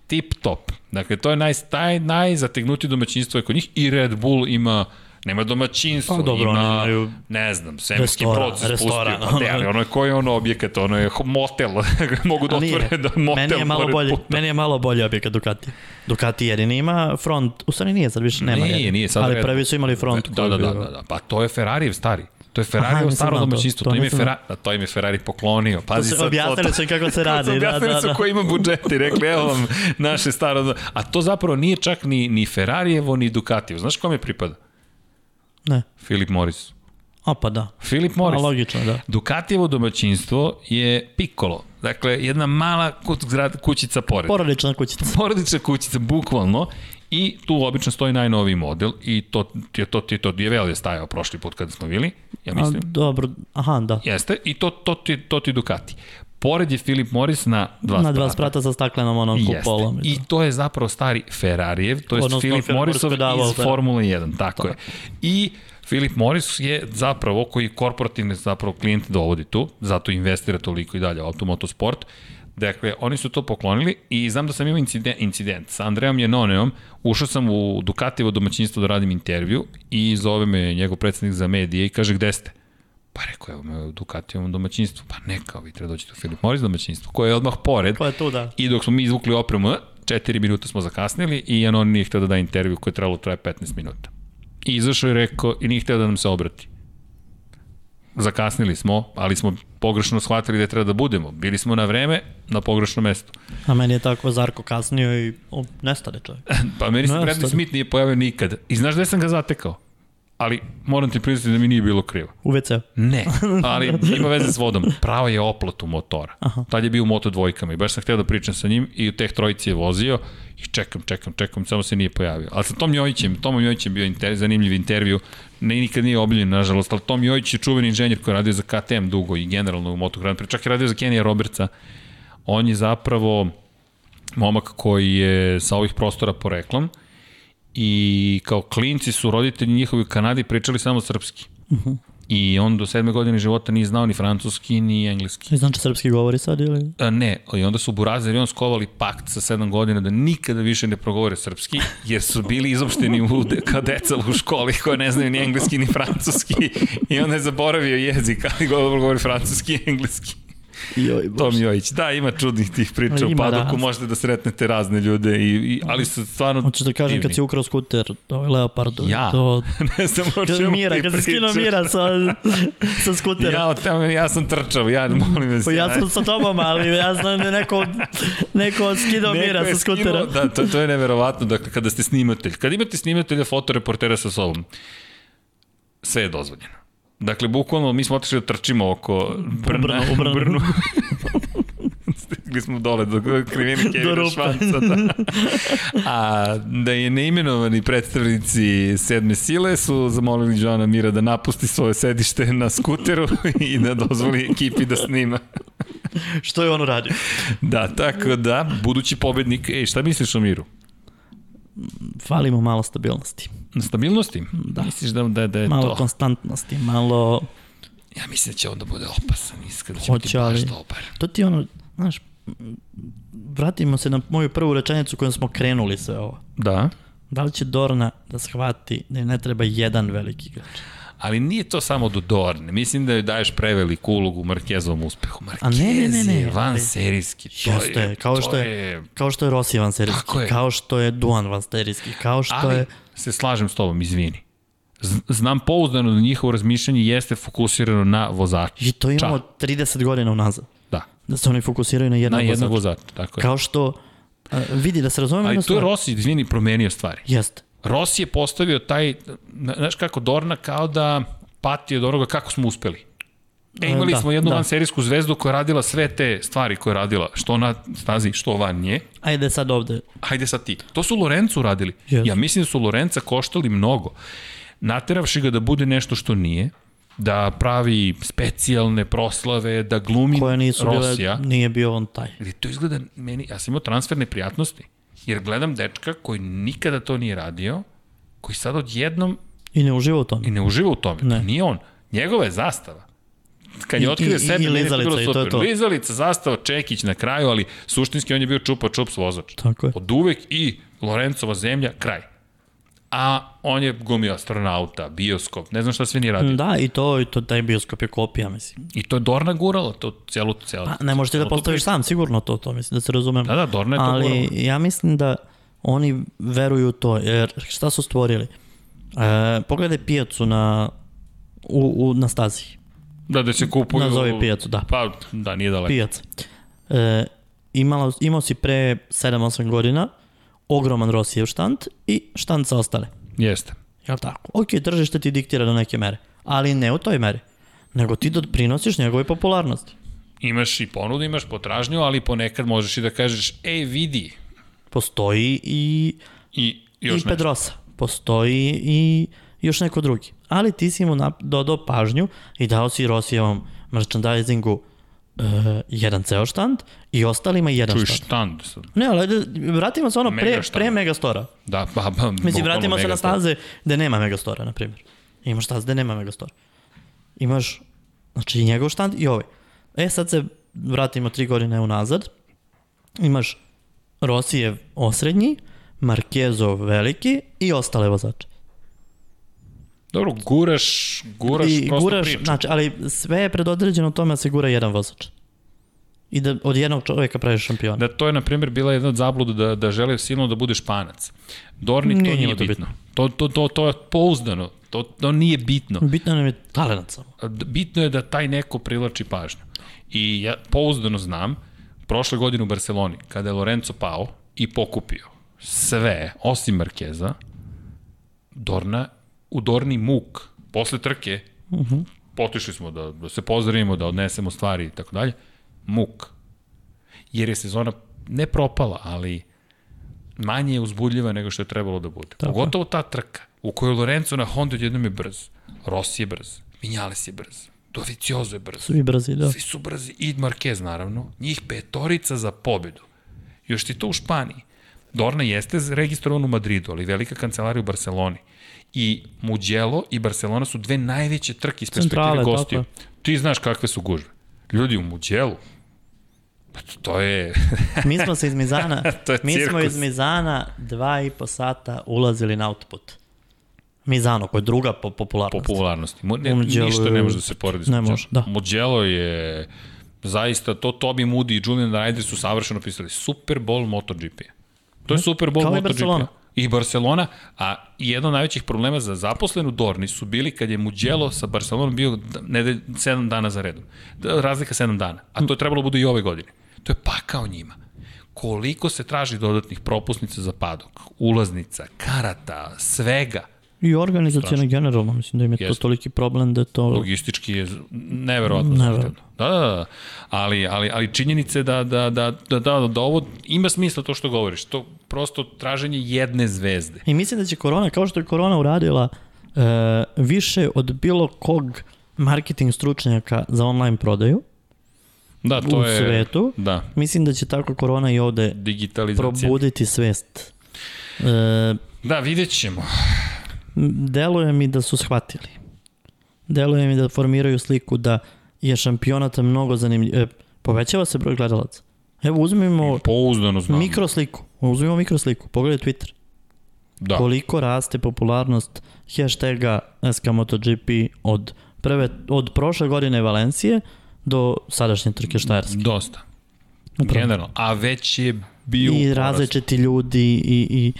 Speaker 1: tip top. Dakle, to je naj, taj, najzategnutije domaćinstvo je kod njih i Red Bull ima nema domaćinstvo,
Speaker 2: Pa dobro, oni
Speaker 1: ima,
Speaker 2: imaju
Speaker 1: ne znam, semski
Speaker 2: restoran,
Speaker 1: proces
Speaker 2: restoran,
Speaker 1: pustio, pa ne,
Speaker 2: ono.
Speaker 1: ali ono je koji je ono objekat, ono je ho- motel, [LAUGHS] mogu da
Speaker 2: A nije.
Speaker 1: otvore da motel
Speaker 2: meni je malo
Speaker 1: pored
Speaker 2: bolje,
Speaker 1: puta.
Speaker 2: meni je malo bolje objekat Ducati. Ducati jedini ima front, u stvari nije, sad više nema.
Speaker 1: Nije,
Speaker 2: jedini.
Speaker 1: nije, sad
Speaker 2: Ali
Speaker 1: Red-
Speaker 2: prvi su imali front.
Speaker 1: Da,
Speaker 2: koji
Speaker 1: da,
Speaker 2: je
Speaker 1: da,
Speaker 2: bio-
Speaker 1: da, da, pa to je Ferrarijev stari. To je Ferrarijev
Speaker 2: nisam
Speaker 1: staro
Speaker 2: znao to,
Speaker 1: domaćinstvo, to,
Speaker 2: to
Speaker 1: im je
Speaker 2: nisam znao.
Speaker 1: Ferrari, da, to im je Ferrari poklonio. Pazi [LAUGHS]
Speaker 2: Su-
Speaker 1: sad to, to,
Speaker 2: Objasnili su im kako se radi. da,
Speaker 1: Objasnili
Speaker 2: da,
Speaker 1: su
Speaker 2: da.
Speaker 1: ko ima budžet i rekli, evo vam naše staro... A to zapravo nije čak ni, ni Ferrarijevo, ni Ducatijevo. Znaš kome pripada?
Speaker 2: Ne.
Speaker 1: Filip Morris.
Speaker 2: A pa da.
Speaker 1: Filip
Speaker 2: A
Speaker 1: Morris.
Speaker 2: logično, da.
Speaker 1: Ducatijevo domaćinstvo je Piccolo. Dakle, jedna mala kut, zgrad, kućica pored.
Speaker 2: Porodična kućica.
Speaker 1: Porodična kućica, bukvalno. I tu obično stoji najnoviji model i to ti je to, ti je to Djevel je stajao prošli put kada smo bili, ja
Speaker 2: A,
Speaker 1: mislim.
Speaker 2: dobro, aha, da.
Speaker 1: Jeste, i to, to, ti, to ti Ducati. Pored je Filip Morris na dva
Speaker 2: Na dva
Speaker 1: sprata.
Speaker 2: sprata sa staklenom onom
Speaker 1: Jeste.
Speaker 2: kupolom.
Speaker 1: I to je zapravo stari Ferrarijev, to je
Speaker 2: da. Odnosno,
Speaker 1: Filip
Speaker 2: Philip Morris
Speaker 1: Morrisov
Speaker 2: koji je davao
Speaker 1: iz
Speaker 2: Ferrari. Da.
Speaker 1: Formule 1, tako je. I Filip Morris je zapravo, koji korporativne zapravo klijente dovodi tu, zato investira toliko i dalje u automotosport. Dakle, oni su to poklonili i znam da sam imao incident, incident sa Andrejom Jenoneom, ušao sam u Ducatijevo domaćinstvo da radim intervju i zove me njegov predsednik za medije i kaže gde ste? Pa rekao, evo me u Ducatijevom domaćinstvu. Pa ne, kao vi treba doći u Filip Morris domaćinstvo, koje je odmah pored.
Speaker 2: Pa je tu, da.
Speaker 1: I dok smo mi izvukli opremu, četiri minuta smo zakasnili i Janon nije hteo da da intervju koje je trebalo traje 15 minuta. I izašao je rekao i nije hteo da nam se obrati. Zakasnili smo, ali smo pogrešno shvatili da treba da budemo. Bili smo na vreme, na pogrešno mesto.
Speaker 2: A meni je tako Zarko kasnio i o, nestade čovjek.
Speaker 1: Pa meni se
Speaker 2: Ne,
Speaker 1: Bradley
Speaker 2: stvarno.
Speaker 1: Smith nije pojavio nikad. I znaš gde sam ga zatekao? Ali moram ti priznati da mi nije bilo krivo.
Speaker 2: U WC.
Speaker 1: Ne, [LAUGHS] ali ima veze s vodom. Pravo je oplatu motora. Aha. Tad je bio u moto dvojkama i baš sam hteo da pričam sa njim i u teh trojici je vozio i čekam, čekam, čekam, samo se nije pojavio. Ali sa Tom Jojićem, Tomom Jojićem je bio inter, zanimljiv intervju, ne, nikad nije obiljen, nažalost, ali Tom Jojić je čuveni inženjer koji je radio za KTM dugo i generalno u Moto Grand Prix, čak je radio za Kenija Robertsa. On je zapravo momak koji je sa ovih prostora poreklom i kao klinci su roditelji njihovi u Kanadi pričali samo srpski. I on do sedme godine života nije znao ni francuski, ni engleski.
Speaker 2: I znači srpski govori sad ili?
Speaker 1: A, ne, i onda su Burazer i on skovali pakt sa sedam godina da nikada više ne progovore srpski, jer su bili izopšteni u de, kao deca u školi koja ne znaju ni engleski ni francuski i onda je zaboravio jezik, ali dobro govori francuski i engleski.
Speaker 2: Joj,
Speaker 1: Tom Jojić. Da, ima čudnih tih priča u
Speaker 2: Ima
Speaker 1: padoku,
Speaker 2: raznih.
Speaker 1: možete da sretnete razne ljude, i, i, ali su stvarno
Speaker 2: Hoćeš da kažem kad si ukrao skuter, ovaj Leopard,
Speaker 1: Ja.
Speaker 2: to...
Speaker 1: [LAUGHS] ne znam o čemu
Speaker 2: Mira,
Speaker 1: ti
Speaker 2: kad si skinuo
Speaker 1: pričaš.
Speaker 2: Mira sa, sa skutera.
Speaker 1: Ja, o tome, ja sam trčao, ja molim vas.
Speaker 2: Pa ja sam sa tobom, ali ja znam da je neko, neko skidao
Speaker 1: Neko
Speaker 2: mira
Speaker 1: je
Speaker 2: sa skutera.
Speaker 1: skinuo- Da, to, to je neverovatno, dakle, kada ste snimatelj. Kad imate snimatelja, fotoreportera sa sobom, sve je dozvoljeno. Dakle, bukvalno, mi smo otišli da trčimo oko Brna.
Speaker 2: Brnu, u Brnu.
Speaker 1: Stigli smo dole do
Speaker 2: [LAUGHS]
Speaker 1: krivine
Speaker 2: Do
Speaker 1: Kevina
Speaker 2: rupa.
Speaker 1: Švanca.
Speaker 2: [LAUGHS]
Speaker 1: Da. A da je neimenovani predstavnici sedme sile su zamolili Joana Mira da napusti svoje sedište na skuteru [LAUGHS] i da dozvoli ekipi da
Speaker 2: [LAUGHS]
Speaker 1: snima.
Speaker 2: [LAUGHS] Što je on uradio?
Speaker 1: Da, tako da, budući pobednik, ej, šta misliš o Miru?
Speaker 2: Fali mu malo stabilnosti,
Speaker 1: Na stabilnosti? Da. Misliš da, da, da je
Speaker 2: malo
Speaker 1: to?
Speaker 2: konstantnosti, malo...
Speaker 1: Ja mislim da će on da bude opasan, iskreno će
Speaker 2: Hoće,
Speaker 1: biti baš
Speaker 2: ali-
Speaker 1: dobar.
Speaker 2: To ti je ono, znaš, vratimo se na moju prvu rečenicu kojom smo krenuli sve ovo.
Speaker 1: Da.
Speaker 2: Da li će Dorna da shvati da im ne treba jedan veliki igrač?
Speaker 1: Ali nije to samo do Dorne. Mislim da joj daješ preveliku ulogu Markezovom uspehu.
Speaker 2: A
Speaker 1: Markez
Speaker 2: ne, ne, ne, ne,
Speaker 1: je van
Speaker 2: ali-
Speaker 1: serijski. To
Speaker 2: Jeste,
Speaker 1: je,
Speaker 2: kao
Speaker 1: to
Speaker 2: što je-
Speaker 1: je
Speaker 2: Kao što je Rossi vanserijski,
Speaker 1: Tako je.
Speaker 2: kao što je Duan vanserijski, kao što
Speaker 1: Ali
Speaker 2: je...
Speaker 1: se slažem s tobom, izvini. Z- Znam pouzdano da njihovo razmišljanje jeste fokusirano na vozača.
Speaker 2: I to imamo
Speaker 1: Ča.
Speaker 2: 30 godina unazad.
Speaker 1: Da,
Speaker 2: Da se oni fokusiraju na
Speaker 1: na
Speaker 2: jednog
Speaker 1: jednog
Speaker 2: vozača.
Speaker 1: vozača, tako je.
Speaker 2: Kao što... a, vidi, da se razumemo
Speaker 1: Ali
Speaker 2: jednu
Speaker 1: tu je
Speaker 2: stvar.
Speaker 1: Rossi, izvini, promenio stvari.
Speaker 2: Jeste.
Speaker 1: Rossi je postavio taj, na- znaš kako, Dorna kao da pati od onoga kako smo uspeli. E,
Speaker 2: E,
Speaker 1: imali
Speaker 2: da,
Speaker 1: smo jednu
Speaker 2: da.
Speaker 1: vanserijsku zvezdu koja je radila sve te stvari koje je radila, što na stazi, što van nje.
Speaker 2: Ajde sad ovde.
Speaker 1: Hajde sad ti. To su Lorencu radili.
Speaker 2: Jesu.
Speaker 1: Ja mislim da su Lorenca koštali mnogo. Nateravši ga da bude nešto što nije, da pravi specijalne proslave, da glumi
Speaker 2: Koje nisu
Speaker 1: Rosija.
Speaker 2: bile... Nije bio on taj.
Speaker 1: Jer to izgleda meni, ja sam imao transferne prijatnosti. Jer gledam dečka koji nikada to nije radio, koji sad odjednom
Speaker 2: I ne uživa u tome.
Speaker 1: i ne uživa u tome. Ne.
Speaker 2: Ne.
Speaker 1: Nije on. Njegova je zastava. Kad je
Speaker 2: I- i-
Speaker 1: otkrio
Speaker 2: i-
Speaker 1: sebe,
Speaker 2: i
Speaker 1: meni je to
Speaker 2: lizalica,
Speaker 1: bilo
Speaker 2: i to je
Speaker 1: super.
Speaker 2: to.
Speaker 1: Lizalica, zastava, Čekić na kraju, ali suštinski on je bio čupa čups vozač.
Speaker 2: Tako je.
Speaker 1: Od uvek i Lorencova zemlja, kraj. A on je gumio astronauta, bioskop, ne znam šta sve nije radio.
Speaker 2: Da, i to, i to taj bioskop je kopija, mislim.
Speaker 1: I to je Dorna gurala, to celu, celu.
Speaker 2: Pa, ne možeš ti da
Speaker 1: celu tu
Speaker 2: postaviš
Speaker 1: priču.
Speaker 2: sam, sigurno to, to mislim, da se razumemo.
Speaker 1: Da, da, Dorna je to
Speaker 2: Ali
Speaker 1: gurala.
Speaker 2: ja mislim da oni veruju u to, jer šta su stvorili? E, pogledaj pijacu na, u, u, na stazi.
Speaker 1: Da, da se kupuju...
Speaker 2: Nazovi pijacu, da.
Speaker 1: Pa, da, nije daleko.
Speaker 2: Pijaca. E, imala, imao si pre 7-8 godina ogroman Rosijev štand i štand sa ostale.
Speaker 1: Jeste.
Speaker 2: Jel tako? Ok, tržište ti diktira do neke mere, ali ne u toj meri, nego ti doprinosiš njegove popularnosti.
Speaker 1: Imaš i ponudu, imaš potražnju, ali ponekad možeš i da kažeš, ej, vidi.
Speaker 2: Postoji i,
Speaker 1: I još
Speaker 2: i
Speaker 1: nešto.
Speaker 2: Pedrosa, postoji i još neko drugi. Ali ti si mu nap- dodao pažnju i dao si Rosijevom merchandisingu e, jedan ceo štand i ostalima jedan
Speaker 1: Čuj
Speaker 2: štand.
Speaker 1: štand sad.
Speaker 2: Ne, ali ajde, vratimo se ono pre,
Speaker 1: Megaštand.
Speaker 2: pre Megastora.
Speaker 1: Da, ba, ba,
Speaker 2: Mislim,
Speaker 1: bukvalno
Speaker 2: vratimo se na
Speaker 1: megastar.
Speaker 2: staze gde nema Megastora, na primjer. Imaš staze gde nema Megastora. Imaš, znači, i njegov štand i ovaj. E, sad se vratimo tri godine unazad. Imaš Rosijev osrednji, Markezov veliki i ostale vozače.
Speaker 1: Dobro, guraš, guraš I,
Speaker 2: I
Speaker 1: prosto guraš, priču. Na...
Speaker 2: znači, ali sve je predodređeno tome da se gura jedan vozač. I da od jednog čoveka praviš šampiona.
Speaker 1: Da to je, na primjer, bila jedna od zabluda da, da žele silno da bude španac. Dorni, to
Speaker 2: Nije
Speaker 1: nije,
Speaker 2: njima to
Speaker 1: bitno. To, to, to, to je pouzdano. To, to nije bitno.
Speaker 2: Bitno nam je talent samo.
Speaker 1: D- Bitno je da taj neko privlači pažnju. I ja pouzdano znam, prošle godine u Barceloni, kada je Lorenzo pao i pokupio sve, osim Markeza, Dorna, u Dorni muk, posle trke, uh
Speaker 2: Mhm.
Speaker 1: -huh. potišli smo da, da se pozdravimo, da odnesemo stvari i tako dalje, muk. Jer je sezona ne propala, ali manje je uzbudljiva nego što je trebalo da bude.
Speaker 2: Tako je.
Speaker 1: Pogotovo ta trka u kojoj Lorenzo na Honda jednom je brz, Rossi je brz, Vinales je brz, Doviciozo je brz,
Speaker 2: Svi brzi, da.
Speaker 1: svi su brzi i Marquez naravno, njih petorica za pobedu. Još ti to u Španiji. Dorna jeste registrovan u Madridu, ali velika kancelarija u Barceloni. I Mugello i Barcelona su dve najveće trke iz perspektive
Speaker 2: Centrale, tako
Speaker 1: gostiju.
Speaker 2: je.
Speaker 1: Ti znaš kakve su gužve. Ljudi u Mugello, pa to je...
Speaker 2: Mi smo se iz Mizana,
Speaker 1: [LAUGHS] To je
Speaker 2: mi smo
Speaker 1: cirkus.
Speaker 2: iz Mizana dva i po sata ulazili na output. Mizano, koja je druga po popularnosti.
Speaker 1: popularnosti. Mo, ne,
Speaker 2: Mugello
Speaker 1: ništa
Speaker 2: je-
Speaker 1: ne može da se poredi s
Speaker 2: ne
Speaker 1: Mugello.
Speaker 2: može, da.
Speaker 1: Mugello je zaista, to Toby Moody i Julian Ryder su savršeno pisali. Super Bowl MotoGP. To je Super Bowl
Speaker 2: Kao i
Speaker 1: MotoGP.
Speaker 2: Barcelona.
Speaker 1: I Barcelona, a jedan od najvećih problema za zaposlenu Dorni su bili kad je Mugello sa Barcelonom bio nedelj, 7 dana za redom. Da, Razlika 7 dana. A to je trebalo da bude i ove godine. To je pakao njima. Koliko se traži dodatnih propusnica za padok, ulaznica, karata, svega.
Speaker 2: I organizacijona generalno, mislim da im je to
Speaker 1: Jeste.
Speaker 2: toliki problem da je to...
Speaker 1: logistički je z- neverovatno
Speaker 2: Neverovatno.
Speaker 1: zahtevno. Da, da, da. Ali, ali, ali činjenice da, da, da, da, da, da ovo ima smisla to što govoriš. To prosto traženje jedne zvezde.
Speaker 2: I mislim da će korona, kao što je korona uradila, e, više od bilo kog marketing stručnjaka za online prodaju
Speaker 1: Da, to
Speaker 2: u
Speaker 1: je...
Speaker 2: svetu,
Speaker 1: Da,
Speaker 2: mislim da će tako korona i ovde
Speaker 1: digitalizacija.
Speaker 2: probuditi svest. E,
Speaker 1: Da, vidjet ćemo.
Speaker 2: deluje mi da su shvatili. Deluje mi da formiraju sliku da je šampionata mnogo zanimljiv. E, povećava se broj gledalaca. Evo uzmimo
Speaker 1: Pouzdano znam.
Speaker 2: mikrosliku. Uzmimo mikrosliku. Pogledaj Twitter.
Speaker 1: da.
Speaker 2: Koliko raste popularnost hashtaga SKMotoGP od, prve, od prošle godine Valencije do sadašnje trke Štajerske.
Speaker 1: Dosta.
Speaker 2: Upravo.
Speaker 1: Generalno. A već je bio u
Speaker 2: I
Speaker 1: porastu.
Speaker 2: različiti ljudi i, i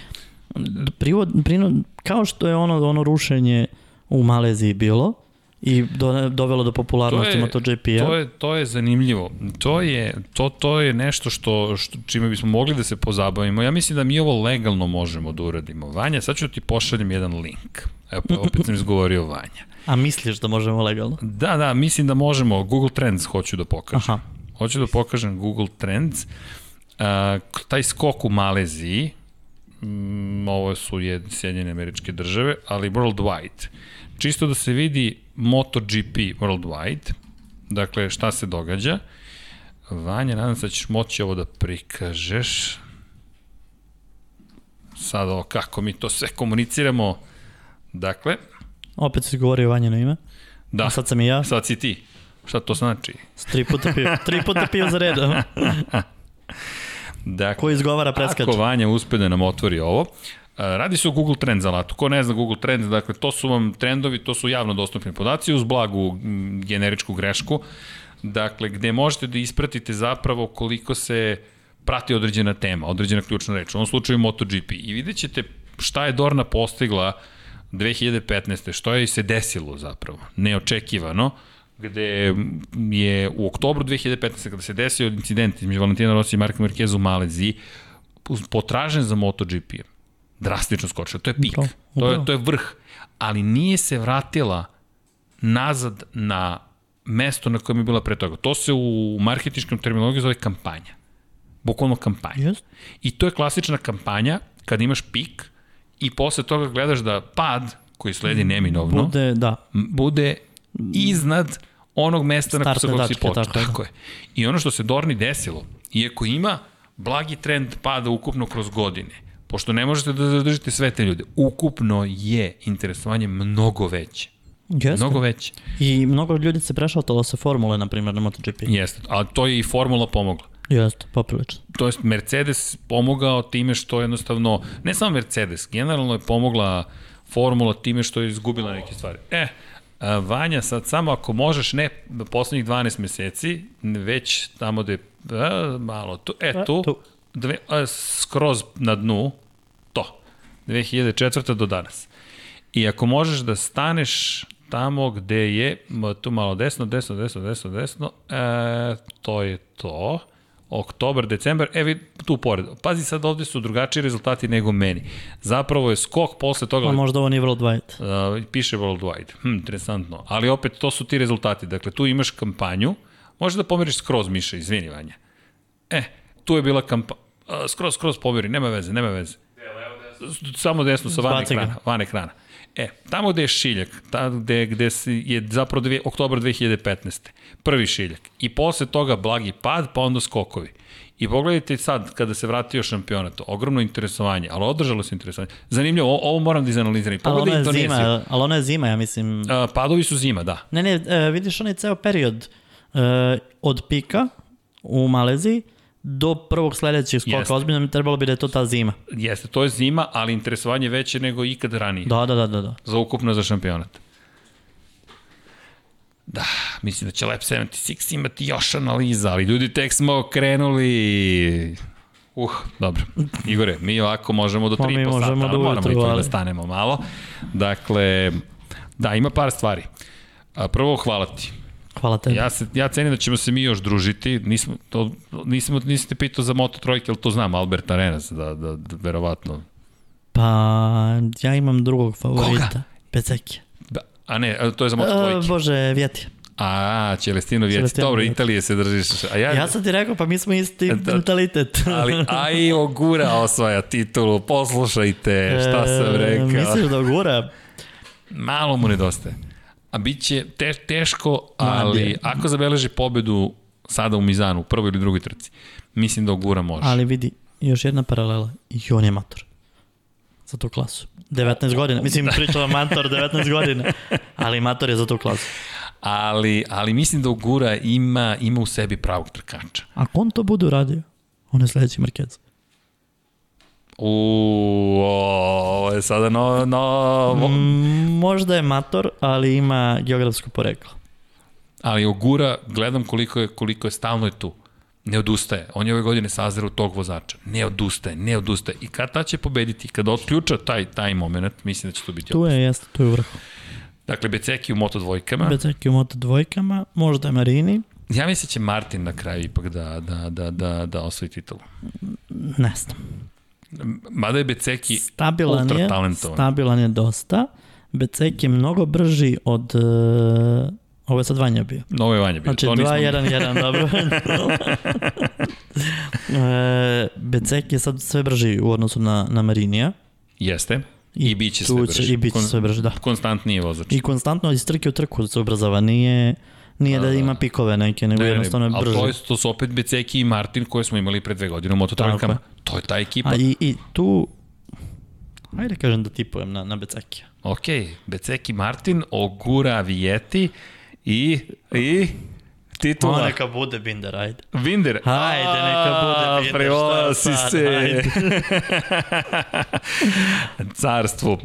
Speaker 2: privod, prino, kao što je ono, ono rušenje u Maleziji bilo i do, dovelo do popularnosti
Speaker 1: To je-
Speaker 2: MotoGP-a.
Speaker 1: To je, to je zanimljivo. To je, to, to je nešto što, što, čime bismo mogli da se pozabavimo. Ja mislim da mi ovo legalno možemo da uradimo. Vanja, sad ću ti pošaljem jedan link. Evo, opet sam izgovorio Vanja.
Speaker 2: A misliš da možemo legalno?
Speaker 1: Da, da, mislim da možemo. Google Trends hoću da pokažem.
Speaker 2: Aha.
Speaker 1: Hoću da pokažem Google Trends. A, k- taj skok u Maleziji, mm, ovo su jed, Sjedinjene američke države, ali worldwide. Čisto da se vidi MotoGP worldwide, dakle šta se događa. Vanja, nadam se da ćeš moći ovo da prikažeš. Sad ovo, kako mi to sve komuniciramo. Dakle,
Speaker 2: Opet si govorio Vanjino ime.
Speaker 1: da,
Speaker 2: A sad sam i ja.
Speaker 1: sad si ti. Šta to znači?
Speaker 2: S Tri puta pio, tri puta pio za redom.
Speaker 1: Dakle,
Speaker 2: Ko izgovara preskače.
Speaker 1: Ako Vanja uspe da nam otvori ovo, A, Radi se o Google Trends alatu. Ko ne zna Google Trends, dakle, to su vam trendovi, to su javno dostupni podaci uz blagu m, generičku grešku, dakle, gde možete da ispratite zapravo koliko se prati određena tema, određena ključna reč, u ovom slučaju MotoGP. I vidjet ćete šta je Dorna postigla 2015. što je i se desilo zapravo, neočekivano, gde je u oktobru 2015. kada se desio incident između Valentina Rossi i Marka Marqueza u Maleziji, potražen za MotoGP -em. drastično skočio. To je pik.
Speaker 2: Upravo,
Speaker 1: To je,
Speaker 2: upravo.
Speaker 1: to je vrh. Ali nije se vratila nazad na mesto na kojem je bila pre toga. To se u marketinškom terminologiji zove kampanja. Bukvalno kampanja.
Speaker 2: Yes.
Speaker 1: I to je klasična kampanja kad imaš pik i posle toga gledaš da pad koji sledi neminovno bude,
Speaker 2: Bude, da.
Speaker 1: bude iznad onog mesta na
Speaker 2: Startne
Speaker 1: kojeg si
Speaker 2: tačke,
Speaker 1: počeo.
Speaker 2: tako je,
Speaker 1: Tako je. I ono što se Dorni desilo, iako ima blagi trend pada ukupno kroz godine, pošto ne možete da zadržite sve te ljude, ukupno je interesovanje mnogo veće.
Speaker 2: Yes.
Speaker 1: Mnogo veće.
Speaker 2: I mnogo ljudi se prešaltalo sa formule, na primjer, na MotoGP.
Speaker 1: Jeste. A to je i formula pomogla.
Speaker 2: Jeste, poprilično.
Speaker 1: to jest Mercedes pomogao time što jednostavno, ne samo Mercedes, generalno je pomogla formula time što je izgubila neke stvari. E, a, Vanja, sad samo ako možeš, ne poslednjih 12 meseci, već tamo gde, a, malo, tu, e,
Speaker 2: E,
Speaker 1: tu,
Speaker 2: tu.
Speaker 1: dve, a, skroz na dnu, to, 2004. do danas. I ako možeš da staneš tamo gde je, m, tu malo desno, desno, desno, desno, desno, e, to je to, oktobar, decembar, e vid, tu pored. Pazi sad ovde su drugačiji rezultati nego meni. Zapravo je skok posle toga,
Speaker 2: A možda ovo nije worldwide.
Speaker 1: Uh, piše worldwide. Hm, interesantno. Ali opet, to su ti rezultati. Dakle, tu imaš kampanju. Možeš da pomeriš skroz, Miša, izvini, Vanja. E, tu je bila kampanja. Skroz, skroz pomeri, nema veze, nema veze. S- Samo desno, sa van
Speaker 2: Zbaci ga.
Speaker 1: ekrana. Van ekrana. E, tamo gde je šiljak, tamo gde, gde si, je zapravo dve, oktobar 2015. Prvi šiljak. I posle toga blagi pad, pa onda skokovi. I pogledajte sad, kada se vratio šampionat, ogromno interesovanje, ali održalo se interesovanje. Zanimljivo, o- ovo moram da izanaliziram.
Speaker 2: Ali ona
Speaker 1: Pogledaj
Speaker 2: je
Speaker 1: Indoneziju.
Speaker 2: zima, ali ona je zima, ja mislim.
Speaker 1: A, padovi su zima, da.
Speaker 2: Ne, ne, e, vidiš onaj ceo period e, od pika u Maleziji do prvog sledećeg skoka.
Speaker 1: Jeste.
Speaker 2: Jeste. Ozbiljno mi trebalo bi da je to ta zima.
Speaker 1: Jeste, to je zima, ali interesovanje je veće nego ikad ranije.
Speaker 2: Da, da, da, da. da.
Speaker 1: Za ukupno za šampionat. Da, mislim da će Lab 76 imati još analiza, ali ljudi tek smo krenuli. Uh, dobro. Igore, mi ovako možemo do
Speaker 2: Pa
Speaker 1: 3
Speaker 2: mi
Speaker 1: po sata,
Speaker 2: možemo
Speaker 1: ali
Speaker 2: do
Speaker 1: moramo
Speaker 2: ujutru,
Speaker 1: ipak da
Speaker 2: ali-
Speaker 1: stanemo malo. Dakle, da, ima par stvari. A, Prvo, hvala ti.
Speaker 2: Hvala tebi. Ja.
Speaker 1: Ja, se, ja cenim da ćemo se mi još družiti. Nismo, to, nismo, niste pitao za Moto Trojke, ali to znam, Albert Arenas, da, da, da verovatno.
Speaker 2: Pa, ja imam drugog favorita.
Speaker 1: Koga?
Speaker 2: Koga? Peceki.
Speaker 1: Da, a ne, a, to je za Moto
Speaker 2: E,
Speaker 1: Trojke.
Speaker 2: bože, Vjeti.
Speaker 1: A, Čelestino Vjeci.
Speaker 2: Celestino
Speaker 1: Dobro,
Speaker 2: Vjeci.
Speaker 1: Italije se držiš. A ja,
Speaker 2: Ja sam ti rekao, pa mi smo isti
Speaker 1: Da.
Speaker 2: mentalitet.
Speaker 1: ali aj ogura osvaja titulu, poslušajte šta sam
Speaker 2: E,
Speaker 1: rekao.
Speaker 2: Misliš da gura?
Speaker 1: Malo mu nedostaje. A bit će te, teško,
Speaker 2: Mlad
Speaker 1: ali
Speaker 2: je.
Speaker 1: ako zabeleži pobedu sada u Mizanu, u prvoj ili drugoj trci, mislim da ogura može.
Speaker 2: Ali vidi, još jedna paralela. I on je mator. Za tu klasu.
Speaker 1: Da.
Speaker 2: 19 godina. Mislim, pričala mator 19 godina. Ali mator je za tu klasu.
Speaker 1: ali, ali mislim da Ogura ima, ima u sebi pravog trkača.
Speaker 2: Ako on to bude uradio, on je sledeći Markez.
Speaker 1: Uuu, ovo je sada no... no
Speaker 2: Mhm.
Speaker 1: mm.
Speaker 2: Možda je mator, ali ima geografsko poreklo.
Speaker 1: Ali Ogura, gledam koliko je, koliko je stalno je tu. Ne odustaje. On je ove godine sazreo tog vozača. Ne odustaje, ne odustaje. I kad ta će pobediti? Kada otključa taj, taj moment, mislim da će to biti
Speaker 2: Tu
Speaker 1: opet.
Speaker 2: je, jeste, tu je u vrhu.
Speaker 1: Dakle, Beceki u Moto dvojkama.
Speaker 2: Beceki u moto dvojkama, možda Marini,
Speaker 1: Ja mislim da će Martin na kraju ipak da, da, da, da, da osvoji titulu.
Speaker 2: ne znam.
Speaker 1: Mada je Beceki
Speaker 2: Stabilan
Speaker 1: ultra
Speaker 2: je,
Speaker 1: talentovan.
Speaker 2: stabilan je dosta. Becek je mnogo brži od... Uh, ovo je sad Vanja bio.
Speaker 1: novo je vanje bilo.
Speaker 2: Znači,
Speaker 1: to
Speaker 2: 2,
Speaker 1: nismo-
Speaker 2: 1, 1,
Speaker 1: [LAUGHS]
Speaker 2: dobro. [LAUGHS] e, Becek je sad sve brži u odnosu na, na Marinija.
Speaker 1: Jeste. I, bit će sve
Speaker 2: Tu će
Speaker 1: brži.
Speaker 2: i bit će
Speaker 1: Kon-
Speaker 2: sve brži, da.
Speaker 1: Konstantniji vozač.
Speaker 2: I konstantno iz trke u trku da se ubrzava. Nije, nije da ima pikove neke, nego jednostavno je
Speaker 1: ali
Speaker 2: brži.
Speaker 1: to, je, to su opet Beceki i Martin koje smo imali pre dve godine u mototrojkama.
Speaker 2: Tako
Speaker 1: To je ta ekipa.
Speaker 2: A i, i tu... Ajde kažem da tipujem na, na Becekija.
Speaker 1: Ok, Beceki Martin, Ogura Vijeti i... i
Speaker 2: To
Speaker 1: titula.
Speaker 2: neka bude Binder, ajde.
Speaker 1: Vinder.
Speaker 2: Ajde, neka bude Binder, šta
Speaker 1: Prevola si
Speaker 2: sad,
Speaker 1: se.
Speaker 2: ajde.
Speaker 1: Carstvu. Uh,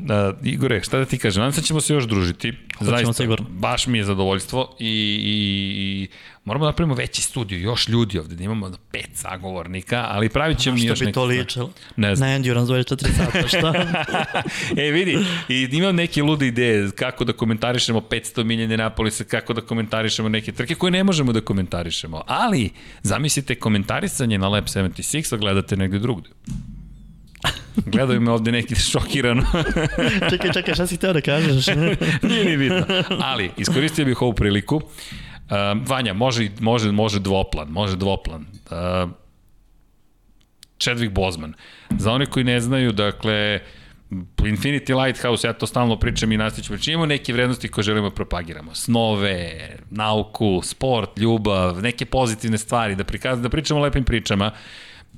Speaker 1: Igore, šta da ti kažem? Nadam se da ćemo se još družiti.
Speaker 2: Hoćemo sigurno.
Speaker 1: Baš mi je zadovoljstvo i, i, i moramo da napravimo veći studiju, još ljudi ovde, da imamo pet sagovornika, ali pravit ćemo mi još
Speaker 2: Što bi
Speaker 1: neke
Speaker 2: to
Speaker 1: stvari.
Speaker 2: ličilo?
Speaker 1: Ne
Speaker 2: Na
Speaker 1: znam.
Speaker 2: Endurance 24
Speaker 1: [LAUGHS]
Speaker 2: sata, šta?
Speaker 1: e, vidi, i imam neke lude ideje kako da komentarišemo 500 milja Indianapolisa, kako da komentarišemo neke trke koje ne možemo da komentarišemo. Ali, zamislite komentarisanje na Lab 76, a gledate negde drugde. Gledaju me ovde neki [LAUGHS] šokirano,
Speaker 2: čekaj, čekaj, šta si hteo da kažeš?
Speaker 1: [LAUGHS] nije ni bitno. Ali, iskoristio bih ovu priliku. Uh, Vanja, može, i- može, može dvoplan, može dvoplan. Uh, Chadwick Bozman. Za one koji ne znaju, dakle, Infinity Lighthouse, ja to stalno pričam i nastavit ću pričati, imamo neke vrednosti koje želimo da propagiramo. Snove, nauku, sport, ljubav, neke pozitivne stvari, da, prikaz, da pričamo o lepim pričama.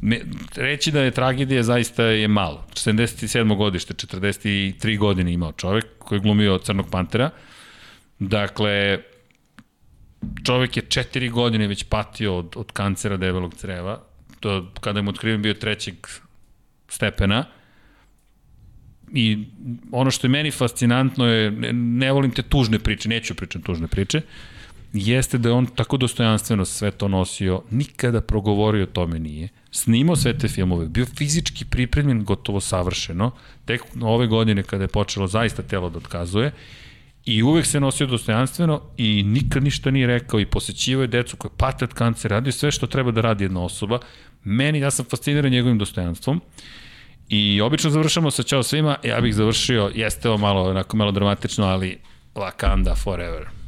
Speaker 1: Me, reći da je tragedija zaista je malo. 77. godište, 43 godine imao čovek koji je glumio Crnog pantera. Dakle, čovek je četiri godine već patio od, od kancera debelog creva. To, kada je mu otkriven bio trećeg stepena. I ono što je meni fascinantno je, ne, ne volim te tužne priče, neću da pričam tužne priče, jeste da je on tako dostojanstveno sve to nosio, nikada progovorio o tome nije, snimao sve te filmove, bio fizički pripremljen gotovo savršeno, tek ove godine kada je počelo zaista telo da otkazuje, I uvek se nosio dostojanstveno i nikad ništa nije rekao i posećivao je decu koje pate od kancera, radio je sve što treba da radi jedna osoba. Meni, ja sam fasciniran njegovim dostojanstvom i obično završamo sa čao svima, ja bih završio, jeste ovo malo, onako malo dramatično, ali Wakanda forever.